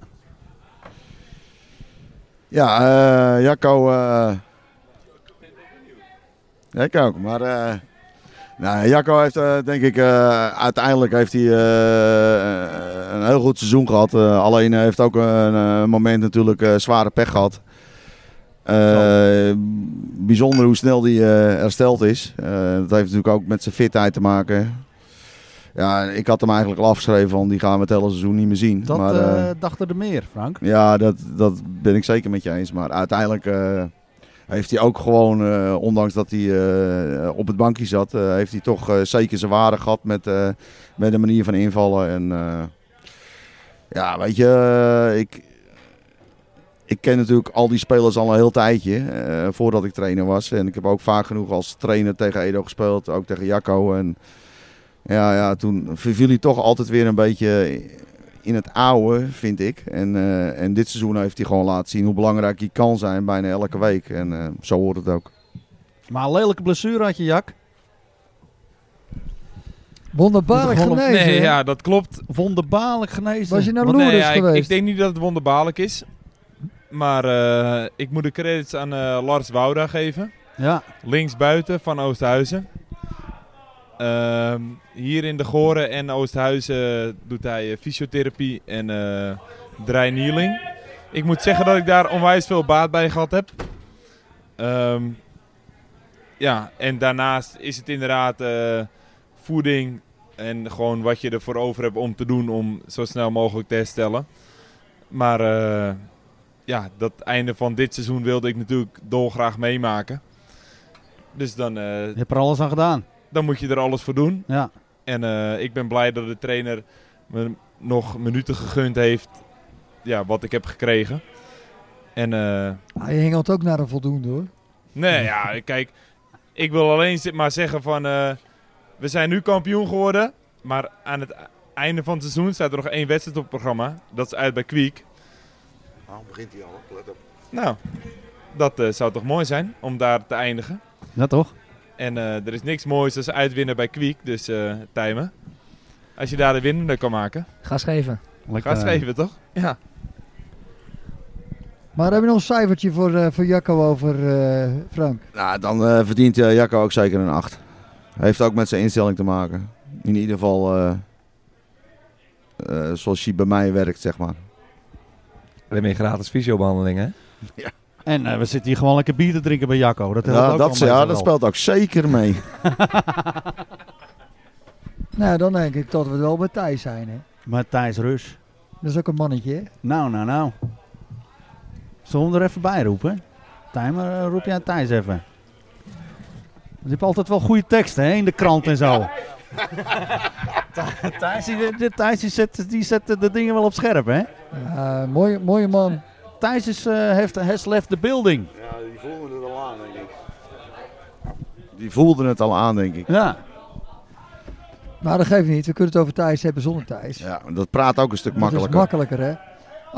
S14: Ja, eh, Jacco. eh ja, ik ook. Maar eh, nou, Jacco heeft, eh, denk ik, eh, uiteindelijk heeft hij eh, een heel goed seizoen gehad. Eh, alleen hij heeft ook een eh, moment natuurlijk eh, zware pech gehad. Eh, bijzonder hoe snel hij eh, hersteld is. Eh, dat heeft natuurlijk ook met zijn fitheid te maken. Ja, ik had hem eigenlijk al afgeschreven van die gaan we het hele seizoen niet meer zien.
S2: Dat
S14: maar, eh,
S2: eh, dachten er meer, Frank.
S14: ja, dat, dat ben ik zeker met je eens. Maar uiteindelijk eh, heeft hij ook gewoon, eh, ondanks dat hij eh, op het bankje zat, eh, heeft hij toch eh, zeker zijn waarde gehad met, eh, met de manier van invallen. En eh, ja, weet je, eh, ik, ik ken natuurlijk al die spelers al een heel tijdje eh, voordat ik trainer was. En ik heb ook vaak genoeg als trainer tegen Edo gespeeld, ook tegen Jacco. En ja, ja toen verviel hij toch altijd weer een beetje in het oude, vind ik. En, eh, en dit seizoen heeft hij gewoon laten zien hoe belangrijk hij kan zijn bijna elke week. En eh, zo hoort het ook.
S2: Maar een lelijke blessure had je, Jack.
S4: Wonderbaarlijk genezen.
S5: Nee, ja, dat klopt.
S2: Wonderbaarlijk genezen.
S4: Was je naar
S5: Want nee,
S4: Lourdes
S5: ja, ik- Ik,
S4: geweest?
S5: denk niet dat het wonderbaarlijk is. Maar eh, ik moet de credits aan eh, Lars Wouda geven.
S2: Ja.
S5: Linksbuiten van Oosthuizen. Ehm, hier in de Goren en Oosthuizen doet hij eh, fysiotherapie en eh drainieling. Ik moet zeggen dat ik daar onwijs veel baat bij gehad heb. Ehm, ja, en daarnaast is het inderdaad eh, voeding en gewoon wat je ervoor over hebt om te doen om zo snel mogelijk te herstellen. Maar eh, ja, dat einde van dit seizoen wilde ik natuurlijk dolgraag meemaken. Dus dan, eh,
S2: Je hebt er alles aan gedaan.
S5: dan moet je er alles voor doen.
S2: Ja.
S5: En eh, ik ben blij dat de trainer me nog minuten gegund heeft ja, wat ik heb gekregen. En eh,
S4: Ah, je hengelt ook naar een voldoende, hoor.
S5: Nee, ja, kijk, ik wil alleen zi- maar zeggen van, eh, we zijn nu kampioen geworden, maar aan het einde van het seizoen staat er nog één wedstrijd op het programma. Dat is uit bij Kwiek.
S14: Waarom begint hij al? Let op.
S5: Nou, dat eh, zou toch mooi zijn om daar te eindigen.
S2: Ja, toch?
S5: En eh, er is niks moois als uitwinnen bij Kwiek, dus eh timen. Als je daar de winnende kan maken.
S9: eh, Ga schrijven.
S5: Ga schrijven, toch? Ja.
S4: Maar hebben we nog een cijfertje voor, eh, voor Jacco over eh, Frank?
S14: Nou, dan eh, verdient eh, Jacco ook zeker een 8. Heeft ook met zijn instelling te maken. In ieder geval eh, eh, zoals hij bij mij werkt, zeg maar.
S13: Alleen meer gratis fysiobehandeling, hè?
S2: En eh, we zitten hier gewoon lekker bier te drinken bij Jacco. Dat helpt
S14: Ja,
S2: ook
S14: dat,
S2: allemaal
S14: ja,
S2: wel.
S14: dat speelt ook zeker mee.
S4: Nou, dan denk ik dat we wel bij Thijs zijn. Hè?
S2: Matthijs Rus.
S4: Dat is ook een mannetje. Hè?
S2: Nou, nou, nou. Zullen we hem er even bij roepen? Timer, eh, roep jij Thijs even. Je hebt altijd wel goede teksten hè, in de krant en zo. Thijs, die, die- Thijs die zet, die zet de dingen wel op scherp, hè?
S4: Eh, mooie, mooie man.
S2: Thijs is, eh, heeft, has left the building.
S14: Ja, die voelden het al aan, denk ik. Die voelden het al aan, denk ik.
S2: Ja.
S4: Maar dat geeft niet. We kunnen het over Thijs hebben zonder Thijs.
S14: Ja, dat praat ook een stuk
S4: Dat
S14: makkelijker.
S4: is makkelijker, hè?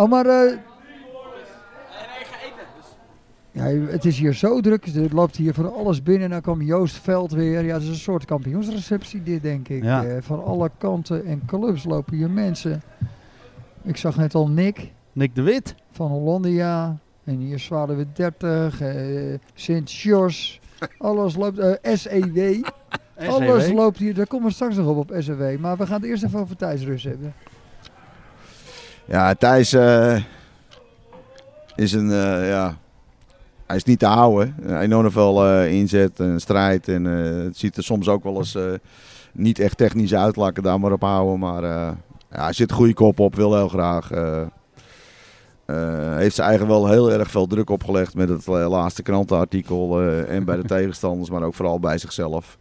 S4: Oh, maar... eh, Ja, het is hier zo druk. Er loopt hier van alles binnen. Dan kwam Joost Veld weer. Ja, het is een soort kampioensreceptie dit, denk ik.
S2: Ja.
S4: Eh, van alle kanten en clubs lopen hier mensen. Ik zag net al Nick.
S2: Nick de Wit.
S4: Van Hollandia. En hier zwaren we 30. eh, Sint-Jors. Alles loopt... eh,
S2: E
S4: SEW. Alles loopt hier. Daar komen we straks nog op, op SEW. Maar we gaan het eerst even over Thijs Rus hebben.
S14: Ja, Thijs eh, is een, eh, ja, hij is niet te houden. Eh, Enorm veel eh, inzet en strijd. En eh, het ziet er soms ook wel eens eh, niet echt technisch uit, laat ik het daar maar op houden. Maar eh, ja, hij zit goede kop op, wil heel graag. eh, eh, heeft zijn eigen wel heel erg veel druk opgelegd met het eh, laatste krantenartikel. eh, en bij de tegenstanders, maar ook vooral bij zichzelf.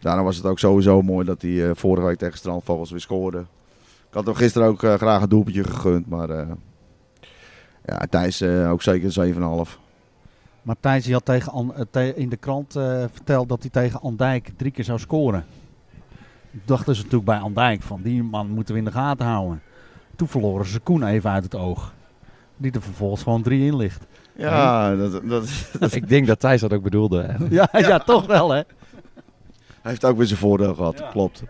S14: Daarom was het ook sowieso mooi dat hij eh, vorige week tegen Strandvogels weer scoorde. Ik had hem gisteren ook eh, graag een doelpuntje gegund, maar eh, ja, Thijs eh, ook zeker een 7,5.
S2: Maar Thijs die had tegen An- eh, te- in de krant eh, verteld dat hij tegen Andijk drie keer zou scoren. Dachten ze natuurlijk bij Andijk van die man moeten we in de gaten houden. Toen verloren ze Koen even uit het oog. Die er vervolgens gewoon drie in ligt.
S14: Ja, dat,
S13: Ik denk dat Thijs dat ook bedoelde. hè.
S2: Ja, ja, toch wel hè.
S14: Hij heeft ook weer zijn voordeel gehad, klopt.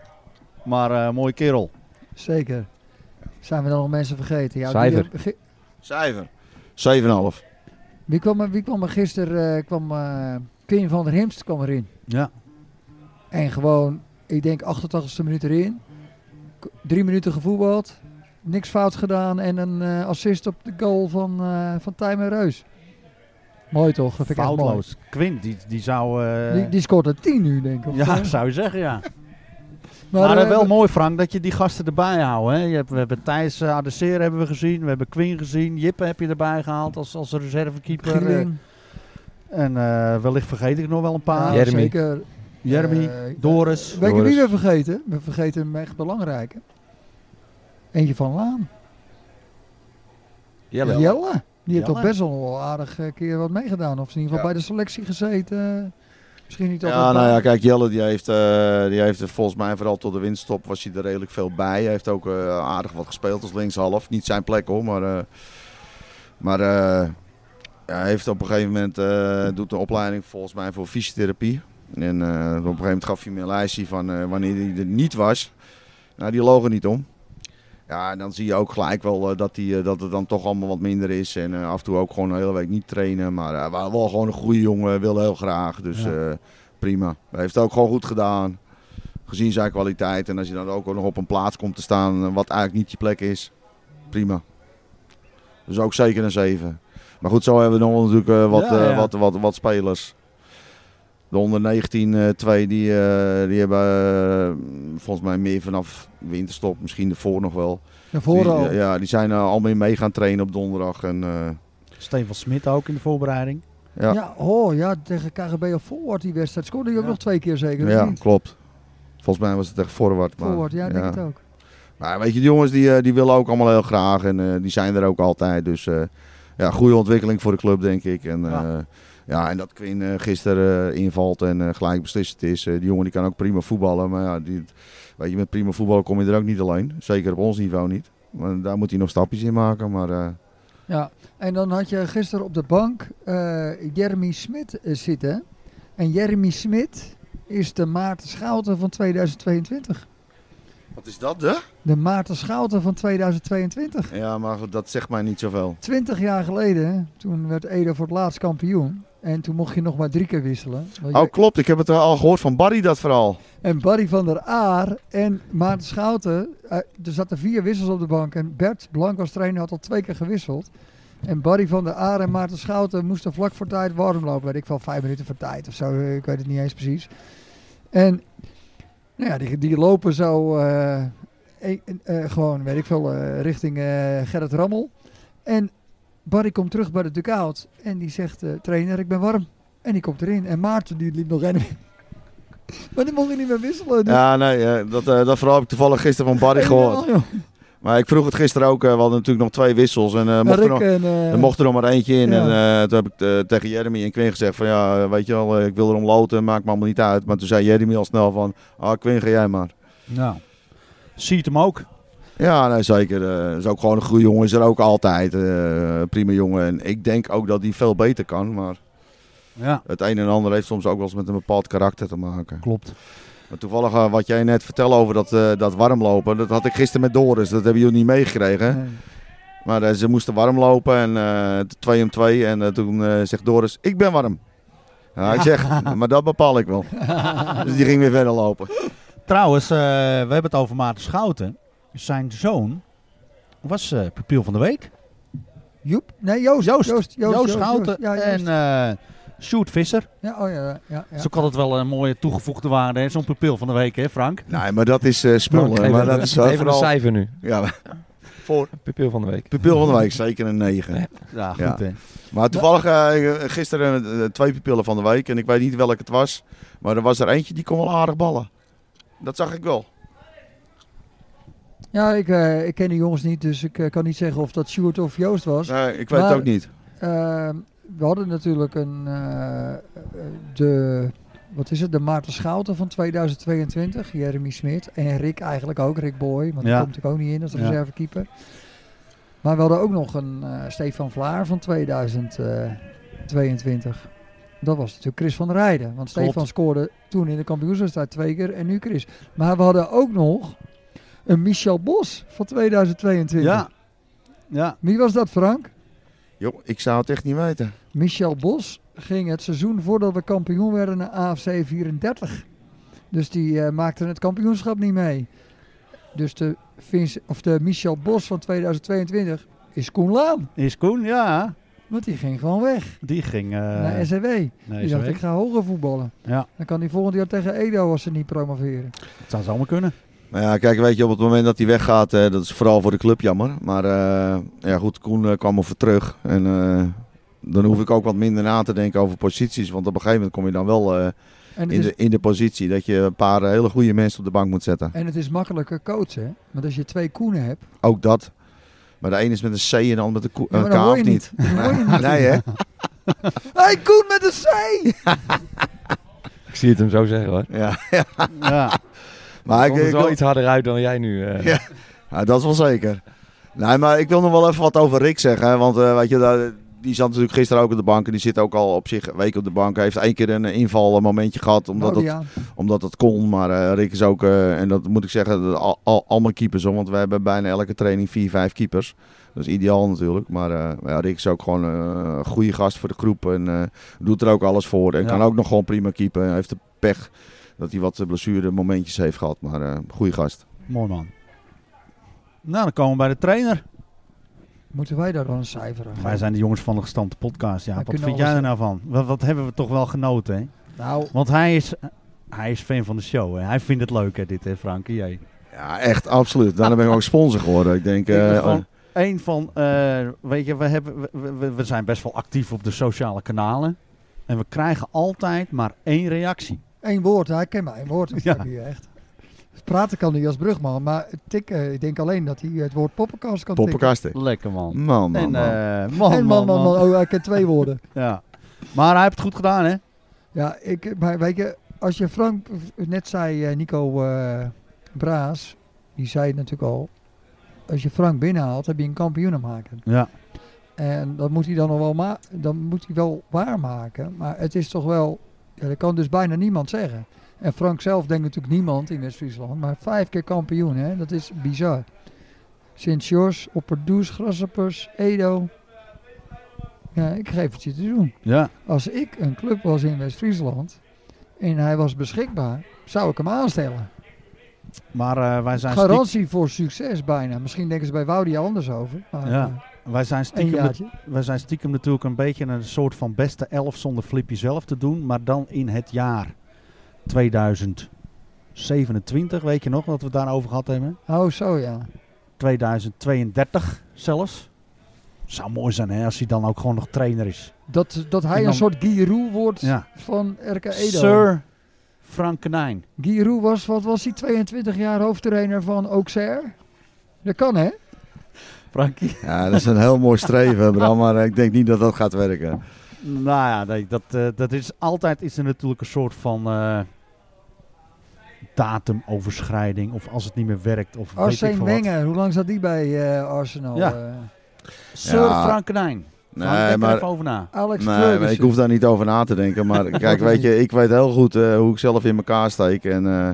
S2: Maar eh mooie kerel.
S4: Zeker. Zijn we dan nog mensen vergeten? Ja, die
S14: Cijfer.
S4: hebben ge-
S14: Cijfer. 7,5.
S4: Wie kwam er, wie kwam er gisteren? eh kwam, eh Quinn van der Himst kwam erin.
S2: Ja.
S4: En gewoon, ik denk 88ste minuut erin. K- Drie minuten gevoetbald. Niks fout gedaan. En een eh, assist op de goal van, eh van Tijmen Reus. Mooi toch? Dat vind ik echt mooi.
S2: Foutloos. Quint, die, die zou... eh,
S4: Die, die scoort er 10 nu, denk ik. of
S2: Ja,
S4: zo.
S2: zou je zeggen, ja.
S4: Maar,
S2: Maar, eh,
S4: eh,
S2: wel
S4: we-
S2: mooi, Frank, dat je die gasten erbij houdt. Hè? Je hebt, we hebben Thijs eh, Adesseer hebben we gezien. We hebben Quinn gezien. Jippe heb je erbij gehaald als, als reservekeeper. eh.
S4: Gieling.
S2: En eh, wellicht vergeet ik nog wel een paar.
S4: Ja, Jeremy. zeker.
S2: Jeremy,
S4: Eh,
S2: Doris.
S4: Weet je wie we vergeten? We vergeten een echt belangrijke. Eentje van Laan.
S13: Jelle.
S4: Jelle. Die heeft
S13: Jelle.
S4: toch best wel een aardig eh, keer wat meegedaan. Of ze in ieder geval bij de selectie gezeten. Misschien niet altijd.
S14: Ja, nou
S4: bij-
S14: ja, kijk, Jelle die heeft, eh, die heeft er volgens mij vooral tot de winststop was hij er redelijk veel bij. Hij heeft ook eh, aardig wat gespeeld als linkshalf. Niet zijn plek hoor, maar, eh, maar eh, hij heeft op een gegeven moment, eh, doet een opleiding volgens mij voor fysiotherapie. En eh, op een gegeven moment gaf hij me een lijstje van eh, wanneer hij er niet was. Nou, die logen niet om. Ja, en dan zie je ook gelijk wel eh, dat, die, eh, dat het dan toch allemaal wat minder is. En eh, af en toe ook gewoon een hele week niet trainen. Maar eh, wel- wel gewoon een goede jongen, wil heel graag. Dus
S2: Ja.
S14: eh, prima. Hij heeft het ook gewoon goed gedaan. Gezien zijn kwaliteit. En als je dan ook nog op een plaats komt te staan, eh, wat eigenlijk niet je plek is. Prima. Dus ook zeker een 7. Maar goed, zo hebben we nog natuurlijk eh, wat,
S2: Ja,
S14: eh,
S2: ja.
S14: wat, wat, wat spelers. De onder 19 eh, twee, die, eh, die hebben eh, volgens mij meer vanaf winterstop, misschien daarvoor nog wel.
S4: Daarvoor
S14: Die-
S4: al.
S14: Ja, die zijn eh, al meer mee gaan trainen op donderdag. En, eh,
S2: Steven Smit ook in de voorbereiding.
S14: ja, ja,
S4: Ja, oh ja, tegen KGB of Forward die wedstrijd. Scoorde hij ook nog twee keer zeker? of niet?
S14: klopt. Volgens mij was het echt voorwaarts.
S4: Forward, ja, denk het ook.
S14: Maar weet je, die jongens die, eh, die willen ook allemaal heel graag en eh, die zijn er ook altijd. Dus eh, ja, goede ontwikkeling voor de club, denk ik. En, eh, ja. en dat Quinn eh, gisteren eh, invalt en eh, gelijk beslissend is. Eh, die jongen die kan ook prima voetballen. Maar ja, die, weet je, met prima voetballen kom je er ook niet alleen. Zeker op ons niveau niet. Maar daar moet hij nog stapjes in maken. Maar eh,
S4: Ja, en dan had je gisteren op de bank eh, Jeremy Smit eh, zitten. En Jeremy Smit is de Maarten Schouten van 2022.
S14: Wat is dat, hè?
S4: De Maarten Schouten van 2022.
S14: Ja, maar goed, dat zegt mij niet zoveel.
S4: 20 jaar geleden, toen werd Edo voor het laatst kampioen. En toen mocht je nog maar drie keer wisselen. Want je-
S14: Oh, klopt. Ik heb het al gehoord van Barry, dat verhaal.
S4: En Barry van der Aar en Maarten Schouten. eh, er zaten vier wissels op de bank. En Bert Blank als trainer had al twee keer gewisseld. En Barry van der Aar en Maarten Schouten moesten vlak voor tijd warm lopen. Weet ik wel, vijf minuten voor tijd of zo. eh, Ik weet het niet eens precies. En nou ja, die, die lopen zo eh, e- eh, gewoon, weet ik veel, eh, richting eh, Gerrit Rammel. En Barry komt terug bij de dugout. En die zegt, eh, trainer, ik ben warm. En die komt erin. En Maarten die liep nog en maar dan mocht je niet meer wisselen. Dus
S14: Ja, nee, eh, dat, eh, dat verhaal heb ik toevallig gisteren van Barry gehoord. Maar ik vroeg het gisteren ook, eh, we hadden natuurlijk nog twee wissels. En eh, mocht, er
S4: Rick
S14: nog,
S4: en, eh,
S14: er mocht er nog maar eentje in.
S4: ja.
S14: En eh, toen heb ik eh, tegen Jeremy en Quinn gezegd van ja, weet je wel, eh, ik wil erom loten, maakt me allemaal niet uit. Maar toen zei Jeremy al snel van, ah Quinn, ga jij maar.
S2: Nou, ziet hem ook.
S14: Ja, nee, zeker. eh is ook gewoon een goede jongen, is er ook altijd. eh, prima jongen. En ik denk ook dat hij veel beter kan, maar...
S2: Ja.
S14: Het een en ander heeft soms ook wel eens met een bepaald karakter te maken.
S2: Klopt.
S14: Maar toevallig eh, wat jij net vertelde over dat, eh dat warmlopen, dat had ik gisteren met Doris. Dat hebben jullie niet meegekregen. Maar eh, ze moesten warm lopen en eh, twee om twee. En eh, toen eh, zegt Doris, ik ben warm. Ja, ik zeg, maar dat bepaal ik wel. Dus die ging weer verder lopen.
S2: Trouwens, eh, we hebben het over Maarten Schouten. Zijn zoon was eh pupil van de week.
S4: Joep? Nee, Joost.
S2: Joost,
S4: Joost, Joost, Joost,
S2: Schouten
S4: Joost. Ja, Joost.
S2: en eh Sjoerd Visser.
S4: Ja, oh ja, ja, ja.
S2: Dat is ook altijd wel een mooie toegevoegde waarde, hè, zo'n pupil van de week, hè Frank?
S14: Nee, maar dat is eh spullen.
S2: Frank,
S14: maar
S2: even-
S14: dat is eh,
S2: even een
S14: vooral-
S2: cijfer nu.
S14: Ja, maar- Voor?
S13: Pupil van de week.
S14: Pupil van de week, zeker een 9.
S2: Ja, goed, hè.
S14: Maar toevallig eh, gisteren eh, twee pupillen van de week. En ik weet niet welke het was. Maar er was er eentje die kon wel aardig ballen. Dat zag ik wel.
S4: Ja, ik, eh, ik ken de jongens niet, dus ik eh, kan niet zeggen of dat Sjoerd of Joost was.
S14: Nee, ik weet het ook niet.
S4: ehm, we hadden natuurlijk een, eh, eh, de, wat is het, de Maarten Schouten van 2022, Jeremy Smit en Rick eigenlijk ook, Rick Boy, want die
S2: Ja.
S4: komt natuurlijk ook niet in als
S2: Ja.
S4: reservekeeper. Maar we hadden ook nog een eh, Stefan Vlaar van 2022. Dat was natuurlijk Chris van der Rijden, want
S2: Klopt.
S4: Stefan scoorde toen in de kampioenswedstrijd twee keer en nu Chris. Maar we hadden ook nog een Michel Bos van 2022.
S2: Ja. ja.
S4: Wie was dat, Frank?
S14: Joh, ik zou het echt niet weten.
S4: Michel Bos ging het seizoen voordat we kampioen werden naar AFC 34. Dus die eh, maakte het kampioenschap niet mee. Dus de, Vince, of de Michel Bos van 2022 is Koen Laan.
S2: Is Koen, ja.
S4: Want die ging gewoon weg
S2: Die ging... eh,
S4: naar SRW.
S2: naar
S4: die dacht,
S2: SRW.
S4: ik ga hoger voetballen.
S2: Ja,
S4: Dan kan hij volgend jaar tegen Edo als ze niet promoveren.
S2: dat zou zomaar kunnen.
S14: Maar Nou ja, kijk, weet je, op het moment dat hij weggaat, eh, dat is vooral voor de club jammer. Maar eh, ja, goed, Koen eh, kwam over terug. En eh, dan hoef ik ook wat minder na te denken over posities. Want op een gegeven moment kom je dan wel eh,
S4: het
S14: in,
S4: is-
S14: de, in de positie dat je een paar eh, hele goede mensen op de bank moet zetten.
S4: En het is makkelijker coachen. Want als je twee Koenen hebt,
S14: Ook dat. Maar de ene is met een C en de ander met een, koe-
S4: Ja, maar
S14: een
S4: dat
S14: K
S4: hoor
S14: of
S4: je
S14: niet.
S4: niet. Dat hoor je niet.
S14: Nee, hè?
S4: Hé, hey, Koen met een C!
S13: Ik zie het hem zo zeggen hoor.
S14: Ja. ja.
S2: ja.
S14: Maar ik,
S13: komt
S14: ik
S13: wel
S14: wil-
S13: iets harder uit dan jij nu. eh.
S14: Ja. Ja, dat is wel zeker. Nee, maar ik wil nog wel even wat over Rick zeggen. hè, Want eh, weet je, daar- die zat natuurlijk gisteren ook op de bank. En die zit ook al op zich een week op de bank. Hij heeft één keer een eh, invalmomentje gehad. Omdat,
S4: Nou, die
S14: het,
S4: aan.
S14: omdat het kon. Maar eh, Rick is ook, eh, en dat moet ik zeggen, dat al, al, allemaal keepers. Hoor, want we hebben bijna elke training vier, vijf keepers. Dat is ideaal natuurlijk. Maar eh, ja, Rick is ook gewoon eh, een goede gast voor de groep. En eh, doet er ook alles voor. En
S2: Ja.
S14: kan ook nog gewoon prima keepen. Hij heeft de pech dat hij wat blessure momentjes heeft gehad. Maar eh goede gast.
S2: Mooi man. Nou, dan komen we bij de trainer.
S4: Moeten wij daar dan een cijfer aan
S2: Wij
S4: geven?
S2: zijn de jongens van de gestampte podcast. Ja,
S4: Wij
S2: wat
S4: kunnen
S2: vind jij er
S4: alles-
S2: nou van? Wat, wat hebben we toch wel genoten, hè?
S4: Nou.
S2: Want hij is, hij is fan van de show. Hè? Hij vindt het leuk, hè, dit, hè, Frank? En jij?
S14: Ja, echt, absoluut. Daarna ben ik ook sponsor geworden. Ik denk,
S2: Ik
S14: eh,
S2: ben gewoon één van, eh, weet je, we, hebben, we- we, we- we zijn best wel actief op de sociale kanalen. En we krijgen altijd maar één reactie.
S4: Eén woord, hij kent maar één woord. Dat
S2: Ja.
S4: kan niet echt. Praten kan hij als brugman, maar tikken, ik denk alleen dat hij het woord poppenkast kan tikken.
S14: poppenkasten.
S2: Lekker man.
S14: Man, man,
S2: en,
S14: man.
S2: eh, man,
S4: en man, man, man, Oh, hij kent twee woorden.
S2: Ja. Maar hij heeft het goed gedaan, hè?
S4: Ja, ik, maar weet je, als je Frank net zei, eh, Nico eh, Braas, die zei het natuurlijk al. Als je Frank binnenhaalt, heb je een kampioen aan maken.
S2: Ja.
S4: En dat moet hij dan nog wel, ma dan moet hij wel waarmaken. Maar het is toch wel, ja, dat kan dus bijna niemand zeggen. En Frank zelf denkt natuurlijk niemand in West-Friesland. Maar vijf keer kampioen, hè? dat is bizar. Sint-Jors, Opperdoes, Grasseppers, Edo. Ja, ik geef het je te doen.
S2: Ja.
S4: Als ik een club was in West-Friesland en hij was beschikbaar, zou ik hem aanstellen.
S2: Maar eh, wij zijn stiek-
S4: Garantie voor succes bijna. Misschien denken ze bij Woudi anders over. Maar eh,
S2: Ja. Wij zijn, stiekem,
S4: Een jaartje.
S2: nat- wij zijn stiekem natuurlijk een beetje een soort van beste elf zonder Flippy zelf te doen. Maar dan in het jaar 2027, weet je nog wat we het daarover gehad hebben?
S4: Oh, zo ja.
S2: 2032 zelfs. Zou mooi zijn hè, als hij dan ook gewoon nog trainer is.
S4: dat, dat hij
S2: En dan-
S4: een soort Giroud wordt
S2: Ja.
S4: van RK Edo.
S2: Sir Frank Kenijn.
S4: Giroud was, wat was hij, 22 jaar hoofdtrainer van Auxerre? Dat kan hè?
S2: Frankie?
S14: Ja, dat is een heel mooi streven, Bram, maar eh, ik denk niet dat dat gaat werken.
S2: Nou ja, nee, dat, eh, dat is altijd is er natuurlijk een soort van eh, datumoverschrijding. Of als het niet meer werkt. Of weet ik
S4: Arsene
S2: veel wat.
S4: Wenger, hoe lang zat die bij eh, Arsenal?
S2: Ja.
S4: eh?
S2: Sir
S14: Ja.
S2: Frank Kenijn. Frank, denk
S14: Nee,
S2: er
S14: maar,
S2: even over na.
S4: Alex
S14: nee, maar ik hoef daar niet over na te denken. Maar kijk,
S2: Waarom
S14: weet je, ik weet heel goed eh, hoe ik zelf in elkaar steek. En eh,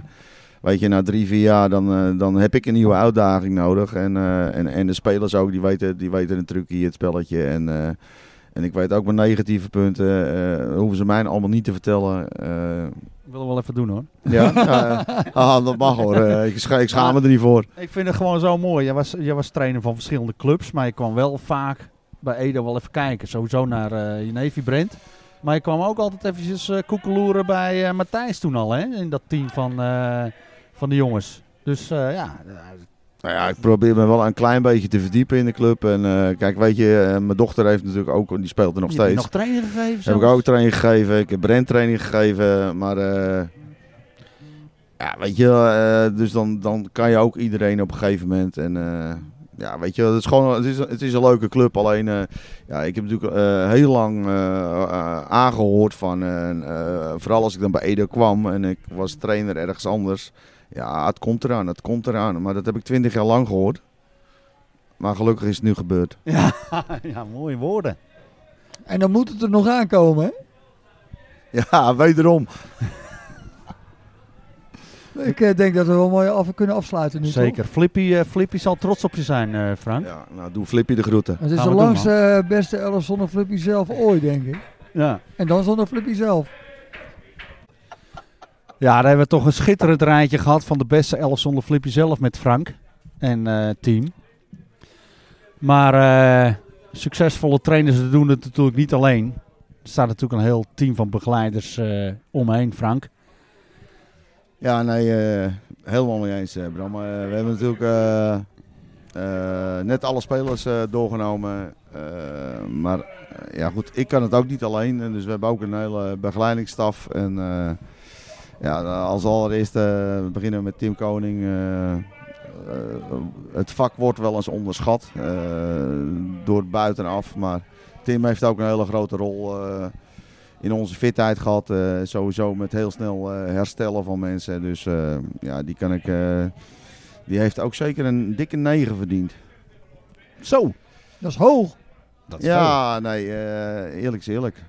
S14: weet je, na drie, vier jaar, dan, eh, dan heb ik een nieuwe uitdaging nodig. En, eh, en, en de spelers ook, die weten, die weten het trucje, het spelletje. En, eh, en ik weet ook mijn negatieve punten. eh, hoeven ze mij allemaal niet te vertellen. eh,
S2: willen we wel even doen hoor.
S14: Ja, ja, ja. Ah, dat mag hoor. Eh, ik scha- ik schaam me er niet voor.
S2: Ik vind het gewoon zo mooi. Jij was, jij was trainer van verschillende clubs, maar je kwam wel vaak bij Edo wel even kijken. Sowieso naar eh Genevi Brent. Maar je kwam ook altijd eventjes eh, koekeloeren bij eh, Matthijs toen al, hè? In dat team van, eh, van de jongens. Dus eh, ja,
S14: Nou ja, ik probeer me wel een klein beetje te verdiepen in de club. En eh, kijk, weet je, eh, mijn dochter heeft natuurlijk ook, die speelt er nog
S2: je
S14: steeds.
S2: hebt nog trainer gegeven
S14: Heb ik
S2: zelfs.
S14: ook training gegeven. Ik heb Brent training gegeven. Maar eh, ja, weet je, eh, dus dan, dan kan je ook iedereen op een gegeven moment. En eh, ja, weet je, het is gewoon het is, het is een leuke club. Alleen, eh, ja, ik heb natuurlijk eh, heel lang eh, eh, aangehoord van, eh, eh, vooral als ik dan bij Edo kwam en ik was trainer ergens anders. Ja, het komt eraan, het komt eraan. Maar dat heb ik twintig jaar lang gehoord. Maar gelukkig is het nu gebeurd.
S2: Ja, ja mooie woorden.
S4: En dan moet het er nog aankomen hè?
S14: Ja, wederom.
S4: Ik eh, denk dat we wel mooi af kunnen afsluiten nu.
S2: Zeker. Flippy, eh, Flippy zal trots op je zijn, eh, Frank.
S14: Ja, nou doe Flippy de groeten.
S4: toch? Het is de langste eh, beste elf zonder Flippy zelf ooit, denk ik.
S2: Ja.
S4: En dan zonder Flippy zelf.
S2: Ja, daar hebben we toch een schitterend rijtje gehad van de beste elf zonder Flippy zelf met Frank en eh, team. Maar eh, succesvolle trainers ze doen het natuurlijk niet alleen. Er staat natuurlijk een heel team van begeleiders eh, omheen, Frank.
S14: Ja, nee, eh, helemaal mee eens, eh, Bram. Eh, we hebben natuurlijk eh, eh, net alle spelers eh, doorgenomen. Eh, maar eh, ja, goed, ik kan het ook niet alleen. En Dus we hebben ook een hele begeleidingsstaf. En eh, ja, als allereerste eh, we beginnen we met Tim Koning. eh, eh, het vak wordt wel eens onderschat eh, door het buitenaf. Maar Tim heeft ook een hele grote rol eh, in onze fitheid gehad. eh, sowieso met heel snel eh, herstellen van mensen. Dus eh, ja, die kan ik. eh, die heeft ook zeker een dikke 9 verdiend.
S2: Zo.
S4: Dat is hoog.
S2: Dat
S14: is ja, nee, eh, eerlijk is eerlijk.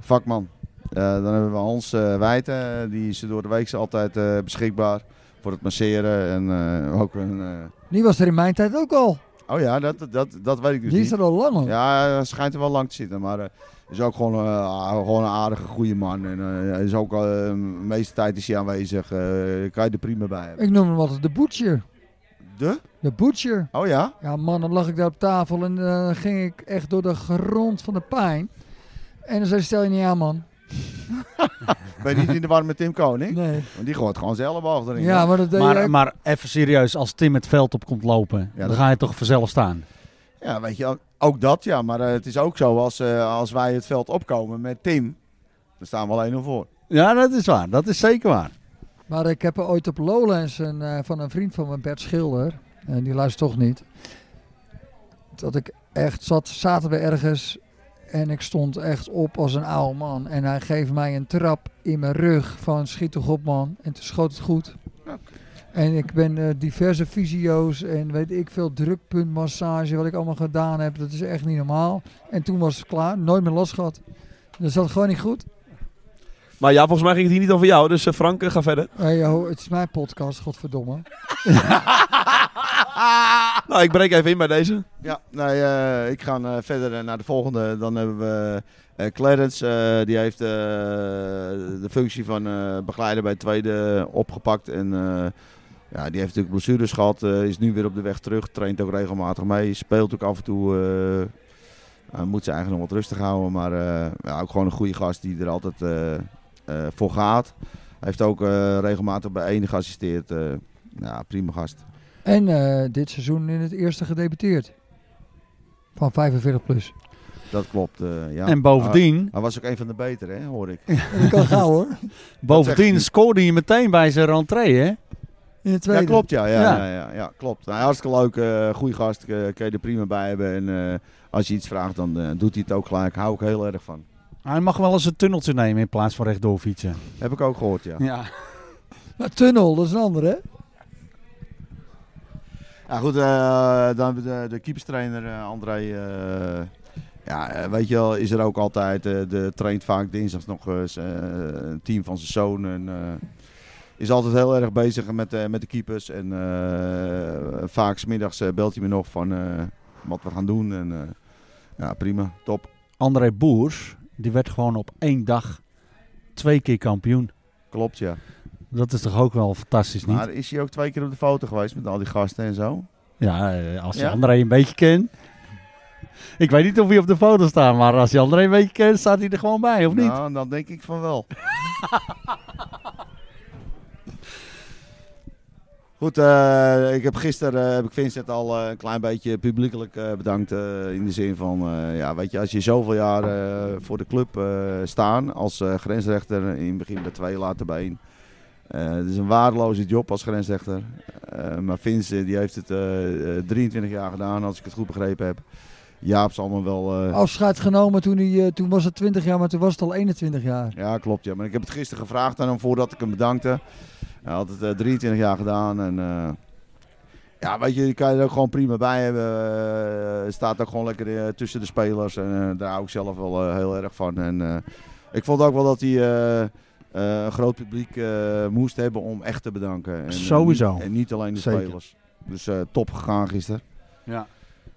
S14: Vakman. Eh, dan hebben we Hans eh, Wijten. eh, Die is door de week altijd eh, beschikbaar voor het masseren. En eh, ook een... eh,
S4: Die was er in mijn tijd ook al.
S14: Oh ja, dat, dat, dat weet ik dus
S4: Die
S14: niet.
S4: is er al lang op.
S14: Ja, hij schijnt er wel lang te zitten. Maar eh, is ook gewoon, eh, gewoon een aardige, goede man. En eh, hij is ook, eh, de meeste tijd is hij aanwezig. Eh, kan je er prima bij hebben.
S4: Ik noem hem altijd de Butcher.
S14: De?
S4: De Butcher.
S14: Oh ja?
S4: Ja man, dan lag ik daar op tafel en eh, dan ging ik echt door de grond van de pijn. En dan zei ze, stel je niet aan man.
S14: Ben je niet in de war met Tim Koning?
S4: Nee.
S14: Want die gooit gewoon zelf achterin.
S4: Ja, maar dat eh, deed
S2: maar,
S4: jij ook.
S2: maar even serieus, als Tim het veld op komt lopen, dan
S14: dat-
S2: ga je toch vanzelf staan.
S14: Ja, weet je, ook, ook dat ja. Maar eh, het is ook zo, als, eh, als wij het veld opkomen met Tim, dan staan we alleen nog voor.
S2: Ja, dat is waar. Dat is zeker waar.
S4: Maar ik heb er ooit op Lowlands een, eh, van een vriend van me, Bert Schilder, en die luistert toch niet, dat ik echt zat, zaten we ergens en ik stond echt op als een oude man. En hij geeft mij een trap in mijn rug van schiet toch op man. En toen schoot het goed. En ik ben eh, diverse fysio's en weet ik veel, drukpuntmassage, wat ik allemaal gedaan heb. Dat is echt niet normaal. En toen was het klaar, nooit meer last gehad. Dus dat zat gewoon niet goed.
S18: Maar ja, volgens mij ging het hier niet over jou. Dus eh, Frank, eh, ga verder.
S4: Hey, yo, het is mijn podcast, godverdomme.
S18: Nou, ik breek even in bij deze.
S14: Ja, nee, eh, ik ga eh, verder eh, naar de volgende. Dan hebben we eh, Clarence. eh, die heeft eh, de functie van eh, begeleider bij het tweede opgepakt. En eh, ja, die heeft natuurlijk blessures gehad. eh, is nu weer op de weg terug. Traint ook regelmatig mee. Speelt ook af en toe. eh, hij moet ze eigenlijk nog wat rustig houden. Maar eh, ja, ook gewoon een goede gast die er altijd eh, eh, voor gaat. Hij heeft ook eh, regelmatig bij één geassisteerd. eh, ja, prima gast.
S4: En eh, dit seizoen in het eerste gedebuteerd. Van 45 plus.
S14: Dat klopt, eh, ja.
S2: En bovendien-
S14: Hij, hij was ook een van de betere, hè, hoor ik.
S4: Dat kan gauw, hoor.
S2: Bovendien scoorde je meteen bij zijn rentree, hè?
S4: In het
S14: Ja, klopt, ja. ja,
S2: Ja.
S14: ja. ja, ja, klopt. Nou, hartstikke leuk, eh goede gast, eh, kun je er prima bij hebben. En eh, als je iets vraagt, dan eh, doet hij het ook gelijk. Hou ik heel erg van.
S2: Hij mag wel eens een tunneltje nemen in plaats van rechtdoor fietsen.
S14: Heb ik ook gehoord, ja.
S2: Ja.
S4: Maar tunnel, dat is een andere, hè?
S14: Ja, goed, eh, dan hebben we de, de keeperstrainer eh, André. eh, ja, eh, weet je wel, is er ook altijd. eh, de traint vaak dinsdags nog eens eh, een team van zijn zoon. En, eh, is altijd heel erg bezig met, eh, met de keepers. En eh, vaak smiddags eh, belt hij me nog van eh, wat we gaan doen. En, eh, ja, prima, top.
S2: André Boers, die werd gewoon op één dag twee keer kampioen.
S14: Klopt, ja.
S2: Dat is toch ook wel fantastisch, niet?
S14: Maar is hij ook twee keer op de foto geweest met al die gasten en zo?
S2: Ja, eh, als je
S14: Ja?
S2: André een beetje kent. Ik weet niet of hij op de foto staat, maar als je André een beetje kent, staat hij er gewoon bij, of niet?
S14: Nou, dan denk ik van wel. Goed, eh, ik heb gisteren eh, heb ik Vincent al eh, een klein beetje publiekelijk eh, bedankt. eh, in de zin van, eh, ja, weet je, als je zoveel jaar eh, voor de club eh, staan als eh, grensrechter, in het begin bij twee, later bij één. Eh, het is een waardeloze job als grensrechter. Eh, maar Vincent die heeft het eh, eh, 23 jaar gedaan, als ik het goed begrepen heb. Jaap zal me wel... eh,
S4: Afscheid genomen toen, hij, eh, toen was het 20 jaar, maar toen was het al 21 jaar.
S2: eh.
S14: Ja, klopt. Ja. Maar ik heb het gisteren gevraagd aan hem voordat ik hem bedankte. Hij had het eh, 23 jaar gedaan. En, eh, ja, weet je, je kan je er ook gewoon prima bij hebben. Eh, staat ook gewoon lekker eh, tussen de spelers. En eh, daar hou ik zelf wel eh, heel erg van. En, eh, ik vond ook wel dat hij eh, eh, een groot publiek eh, moest hebben om echt te bedanken. En,
S2: Sowieso.
S14: En niet, en niet alleen de
S2: Zeker.
S14: spelers. Dus eh, top gegaan gisteren.
S2: Ja.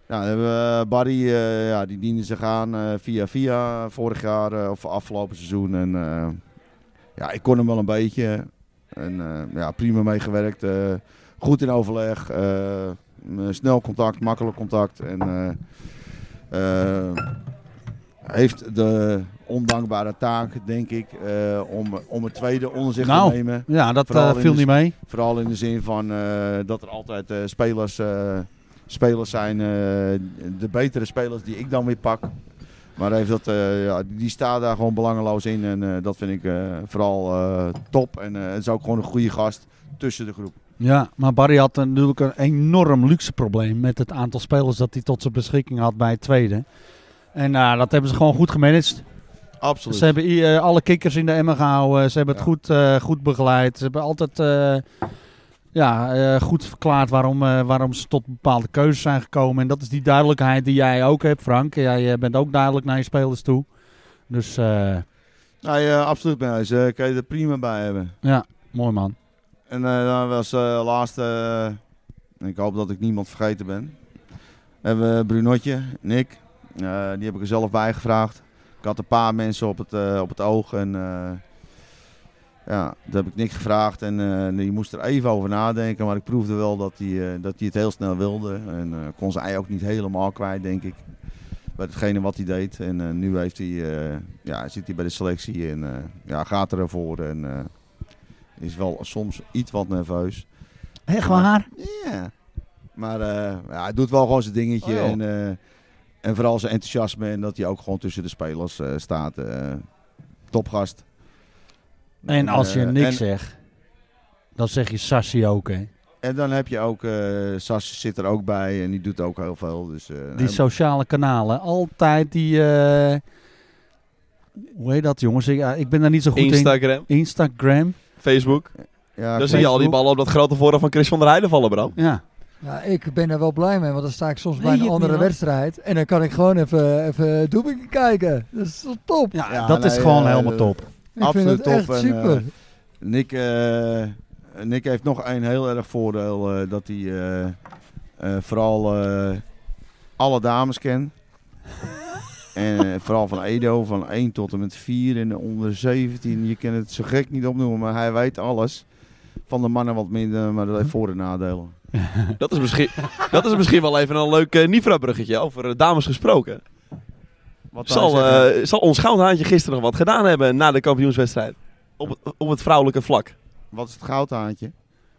S14: Nou, dan hebben we Barry, eh, ja, die diende zich aan eh, via via vorig jaar eh, of afgelopen seizoen. En eh, ja, ik kon hem wel een beetje. En eh, ja, prima meegewerkt. eh, goed in overleg. eh, m- snel contact, makkelijk contact. En eh, eh, heeft de ondankbare taak, denk ik, eh, om, om het tweede onder zich
S2: Nou,
S14: te nemen.
S2: ja, dat,
S14: Vooral
S2: eh,
S14: in
S2: viel
S14: de-
S2: niet mee.
S14: Vooral in de zin van eh, dat er altijd eh, spelers, eh, spelers zijn, eh, de betere spelers die ik dan weer pak. Maar hij heeft dat, eh, ja, die staat daar gewoon belangeloos in en eh, dat vind ik eh, vooral eh, top. En eh, het is ook gewoon een goede gast tussen de groep.
S2: Ja, maar Barry had natuurlijk een enorm luxe probleem met het aantal spelers dat hij tot zijn beschikking had bij het tweede. En nou, dat hebben ze gewoon goed gemanaged.
S14: Absoluut.
S2: Ze hebben i- eh, alle kikkers in de emmer gehouden. Ze hebben het goed, eh, goed begeleid. Ze hebben altijd eh, ja, eh, goed verklaard waarom, eh, waarom ze tot bepaalde keuzes zijn gekomen. En dat is die duidelijkheid die jij ook hebt, Frank. Jij eh, bent ook duidelijk naar je spelers toe. Dus eh,
S14: Nou ja, absoluut bij huis. Eh, kan je er prima bij hebben.
S2: ja, mooi man.
S14: En eh, dan was eh laatste, eh, ik hoop dat ik niemand vergeten ben. Hebben we Brunotje, Nick. Eh, die heb ik er zelf bij gevraagd. Ik had een paar mensen op het, eh, op het oog en eh, ja, dat heb ik Nick gevraagd. En eh, die moest er even over nadenken, maar ik proefde wel dat hij eh, dat hij het heel snel wilde. En eh, kon zijn ei ook niet helemaal kwijt, denk ik. Bij hetgene wat hij deed. En eh, nu heeft hij, eh, ja, zit hij bij de selectie en eh, ja, gaat ervoor. En, eh, is wel soms iets wat nerveus.
S12: Echt waar?
S14: Ja. Maar eh, ja, hij doet wel gewoon zijn dingetje.
S12: Oh, ja.
S14: en, eh, en vooral zijn enthousiasme en dat hij ook gewoon tussen de spelers eh, staat. eh, topgast.
S2: En als je
S14: eh,
S2: niks
S14: en-
S2: zegt, dan zeg je Sassi ook, hè.
S14: En dan heb je ook, eh Sas zit er ook bij en die doet ook heel veel. Dus, eh,
S2: Die
S14: en-
S2: sociale kanalen. Altijd die. eh, hoe heet dat, jongens? Ik, ah, ik ben daar niet zo goed
S18: Instagram.
S2: in. Instagram.
S18: Facebook.
S14: Ja,
S18: Dan zie je al die ballen op dat grote voorhoofd van Chris van der Heijden vallen, bro.
S2: Ja.
S4: Ja, ik ben er wel blij mee, want dan sta ik soms bij
S2: je
S4: een
S2: het
S4: andere
S2: niet, man?
S4: wedstrijd. En dan kan ik gewoon even, even Doebinken kijken. Dus, Dat is toch top?
S2: Ja, dat is gewoon helemaal top.
S4: eh, vind het
S14: eh, Absoluut top.
S4: echt
S14: en,
S4: super.
S14: eh, Nick, eh, Nick heeft nog een heel erg voordeel. eh, dat hij eh, eh, vooral eh, alle dames kent. en eh, vooral van Edo, van 1 tot en met 4 en onder 17. Je kan het zo gek niet opnoemen, maar hij weet alles. Van de mannen wat minder, maar dat heeft voor- en nadelen.
S18: Dat is misschien, dat is misschien wel even een leuk eh Nifra-bruggetje over eh, dames gesproken.
S14: Wat
S18: zal,
S14: wij zeggen.
S18: eh, zal ons goudhaantje gisteren nog wat gedaan hebben na de kampioenswedstrijd? Op, het- op het vrouwelijke vlak.
S14: Wat is het goudhaantje?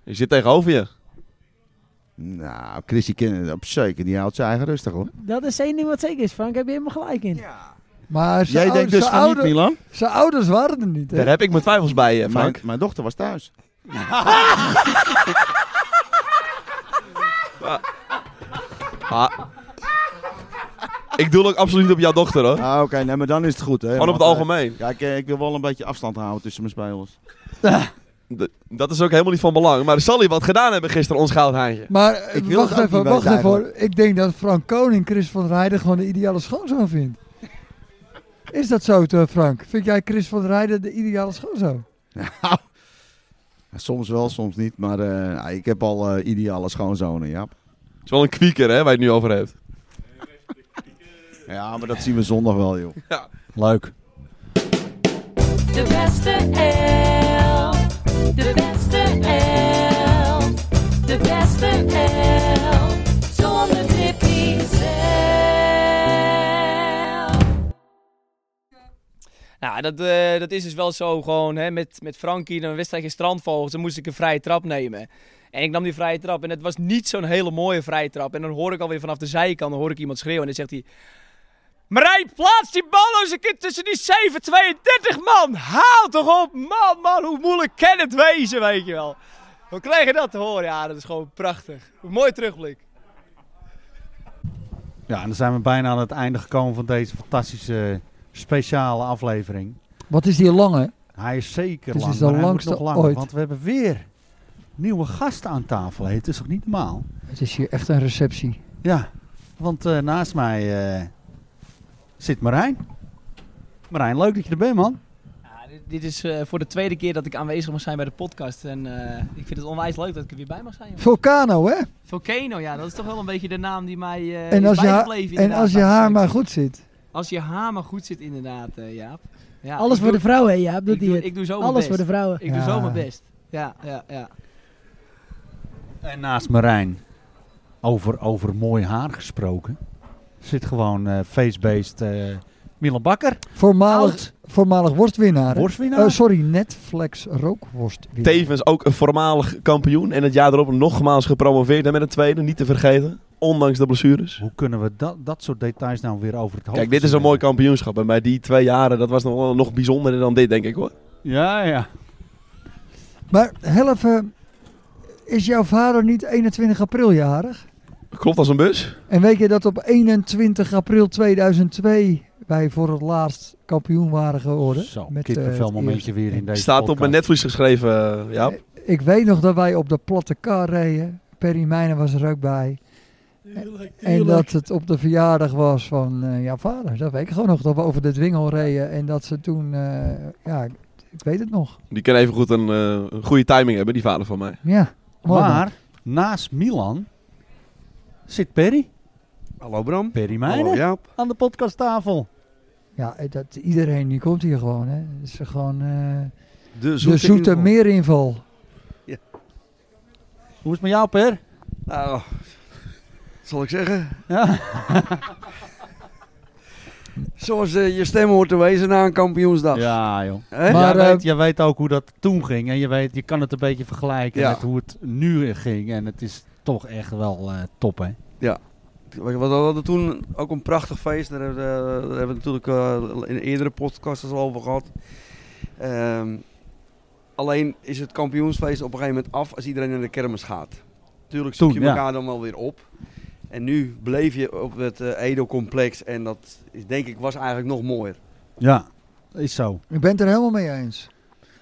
S18: Ik zit tegenover je.
S14: Nou, Chrissy kent het op zeker. Die houdt zijn eigen rustig hoor.
S12: Dat is één ding wat zeker is, Frank. Heb je helemaal gelijk in.
S4: Maar
S14: Jij denkt dus van niet, Milan?
S4: Zijn ouders waren er niet.
S18: Daar heb ik mijn twijfels bij, eh,
S14: Mijn,
S18: Frank.
S14: mijn dochter was thuis.
S18: Ah. Ik doe ook absoluut op jouw dochter hoor.
S14: Ah, Oké, nee, maar dan is het goed hè.
S18: Gewoon op het
S14: Want, eh,
S18: algemeen.
S14: Kijk, eh, ik wil wel een beetje afstand houden tussen mijn spelers.
S18: D- dat is ook helemaal niet van belang. Maar zal hij wat gedaan hebben gisteren, ons goudhaantje?
S4: Maar eh,
S14: Ik wil
S4: wacht
S14: het ook
S4: even,
S14: niet
S4: wacht
S14: weten
S4: even hoor. Ik denk dat Frank Koning Chris van der Heijden gewoon de ideale schoonzoon vindt. Is dat zo, te- Frank? Vind jij Chris van der Heijden de ideale schoonzoon?
S14: Nou, soms wel, soms niet. Maar eh, nou, ik heb al eh, ideale schoonzonen, ja.
S18: Het is wel een kwieker hè, waar je het nu over hebt.
S14: Ja, maar dat zien we zondag wel, joh.
S18: Ja.
S14: Leuk.
S15: De beste elf. De beste elf. De beste elf. Zonder Tippy zelf.
S19: Nou, dat, eh, dat is dus wel zo gewoon. Hè, met, met Frankie, dan wist hij geen strandvogels. Dan moest ik een vrije trap nemen. En ik nam die vrije trap. En het was niet zo'n hele mooie vrije trap. En dan hoor ik alweer vanaf de zijkant dan hoor ik iemand schreeuwen. En dan zegt hij... Marijn, plaats die bal eens een keer tussen die 732 man. Haal toch op, man, man. Hoe moeilijk kan het wezen, weet je wel. We krijgen dat te horen. Ja, dat is gewoon prachtig. Mooi terugblik.
S2: Ja, en dan zijn we bijna aan het einde gekomen van deze fantastische speciale aflevering.
S4: Wat is die lange?
S2: Hij is zeker
S4: Dit is
S2: lang,
S4: de
S2: maar hij moet
S4: langste
S2: nog langer,
S4: ooit.
S2: Want we hebben weer nieuwe gasten aan tafel. Het is toch niet normaal?
S4: Het is hier echt een receptie.
S2: Ja, want eh, naast mij eh, zit Marijn. Marijn, leuk dat je er bent, man.
S19: Dit is eh, voor de tweede keer dat ik aanwezig mag zijn bij de podcast. En eh, ik vind het onwijs leuk dat ik er weer bij mag zijn. jongen.
S4: Vulcano, hè?
S19: Volcano, ja, dat is toch wel een beetje de naam Eh, die mij eh
S4: en
S19: is
S4: als je, ha-
S19: bijgebleven.
S4: en
S19: inderdaad,
S4: als je
S19: bij-
S4: haar maar goed zit.
S19: als je haar maar goed zit, inderdaad, eh, Jaap. Ja,
S12: Alles
S19: ik
S12: voor
S19: doe-
S12: de vrouwen, hè, Jaap, doet
S19: ik
S12: hij
S19: doe,
S12: het.
S19: Ik doe zo mijn
S12: Alles
S19: best.
S12: voor de vrouwen.
S19: Ik doe zo
S12: Ja.
S19: mijn best. Ja, ja, ja.
S2: En naast Marijn, over, over mooi haar gesproken, zit gewoon eh face-based eh, Milan Bakker.
S4: Voormalig, voormalig worstwinnaar. hè?
S2: Worstwinnaar?
S4: Eh, sorry, Netflix rookworstwinnaar.
S18: Tevens ook een voormalig kampioen. En het jaar erop nogmaals gepromoveerd. En met een tweede, niet te vergeten. Ondanks de blessures.
S2: Hoe kunnen we dat, dat soort details nou weer over het hoofd
S18: Kijk, dit is een mooi kampioenschap. En bij die twee jaren, dat was nog, wel- nog bijzonderder dan dit, denk ik hoor.
S2: Ja, ja.
S4: Maar heel even, is jouw vader niet 21 april jarig?
S18: Klopt als een bus.
S4: En weet je dat op 21 april 2002 wij voor het laatst kampioen waren geworden?
S2: Zo,
S4: eh, het
S2: kippenvelmomentje weer in deze
S18: Staat op
S2: podcast.
S18: mijn netvlies geschreven, eh, ja.
S4: eerste. Ik weet nog dat wij op de platte kar reden. Perry Meijnen was er ook bij. En dat het op de verjaardag was van eh, jouw vader. Dat weet ik gewoon nog, dat we over de dwingel reden. En dat ze toen, eh, ja, ik- ik weet het nog.
S18: Die kan even goed een, eh, een goede timing hebben, die vader van mij.
S4: Ja, mooi man.
S2: Maar naast Milan zit Perry.
S17: Hallo Bram.
S2: Perry Meijnen.
S17: Hallo Jaap.
S2: Aan de podcasttafel.
S4: Ja, eh, dat, iedereen die komt hier gewoon. Hè. Het is gewoon eh,
S17: De zoete inval.
S4: meerinval.
S2: Hoe is het met jou, Per?
S17: Nou, zal ik zeggen?
S2: Ja.
S20: Zoals eh, je stem hoort te wezen na een kampioensdag.
S2: Ja, joh.
S20: Hè? Maar,
S2: Maar jij,
S20: eh,
S2: weet, jij weet ook hoe dat toen ging. En je, weet, je kan het een beetje vergelijken
S20: Ja.
S2: met hoe het nu ging. En het is toch echt wel eh, top, hè?
S20: Ja. We we hadden toen ook een prachtig feest. Daar hebben we, daar hebben we natuurlijk eh, in eerdere podcasts al over gehad. Ehm, alleen is het kampioensfeest op een gegeven moment af als iedereen naar de kermis gaat. Tuurlijk zoek
S2: Toen,
S20: je
S2: ja.
S20: elkaar dan wel weer op. En nu bleef je op het eh, Edo-complex. En dat is, denk ik was eigenlijk nog mooier.
S2: Ja, is zo.
S4: Ik ben het er helemaal mee eens.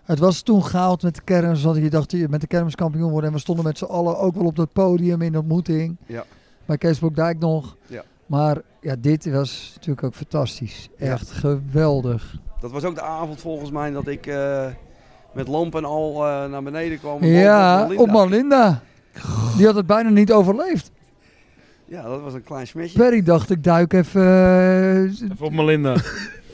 S4: Het was toen gehaald met de kermis, want je dacht je met de kermis kampioen worden. En we stonden met z'n allen ook wel op dat podium in de ontmoeting.
S20: Ja.
S4: Bij Kees Dijk nog.
S20: Ja.
S4: Maar ja, dit was natuurlijk ook fantastisch.
S20: Ja.
S4: Echt geweldig.
S20: Dat was ook de avond volgens mij dat ik eh, met lamp en al eh, naar beneden kwam.
S4: Ja,
S20: Op
S4: op
S20: Linda.
S4: Malinda. Die had het bijna niet overleefd.
S20: Ja, dat was een klein smetje.
S4: Perry dacht, ik duik even... eh,
S21: Even op Melinda.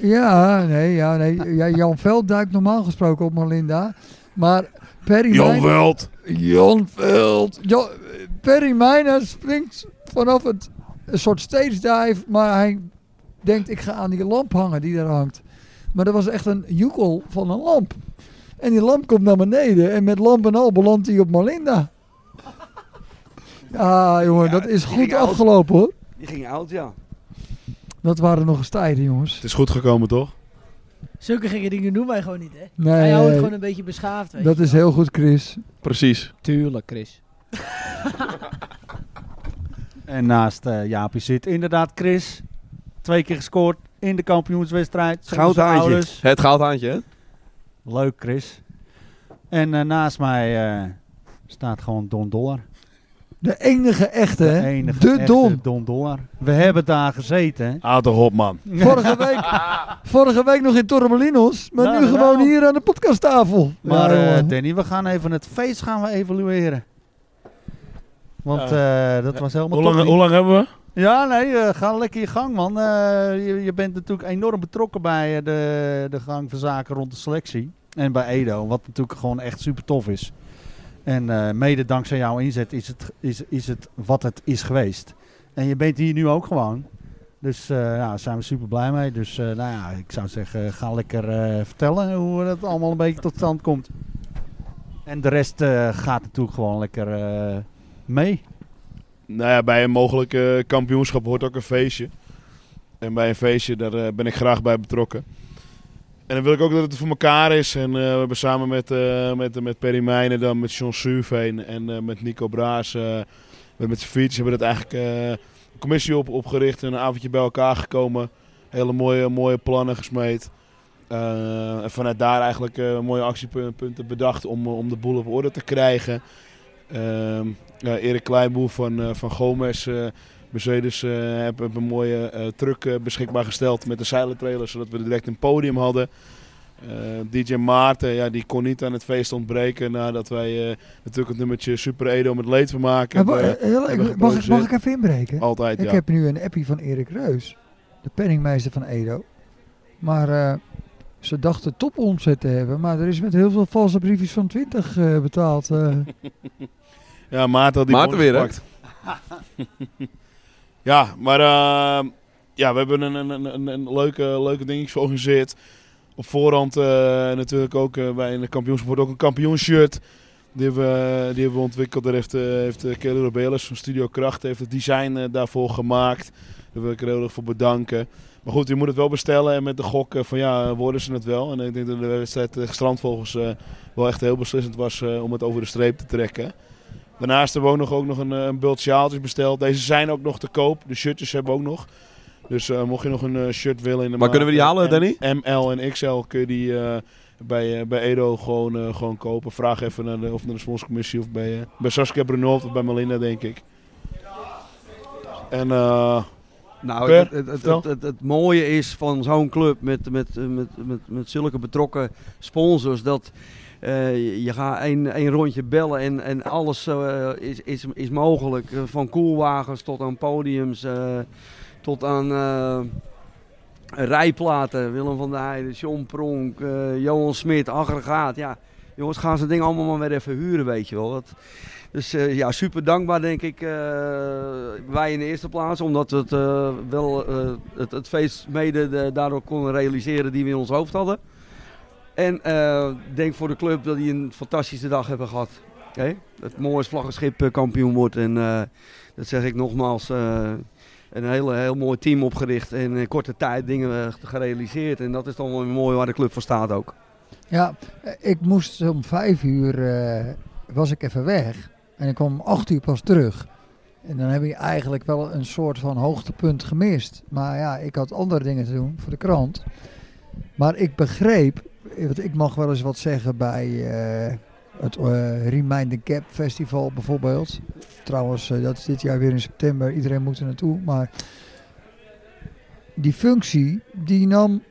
S4: Ja, nee, ja, nee. Ja, Jan Veld duikt normaal gesproken op Malinda. Maar Perry
S21: Jan
S4: Meijner-
S21: Veld.
S4: Jan Veld. Jan- Perry Meijner springt vanaf het een soort stage dive. Maar hij denkt, ik ga aan die lamp hangen die daar hangt. Maar dat was echt een joekel van een lamp. En die lamp komt naar beneden. En met lamp en al belandt hij op Malinda. Ja, jongen, dat is
S20: die
S4: goed
S20: ging oud.
S4: afgelopen hoor.
S20: Die ging oud, ja.
S4: Dat waren nog eens tijden, jongens.
S21: Het is goed gekomen, toch?
S12: Zulke gekke dingen doen wij gewoon niet, hè?
S4: Nee.
S12: Wij houden het gewoon een beetje beschaafd, weet
S4: Dat
S12: je
S4: is
S12: wel.
S4: heel goed, Chris.
S18: Precies.
S22: Tuurlijk, Chris.
S2: En naast eh Jaapie zit inderdaad Chris. Twee keer gescoord in de kampioenswedstrijd. zonder
S18: Goud
S2: zijn
S18: haantje.
S2: ouders.
S18: Het goud haantje, hè?
S2: Leuk, Chris. En eh, naast mij eh, staat gewoon Don Dollar.
S4: De enige echte,
S2: De
S4: hè?
S2: enige
S4: De
S2: echte
S4: Don.
S2: Don Dollar. We hebben daar gezeten. hè?
S21: Ado Hopman.
S4: Vorige week, vorige week nog in Torremolinos, maar
S2: Nou,
S4: nu
S2: nou.
S4: gewoon hier aan de podcasttafel.
S2: Maar
S4: Ja,
S2: eh,
S4: jongen.
S2: Danny, we gaan even het feest gaan we evalueren. Want eh, dat was helemaal
S21: Hoe lang,
S2: top
S21: hoe lang hebben we?
S2: Ja, nee, eh, ga lekker je gang, man. Eh, je, je bent natuurlijk enorm betrokken bij eh, de, de gang van zaken rond de selectie. En bij Edo, wat natuurlijk gewoon echt super tof is. En eh, mede dankzij jouw inzet is het, is, is het wat het is geweest. En je bent hier nu ook gewoon. Dus eh, ja, daar zijn we super blij mee. Dus eh, nou ja, ik zou zeggen, ga lekker eh, vertellen hoe dat allemaal een beetje tot stand komt. En de rest eh, gaat natuurlijk gewoon lekker eh, mee.
S21: Nou ja, bij een mogelijk eh, kampioenschap hoort ook een feestje. En bij een feestje, daar eh, ben ik graag bij betrokken. En dan wil ik ook dat het voor elkaar is. En eh, we hebben samen met, eh met, met Perry Meijnen, dan met John Suurveen en eh, met Nico Braas, eh, met, met zijn fiets, hebben we dat eigenlijk eh, een commissie op, opgericht en een avondje bij elkaar gekomen. Hele mooie, mooie plannen gesmeed. Eh, en vanuit daar eigenlijk eh, mooie actiepunten bedacht om, eh, om de boel op orde te krijgen. Ehm, ja, Erik Kleinboer van, eh, van Gomez. eh, Mercedes eh hebben hebben een mooie eh, truck eh, beschikbaar gesteld met de zeilentrailer, zodat we direct een podium hadden. Eh, DJ Maarten, ja, die kon niet aan het feest ontbreken nadat wij eh, natuurlijk het nummertje Super Edo met leedvermaak
S4: Maar wa-
S21: hebben,
S4: eh, heel-
S21: hebben
S4: ik- mag, ik- mag
S21: geproduceerd.
S4: ik even inbreken?
S21: Altijd,
S4: ik
S21: ja.
S4: heb nu een appie van Erik Reus, de penningmeester van Edo. Maar eh, ze dachten topomzet te hebben, maar er is met heel veel valse briefjes van 20 eh, betaald. eh.
S21: Ja, Maarten had die
S18: Maarten
S21: bonus
S18: weer, hè?
S21: gepakt. Ja, maar eh, ja, we hebben een, een, een- een, een leuke, leuke dingetjes georganiseerd. Op voorhand eh, natuurlijk ook eh, bij in de kampioensport ook een kampioenshirt. Die hebben, we- die hebben we ontwikkeld. Daar heeft, eh, heeft eh, Kelly Robelis van Studio Kracht heeft het design eh, daarvoor gemaakt. Daar wil ik er heel erg voor bedanken. Maar goed, je moet het wel bestellen. En met de gok eh, van ja, worden ze het wel. En ik denk dat de wedstrijd tegen Strandvogels eh, wel echt heel beslissend was eh, om het over de streep te trekken. Daarnaast hebben we ook nog, ook nog een, eh, een bult sjaaltjes besteld. Deze zijn ook nog te koop. De shirtjes hebben we ook nog. Dus eh, mocht je nog een eh, shirt willen in de eh,
S18: Maar kunnen we die halen, Danny?
S21: ML en XL kun je die eh, bij, eh, bij Edo gewoon, eh, gewoon kopen. Vraag even naar de, of naar de sponsorcommissie of bij, eh, bij Saskia Brunold of bij Melinda, denk ik. En eh
S20: Nou,
S21: Per,
S20: het, het, het,
S21: vertel.
S20: het, het- het mooie is van zo'n club met, met, eh, met, met, met zulke betrokken sponsors dat eh, je gaat één, één rondje bellen en, en alles eh, is, is, is mogelijk. Eh, Van koelwagens tot aan podiums, eh, tot aan eh, rijplaten. Willem van der Heijden, John Pronk, eh, Johan Smit, aggregaat. Ja, jongens, gaan ze dingen allemaal maar weer even huren, weet je wel. Dat, dus eh, ja, super dankbaar denk ik. eh, wij in de eerste plaats, omdat we het, eh, wel, eh, het, het feest mede de- daardoor konden realiseren die we in ons hoofd hadden. En eh, ik denk voor de club dat die een fantastische dag hebben gehad. Oké, Het mooiste vlaggenschip eh, kampioen wordt. En eh, dat zeg ik nogmaals. eh, een hele, heel mooi team opgericht en in korte tijd dingen eh, gerealiseerd. En dat is dan wel mooi waar de club voor staat ook.
S4: Ja, eh, ik moest om vijf uur eh, was ik even weg. En ik kwam om acht uur pas terug. En dan heb je eigenlijk wel een soort van hoogtepunt gemist. Maar ja, ik had andere dingen te doen voor de krant. Maar ik begreep, eh, want ik mag wel eens wat zeggen bij eh, het eh, Remind the Gap Festival bijvoorbeeld. Trouwens, eh, dat is dit jaar weer in september. Iedereen moet er naartoe. Maar die functie, die nam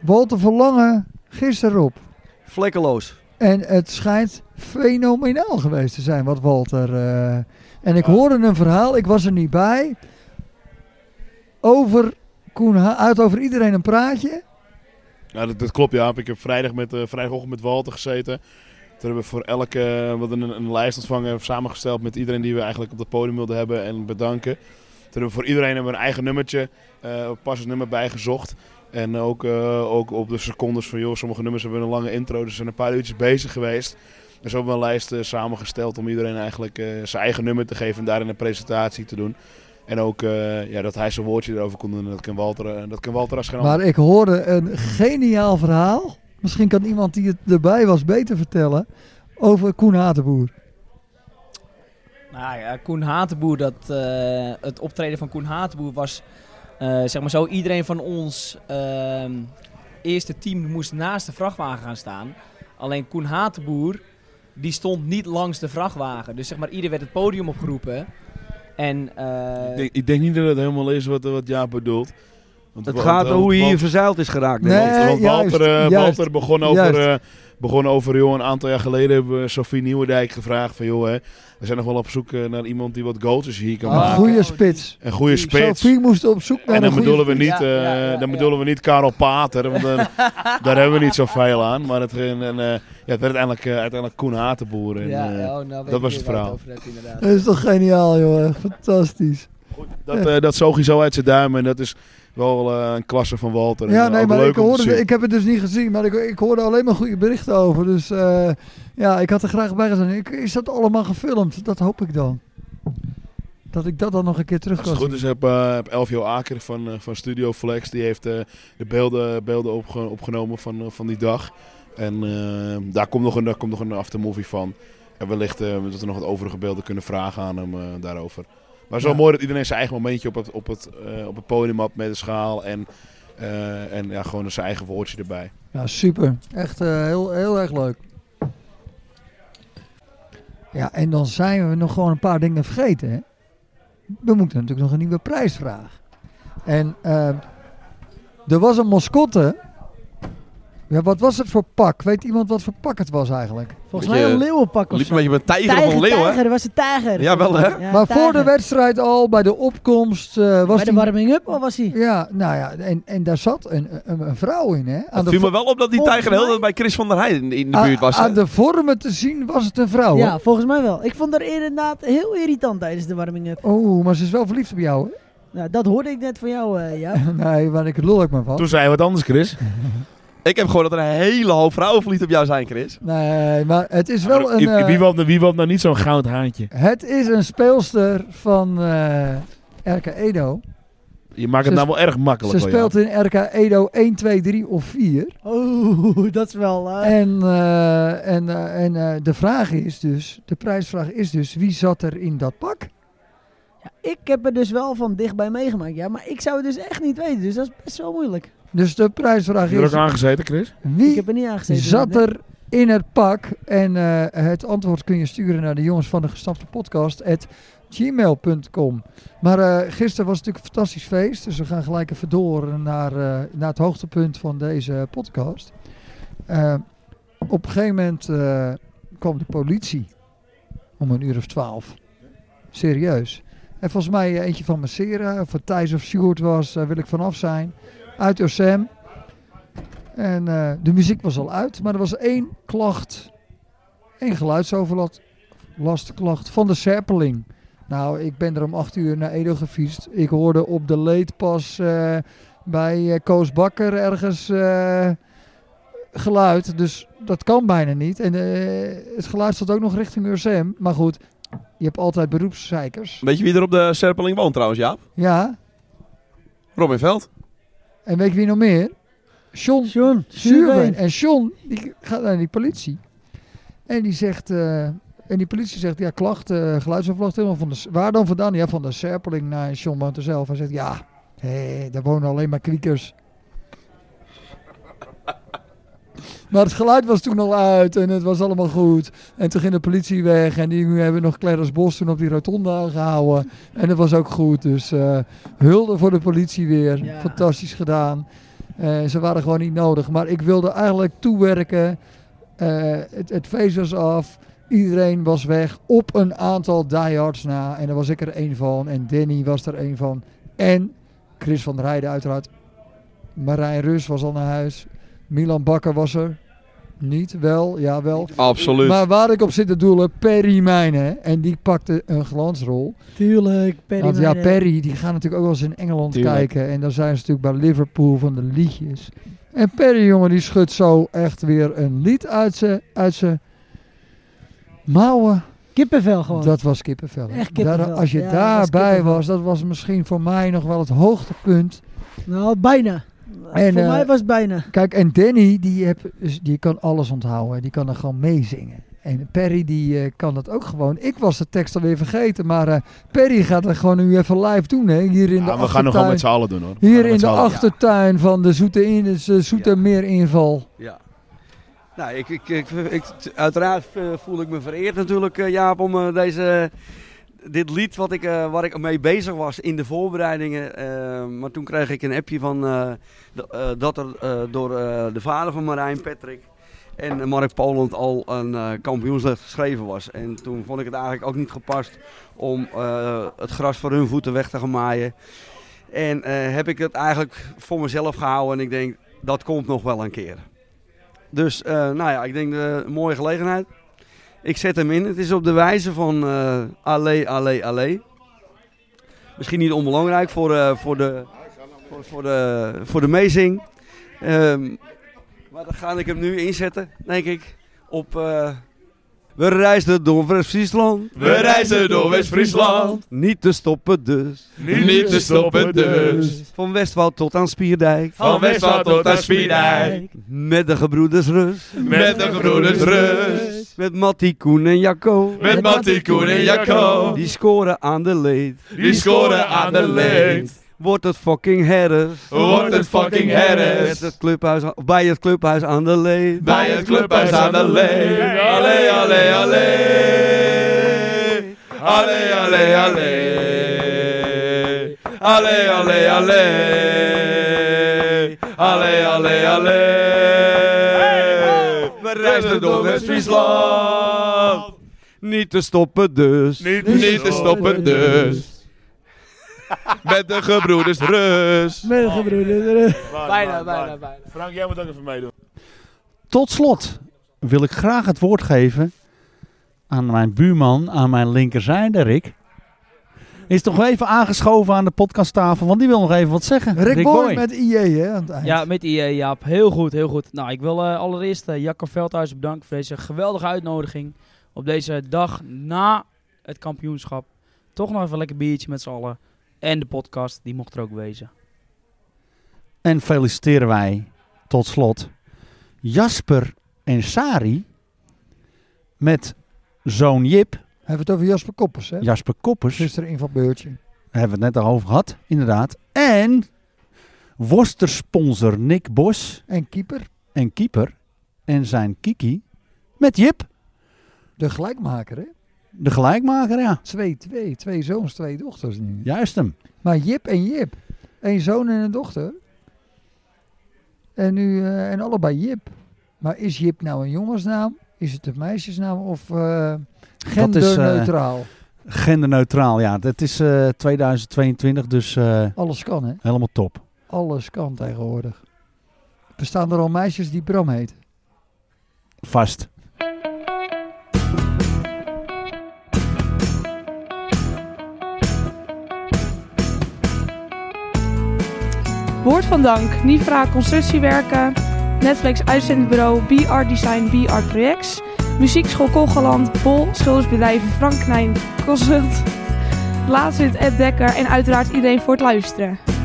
S4: Walter Verlangen gisteren op.
S20: Vlekkeloos.
S4: En het schijnt fenomenaal geweest te zijn wat Walter. eh, en ik hoorde een verhaal, ik was er niet bij. Over Koen Ha- uit over iedereen een praatje.
S21: Ja, dat, dat klopt, Jaap. Ik heb vrijdag met, eh, vrijdagochtend met Walter gezeten. Toen hebben we voor elke eh, we hadden een, een lijst ontvangen, samengesteld met iedereen die we eigenlijk op het podium wilden hebben en bedanken. Toen hebben we voor iedereen hebben we een eigen nummertje, eh pas het nummer bijgezocht. En ook, eh, ook op de secondes van, joh, sommige nummers hebben een lange intro, dus we zijn een paar uurtjes bezig geweest. Dus ook wel een lijst eh, samengesteld om iedereen eigenlijk eh, zijn eigen nummer te geven en daarin een presentatie te doen. En ook eh, ja, dat hij zijn woordje erover kon doen. En dat kan Walter, eh, dat kan Walter als geen ander.
S4: Maar ik hoorde een geniaal verhaal. Misschien kan iemand die het erbij was beter vertellen. Over Koen Hatenboer.
S23: Nou ja, Koen Hatenboer, dat, eh, het optreden van Koen Hatenboer was, eh, zeg maar zo, iedereen van ons ehm, eerste team moest naast de vrachtwagen gaan staan. Alleen Koen Hatenboer, die stond niet langs de vrachtwagen. Dus zeg maar, ieder werd het podium opgeroepen. En, eh,
S21: Ik denk, ik denk niet dat het helemaal is wat, wat Jaap bedoeld.
S20: Het gaat over hoe hij hier verzeild is geraakt.
S21: Nee, want, want Walter, eh, Walter begon over,
S20: Juist.
S21: eh, begon over joh, een aantal jaar geleden hebben we Sofie Nieuwendijk gevraagd van joh, hè, we zijn nog wel op zoek eh, naar iemand die wat goals hier
S23: Ah,
S21: kan
S4: Een
S21: maken.
S4: goede spits.
S21: Een goede spits.
S4: Sophie moest op zoek naar
S21: En dan
S4: een goede
S21: bedoelen we niet,
S4: spits.
S21: eh, dan bedoelen we niet Karel Pater, want dan- daar hebben we niet zoveel aan. Maar het, ging- en, eh, ja, het werd uiteindelijk, eh, uiteindelijk Koen Hatenboer. En,
S23: Ja,
S21: eh,
S23: ja, oh, nou weet ik
S21: dat
S23: weer
S21: was het
S23: waar het
S21: verhaal.
S23: over hebt, inderdaad.
S4: Dat is toch geniaal, jongen. Fantastisch.
S21: eh, Dat, eh dat zoog hij zo uit zijn duim en dat is wel eh, een klasse van Walter. En,
S4: Ja,
S21: eh,
S4: nee,
S21: ook
S4: maar
S21: leuk
S4: ik,
S21: om te zien.
S4: hoorde, ik heb het dus niet gezien, maar ik, ik hoorde alleen maar goede berichten over. Dus eh, ja, ik had er graag bij gezien. Ik, is dat allemaal gefilmd? Dat hoop ik dan. Dat ik dat dan nog een keer terug
S21: Als
S4: kan
S21: het
S4: zien.
S21: goed is, heb, eh, heb Elvio Aker van, eh, van Studio Flex, die heeft eh, de beelden, beelden opge- opgenomen van, eh, van die dag. En eh, daar, komt nog een, daar komt nog een aftermovie van. En wellicht eh, dat we nog wat overige beelden kunnen vragen aan hem eh, daarover. Maar zo
S18: Ja.
S21: mooi dat iedereen zijn eigen momentje op het, op het, eh, op het podium had met de schaal. En, eh, en ja, gewoon zijn eigen woordje erbij.
S4: Ja, super. Echt eh, heel, heel erg leuk. Ja, en dan zijn we nog gewoon een paar dingen vergeten. Hè? We moeten natuurlijk nog een nieuwe prijsvraag. En eh, er was een mascotte. Ja, wat was het voor pak? Weet iemand wat voor pak het was eigenlijk?
S12: Volgens mij een leeuwenpak of
S21: liep
S12: zo.
S21: een beetje met tijger of een leeuw, hè?
S12: Tijger, was het tijger.
S21: Ja, wel, hè? Ja,
S4: maar voor
S12: tijger.
S4: de wedstrijd al, bij de opkomst... eh, was
S12: de warming-up al was hij?
S4: Ja, nou ja, en, en daar zat een, een, een vrouw in, hè? Aan
S21: Het
S4: de
S21: viel me
S4: vo-
S21: wel op dat die
S4: Volgens
S21: tijger de hele tijd bij Chris van der Heijden in, in de
S4: Ah,
S21: buurt was. hè?
S4: Aan de vormen te zien was het een vrouw.
S12: Ja,
S4: hoor.
S12: volgens mij wel. Ik vond haar inderdaad heel irritant tijdens de warming-up.
S4: Oh, maar ze is wel verliefd op jou. hè?
S12: Nou, dat hoorde ik net van jou, eh ja.
S4: nee, maar ik lul ook maar van.
S21: Toen zei hij wat anders, Chris.
S18: Ik heb gehoord dat er een hele hoop vrouwen verliefd op jou zijn, Chris.
S4: Nee, maar het is wel een. eh,
S21: wie wil nou niet zo'n goud haantje?
S4: het is een speelster van eh, RK Edo.
S21: Je maakt
S4: Ze
S21: het nou wel
S4: sp-
S21: erg makkelijk.
S4: Ze
S21: hoor, Jaap.
S4: speelt in RK Edo 1, 2, 3 of 4.
S12: Oh, dat is wel... eh,
S4: En, eh, en, eh, en eh, de vraag is dus, de prijsvraag is dus, wie zat er in dat pak?
S12: Ik heb er dus wel van dichtbij meegemaakt, ja. Maar ik zou het dus echt niet weten, dus dat is best wel moeilijk.
S4: Dus de prijsvraag
S21: Heb je er ook
S4: is, Hm?
S21: aangezeten, Chris?
S4: wie
S12: Ik heb er niet aangezeten.
S4: zat
S12: nee.
S4: er in het pak? En eh, het antwoord kun je sturen naar de jongens van de gestapte podcast at gmail.com. Maar eh, gisteren was het natuurlijk een fantastisch feest. Dus we gaan gelijk even door naar, eh, naar het hoogtepunt van deze podcast. Eh, op een gegeven moment eh, kwam de politie om een uur of twaalf. Serieus. En volgens mij eh, eentje van Massera, of het Thijs of Sjoerd was, daar wil ik vanaf zijn. Uit Osem. En eh, de muziek was al uit, maar er was één klacht, één geluidsoverlast last klacht van de serpeling. Nou, ik ben er om acht uur naar Edo gefietst. Ik hoorde op de leed pas eh, bij eh, Koos Bakker ergens eh, geluid. Dus dat kan bijna niet. En eh, het geluid stond ook nog richting USM. Maar goed, je hebt altijd beroepszeikers.
S18: Weet je wie er op de Serpeling woont trouwens, Jaap?
S4: Ja,
S18: Robin Veld.
S4: en weet je wie nog meer? John, John
S18: Zuurveen.
S4: En John die gaat naar die politie. En die zegt... eh, en die politie zegt, ja, klachten, eh, geluidsoverlast, helemaal van de, s- waar dan vandaan? Ja, van de Serpeling naar John woont er zelf. Hij zegt, ja, hé, daar wonen alleen maar kwiekers. Maar het geluid was toen al uit en het was allemaal goed. En toen ging de politie weg en die hebben nog Clarence Bos toen op die rotonde aangehouden. En dat was ook goed, dus eh hulde voor de politie weer. Fantastisch gedaan. Eh, ze waren gewoon niet nodig. Maar ik wilde eigenlijk toewerken. Eh, het, het feest was af. Iedereen was weg. Op een aantal diehards na. En daar was ik er één van. En Danny was er één van. En Chris van der Heijden uiteraard. Marijn Rus was al naar huis. Milan Bakker was er. Niet, wel, ja wel.
S16: Absoluut.
S4: Maar waar ik op zit te doelen, Perry Mijnen. En die pakte een glansrol.
S12: Tuurlijk, Perry
S4: Want ja,
S12: Mijnen.
S4: Perry, die gaan natuurlijk ook wel eens in Engeland
S12: Tuurlijk.
S4: kijken. En daar zijn ze natuurlijk bij Liverpool van de liedjes. En Perry, jongen, die schudt zo echt weer een lied uit zijn uit z'n mouwen.
S12: Kippenvel gewoon.
S4: Dat was kippenvel.
S12: Echt kippenvel.
S4: Daar- als je
S12: Ja, dat was
S4: daarbij
S12: kippenvel.
S4: was, dat was misschien voor mij nog wel het hoogtepunt.
S12: Nou, bijna.
S4: En,
S12: Voor
S4: eh,
S12: mij was het bijna.
S4: Kijk, en Danny, die, heb, is- die kan alles onthouden. Die kan er gewoon meezingen. En Perry, die eh, kan dat ook gewoon. Ik was de tekst alweer vergeten. Maar eh, Perry gaat het gewoon nu even live doen. Hè? Hier in de
S21: Ja, we gaan
S4: achtertuin.
S21: nog wel met z'n allen doen hoor. We gaan
S4: Hier
S21: nog
S4: in
S21: met
S4: de
S21: z'n allen.
S4: achtertuin van de Zoete, in, de Zo- Zoetermeerinval.
S20: Ja. Nou, ik, ik, ik, ik- uiteraard eh, voel ik me vereerd natuurlijk, eh, Jaap, om eh, deze, dit lied wat ik, eh, waar ik mee bezig was in de voorbereidingen. eh, maar toen kreeg ik een appje van, eh, d- eh, dat er eh, door eh, de vader van Marijn, Patrick en eh, Mark Poland al een eh kampioenslied geschreven was. En toen vond ik het eigenlijk ook niet gepast om eh, het gras voor hun voeten weg te gaan maaien. En eh, heb ik het eigenlijk voor mezelf gehouden en ik denk, dat komt nog wel een keer. Dus eh, nou ja, ik denk eh, een mooie gelegenheid. Ik zet hem in. Het is op de wijze van eh Allee, Allee, Allee. Misschien niet onbelangrijk voor, eh, voor, de, voor, voor de, voor de meezing. Ehm, maar dan ga ik hem nu inzetten, denk ik. Op, eh, we reisden door West-Friesland.
S21: We reisden door West-Friesland.
S20: Niet te stoppen dus.
S21: Niet Niet te stoppen dus.
S20: Van Westwoud tot aan Spierdijk.
S21: Van Westwoud tot aan Spierdijk.
S20: Met de gebroeders Rus.
S21: Met de gebroeders Rus.
S20: Met Mattie, Koen en Jacco.
S21: Met Mattie, Koen en Jacco.
S20: Die scoren aan de leed.
S21: Die scoren aan de leed.
S20: Wordt het fucking herres.
S21: Wordt het fucking herres.
S20: Met het clubhuis, aan- bij het clubhuis aan de leed.
S21: Bij het clubhuis aan de lee. Allee, allee, allee. Allee, allee, allee. Allee, allee, allee. Allee, allee, allee.
S20: We reisden door West-Friesland. Niet te stoppen dus.
S21: Niet, niet te stoppen dus. Met de gebroeders Rus.
S12: Met de gebroeders Rus.
S21: Bijna, bijna, bijna. Frank, jij moet ook even meedoen.
S2: Tot slot wil ik graag het woord geven aan mijn buurman, aan mijn linkerzijde, Rick. Is toch even aangeschoven aan de podcasttafel, want die wil nog even wat zeggen.
S4: Rick, Boy,
S10: Boy.
S4: met IE, E, hè? Aan het eind.
S10: Ja, met IE Jaap. Heel goed, heel goed. Nou, ik wil eh, allereerst eh, Jacco Veldhuis bedanken voor deze geweldige uitnodiging. Op deze dag na het kampioenschap. Toch nog even een lekker biertje met z'n allen. En de podcast, die mocht er ook wezen.
S2: En feliciteren wij tot slot Jasper en Sari met zoon Jip.
S4: Hebben we het over Jasper Koppers, hè?
S2: Jasper Koppers.
S4: Gisteren in van Beurtje.
S2: Daar hebben we het net al over gehad, inderdaad. En worstersponsor Nick Bos.
S4: En keeper.
S2: En keeper. En zijn Kiki met Jip.
S4: De gelijkmaker, hè?
S2: De gelijkmaker, ja.
S4: Twee, twee, twee zoons, twee dochters nu.
S2: Juist hem.
S4: Maar Jip en Jip. Eén zoon en een dochter. En nu, eh, en allebei Jip. Maar is Jip nou een jongensnaam? Is het een meisjesnaam? Of eh
S2: Dat is, eh,
S4: genderneutraal?
S2: genderneutraal, ja. Dat is eh, 2022, dus... eh,
S4: Alles kan, hè?
S2: Helemaal top.
S4: Alles kan tegenwoordig. Bestaan er al meisjes die Bram heten?
S2: Vast.
S3: Woord van Dank, Nivra Constructiewerken, Netflix uitzendbureau BR Design BR Projects, Muziekschool Kogeland, Bol, schildersbedrijven Frank Knijn Consult, Laatst Ed Dekker en uiteraard iedereen voor het luisteren.